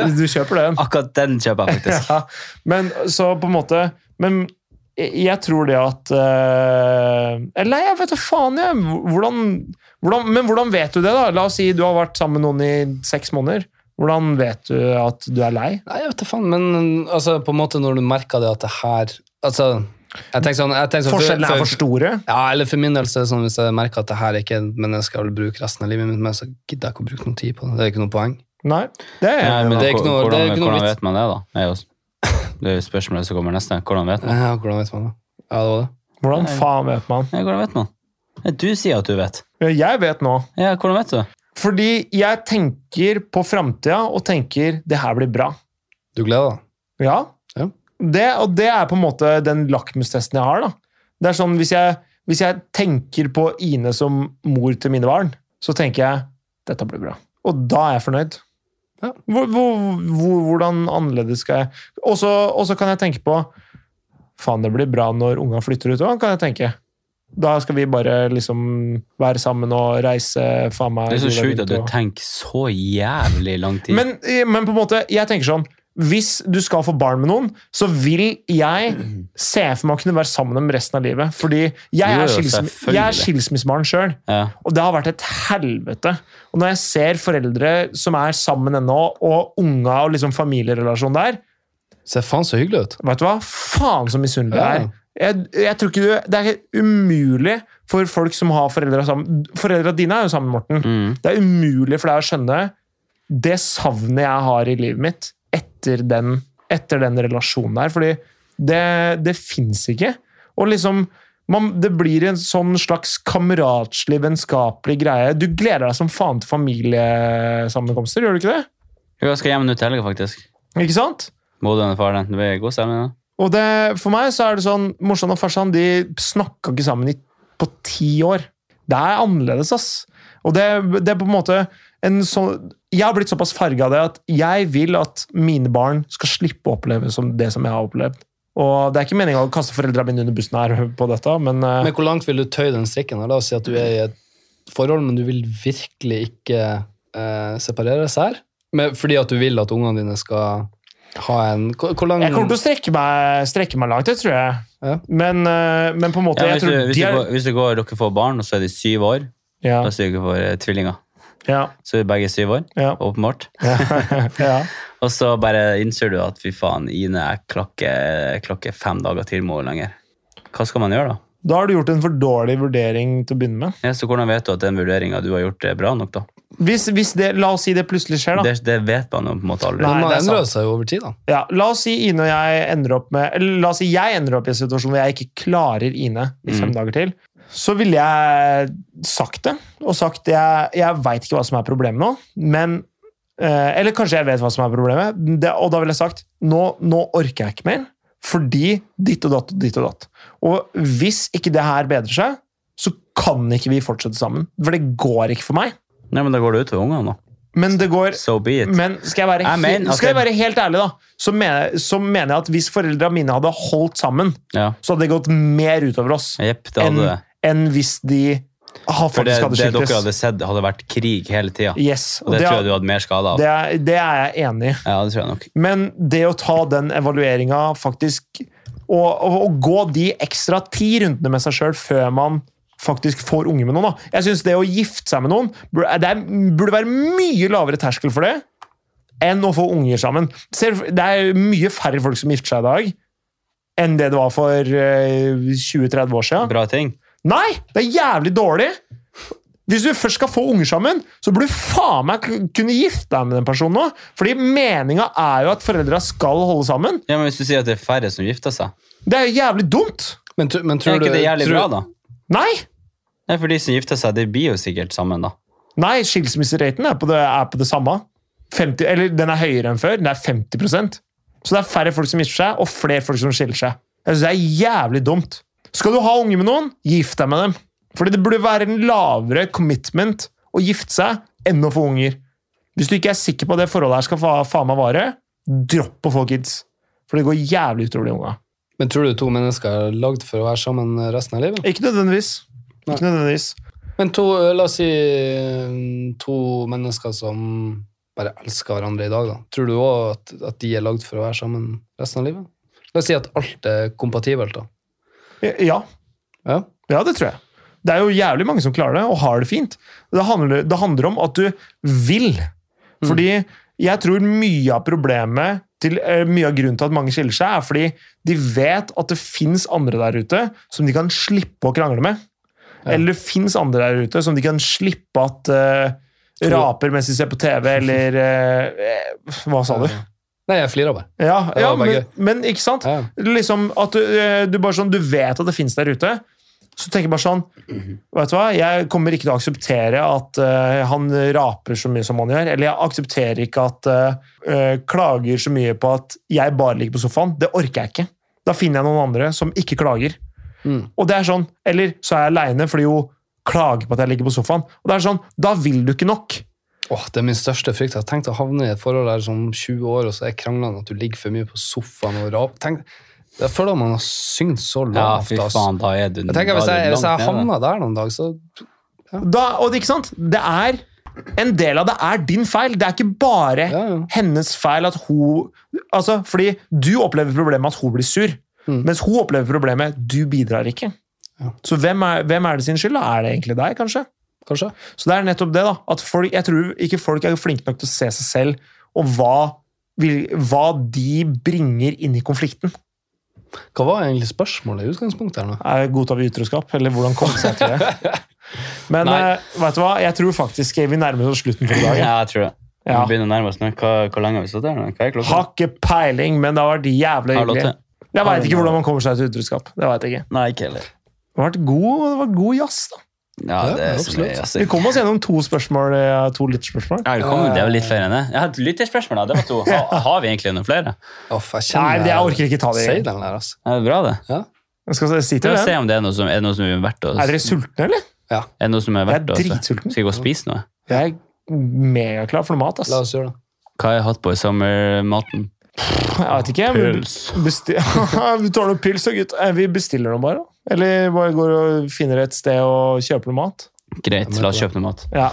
*laughs* Det, du kjøper den. Akkurat den kjøper *laughs* jeg faktisk. Ja, men så på en måte Men jeg jeg tror det at eh, Eller nei, jeg vet da faen, jeg. Hvordan, hvordan, men hvordan vet du det, da? La oss si du har vært sammen med noen i seks måneder. Hvordan vet du at du er lei? Nei, jeg vet da faen, men altså, på en måte når du merker det at det her Altså, jeg tenker sånn, jeg tenker sånn Forskjellene er for store. Ja, eller for min del så er det sånn hvis jeg merker at det her er ikke et menneske jeg vil bruke resten av livet mitt med, så gidder jeg ikke å bruke noe tid på det. Det er ikke noe poeng. Nei, det er Nei, men det er ikke noe- hvordan, det er ikke noe hvordan vits. vet man det, da? Det er jo det er jo spørsmålet som kommer neste. Hvordan vet man? Ja, Eh, hvordan vet man det? Ja, det var det. Hvordan faen vet man? Ja, hvordan vet man? Ja, Du sier at du vet. Jeg vet nå. Ja, hvordan vet du? Fordi jeg tenker på framtida og tenker det her blir bra. Du gleder deg. Ja. Ja. Det, og det er på en måte den lakmustesten jeg har. da. Det er sånn, Hvis jeg, hvis jeg tenker på Ine som mor til mine barn, så tenker jeg dette blir bra. Og da er jeg fornøyd. Ja. Hvor, hvor, hvor, hvordan annerledes skal jeg Og så og så kan jeg tenke på Faen, det blir bra når unga flytter ut òg, kan jeg tenke. Da skal vi bare liksom være sammen og reise faen meg Det er så jorda sjukt rundt at du og- tenker så jævlig lang tid. men, eh, men på en måte, jeg tenker sånn Hvis du skal få barn med noen, så vil jeg se for meg å kunne være sammen med dem resten av livet. Fordi jeg Jo, er, jo, skilsm selvfølgelig. jeg er skilsmissebarn sjøl, ja. og det har vært et helvete. Og når jeg ser foreldre som er sammen ennå, og unga og liksom familierelasjon der, Ser faen så hyggelig ut. vet du hva? Faen så misunnelig det Ja. er. Jeg, jeg tror ikke du, Det er helt umulig for folk som har foreldre sammen. Foreldra dine er jo sammen, Morten. Mm. Det er umulig for deg å skjønne det savnet jeg har i livet mitt etter den, etter den relasjonen der. Fordi det, det fins ikke. Og liksom man, Det blir en sånn slags kameratslig, vennskapelig greie. Du gleder deg som faen til familiesammenkomster, gjør du ikke det? Jo, jeg skal hjem nå til helga, faktisk. Ikke sant? Moderen og faren. Det blir god stemning. da. Og det, for meg så er det sånn Morsan og farsan de snakka ikke sammen i, på ti år. Det er annerledes, ass. Og det, det er på en måte en sånn Jeg har blitt såpass farga av det at jeg vil at mine barn skal slippe å oppleve som det som jeg har opplevd. Og det er ikke meninga å kaste foreldra mine under bussen her *laughs* på dette, men, eh, Men hvor langt vil du tøye den strikken? her? La oss si at du er i et forhold, men du vil virkelig ikke eh, separeres her. Men, fordi at du vil at ungene dine skal ha en Hvor, hvor lang jeg kommer til å strekke meg, strekke meg langt, det tror jeg. Ja. Men, eh, men på en måte Ja, jeg hvis, du, tror hvis, de du er, går, hvis du går, dere får barn, og så er de syv år, ja, da sier dere får eh, tvillinger. ja, Så er vi begge syv år, ja, *laughs* åpenbart. ja. Og så bare innser du at fy faen, Ine jeg klokker, klokker fem dager til må hun lenger. Hva skal man gjøre da? Da har du gjort en for dårlig vurdering til å begynne med. Ja, så hvordan vet du at den vurderingen du har gjort er bra nok da? Hvis, hvis det, la oss si det plutselig skjer, da. Det, det vet man jo på en måte aldri. Nei, Men man det er endrer seg jo over tid, da. Ja, la oss si Ine og jeg ender opp med eller La oss si jeg ender opp i en situasjon hvor jeg ikke klarer Ine i fem Mm. dager til. Så ville jeg sagt det. Og sagt jeg, jeg veit ikke hva som er problemet nå, men eh, Eller kanskje jeg vet hva som er problemet, det, og da ville jeg sagt nå, nå orker jeg ikke mer. Fordi ditt og datt og ditt og datt. Og hvis ikke det her bedrer seg, så kan ikke vi fortsette sammen. For det går ikke for meg. Nei, men da går det ut til ungene da. Men det går So be it. Men skal jeg være, Jeg mener he- at skal jeg det- være helt ærlig, da, så mener, så mener jeg at hvis foreldra mine hadde holdt sammen, Ja, så hadde det gått mer utover oss jepp, det enn hadde det. enn hvis de har For det, faktisk hadde det dere skiltes. hadde sett hadde vært krig hele tiden. Yes, Og det, tror jeg du hadde mer skade av. det, er, det er jeg enig i. Ja, det tror jeg nok. Men det å ta den evalueringa, faktisk Og, og, og gå de ekstra ti rundene med seg sjøl før man faktisk får unge med noen. Da. Jeg synes Det å gifte seg med noen bur- eh, det er, burde være mye lavere terskel for det enn å få unger sammen. Selv, det er mye færre folk som gifter seg i dag enn det det var for eh, 20-30 år siden. Bra ting. Nei, det er jævlig dårlig. Hvis du først skal få unger sammen, så burde du faen meg kunne gifte deg med den personen òg. Fordi meninga er jo at foreldra skal holde sammen. Ja, men Hvis du sier at det er færre som gifter seg, Det er jo jævlig dumt. Men, tr- men er tror ikke det du jævlig tror, bra, da? Nei! Nei, For de som gifter seg, det blir jo sikkert sammen, da. Nei, skilsmisseraten er, på det- er på det samme. 50, eller den er høyere enn før. Den er 50 Så det er færre folk som gifter seg, og flere folk som skiller seg. Jeg synes det er jævlig dumt. Skal du ha unge med noen, gift deg med dem. Fordi det burde være en lavere commitment å gifte seg enn å få unger. Hvis du ikke er sikker på at det forholdet her skal fa faen meg vare, dropp å få kids. For det går jævlig utover de unga. men tror du to mennesker er lagd for å være sammen resten av livet? Ikke nødvendigvis. Ikke nødvendigvis. Men to, eh, la oss si mm, to mennesker som bare elsker hverandre i dag, da. Tror du òg at, at de er lagd for å være sammen resten av livet? La oss si at alt er kompatibelt, da. Ja, Ja. Ja, det tror jeg. Det er jo jævlig mange som klarer det, og har det fint. Det handler, det handler om at du vil. Mm. Fordi jeg tror mye av problemet til, eh, mye av grunnen til at mange skiller seg, er fordi de vet at det fins andre der ute som de kan slippe å krangle med. Ja. Eller det fins andre der ute som de kan slippe at eh, Tror- raper mens de ser på TV, eller eh, eh, Hva sa du? Nei, jeg flirer bare. Ja, det ja var bare men, men ikke sant? Ja. liksom at du, eh, du bare sånn, du vet at det finnes der ute, så tenker jeg bare sånn, vet du hva, jeg kommer ikke til å akseptere at eh, han raper så mye som han gjør, eller jeg aksepterer ikke at eh, eh, klager så mye på at jeg bare ligger på sofaen, det orker jeg ikke. Da finner jeg noen andre som ikke klager. Mm. Og det er sånn, eller så er jeg alene fordi jo klager på at jeg ligger på sofaen. Og det er sånn, da vil du ikke nok. Åh, det er min største frykt. Jeg har tenkt å havne i et forhold der som 20 år, og så er kranglene at du ligger for mye på sofaen og rap. Tenk, jeg føler man har syngt så Ja, lavt. fy ass. faen, da er du Jeg tenker da Hvis er jeg, du hvis langt jeg nede. havner der noen dag, så Da, og det, ikke sant? Det er, en del av det er din feil. Det er ikke bare ja, ja. hennes feil at hun altså, Fordi du opplever problemet at hun blir sur, Mm. mens hun opplever problemet du bidrar ikke. Ja. Så hvem er, hvem er det sin skyld? da? Er det egentlig deg, kanskje? Kanskje. Så det er nettopp det, da. At folk, jeg tror ikke folk er flinke nok til å se seg selv og hva, vil, hva de bringer inn i konflikten. Hva var egentlig spørsmålet i utgangspunktet her nå? Er Godtar vi utroskap, eller hvordan komme seg til *laughs* det? Men Nei. eh, vet du hva, jeg tror faktisk vi nærmer oss slutten for i dag. jeg. Ja, jeg tror det. Ja. Vi begynner å nærme oss nå. Hva, hvor lenge har vi stått her nå? Hva er klokka? Har ikke peiling, men det har vært jævlig Halv hyggelig. åtte? Jeg veit ikke hvordan man kommer seg til utroskap. Det vet jeg ikke. Nei, ikke heller. Det har vært god, det var god jazz, da. Ja, Ja, det er så absolutt. mye, altså. Vi kom oss gjennom to spørsmål, eh, to lytterspørsmål. Ja, velkommen. Det er jo litt flere enn det. Jeg hadde lytterspørsmål, da. Det var to. Ha, har vi egentlig noen flere? Uff, jeg Nei, kjenner det jeg orker ikke ta det. Si den der, altså. Ja, det er bra, det. Jeg skal si Vi til må se den. om det er noe som er, noe som er verdt å Er dere sultne, eller? Er det noe som er Jeg er verdt å dritsulten. Skal vi gå og spise noe? Jeg er megaklar for noe mat, ass. La oss gjøre det. Hva er Hotboy Summer-maten? Jeg vet ikke. men Besti *laughs* vi tar noen pils, da, gutt. Eh, Vi bestiller noe, bare. da. Eller bare går og finner et sted og kjøper noe mat. Greit, la oss kjøpe noe mat. Ja.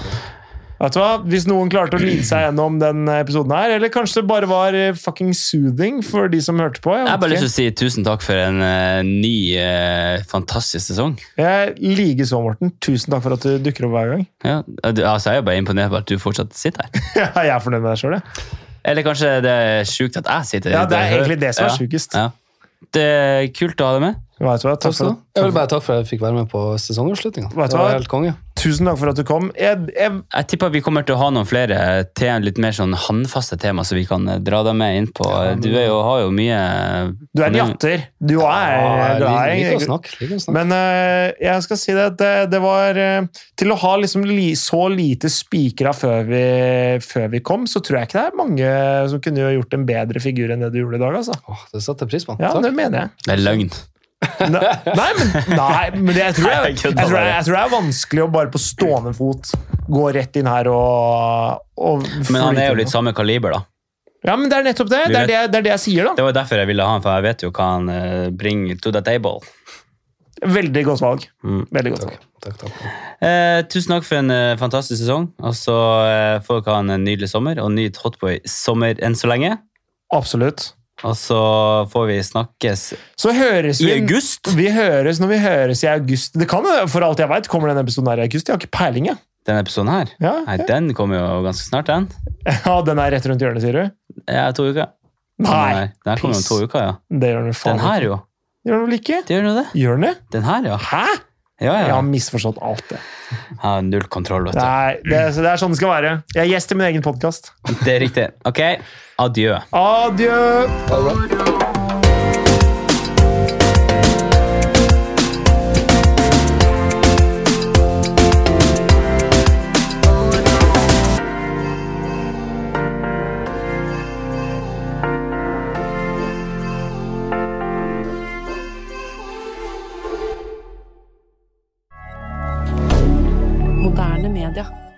Vet du hva? Hvis noen klarte å lide seg gjennom den episoden her, eller kanskje det bare var eh, fucking soothing for de som hørte på. Jeg har bare lyst vet til å si tusen takk for en eh, ny, eh, fantastisk sesong. ikke. jeg liker så, Morten. Tusen takk for at du dukker opp hver *laughs* gang. Ja, du, altså, jeg er bare imponert over at du fortsatt sitter her. jeg er fornøyd med deg sjøl, jeg. Eller kanskje det er sjukt at jeg sitter her. Ja, det er hører- egentlig det som er Ja, sjukest. Ja. Det er kult å ha deg med. Vet du hva? Takk for det. Jeg vil bare takke for at jeg fikk være med på sesongavslutninga. Vet du Det hva? var helt konge. Tusen takk for at du kom. Jeg, jeg, Jeg tipper vi kommer til å ha noen flere te litt mer sånn håndfaste tema som vi kan eh, dra deg med inn på. Ja, men- Du er jo, har jo mye du er en jatter. Du er Ja, jeg du liker- er liker å egentlig- snakke. Liker å snakke. Men eh, jeg skal si det at det, det var eh, Til å ha liksom li, så lite spikra før, vi- før vi kom, så tror jeg ikke det er mange som kunne jo gjort en bedre figur enn det du gjorde i dag. altså. Åh, det setter jeg pris på. Ja, Takk. det mener jeg. Det er eh, løgn. Ne- Nei, men, nei, men det, jeg, tror jeg, jeg, tror jeg, jeg tror det er vanskelig å bare på stående fot gå rett inn her og, og Men han er flyte. jo litt sånn- samme kaliber, da. Ja, men det er nettopp det. Det er det, det, er det jeg sier, da. Det var jo derfor jeg ville ha han, for jeg vet jo hva han eh, bringer to the table. Veldig godt valg. Mm. Veldig godt valg. Takk, takk, takk. Eh, tusen takk for en eh, fantastisk sesong, og så eh, får dere ha en nydelig sommer, og nyt Hotboy sommer enn så lenge. Absolutt. Og så får vi snakkes Så høres i vi august. Vi høres når vi høres i august. Det kan jo, for alt jeg veit, kommer denne episoden her i august. Jeg har ikke peiling, jeg. Denne episoden her. Ja, Nei, den kommer jo ganske snart, den. ja, den er rett rundt hjørnet, sier du? Ja, to uker. Nei, Den her kommer om piss. to uker, ja. det gjør den vel faen Den her, jo. ikke. Gjør den vel ikke? Det gjør nå det. Gjør den det? Den her, ja. Hæ? Ja, Jeg ja. har misforstått alt det. Jeg har null kontroll, vet du. Nei, det, så det er sånn det skal være. Jeg er gjest i min egen podkast. Det er riktig. Ok, adjø. Adjø! Moderne media.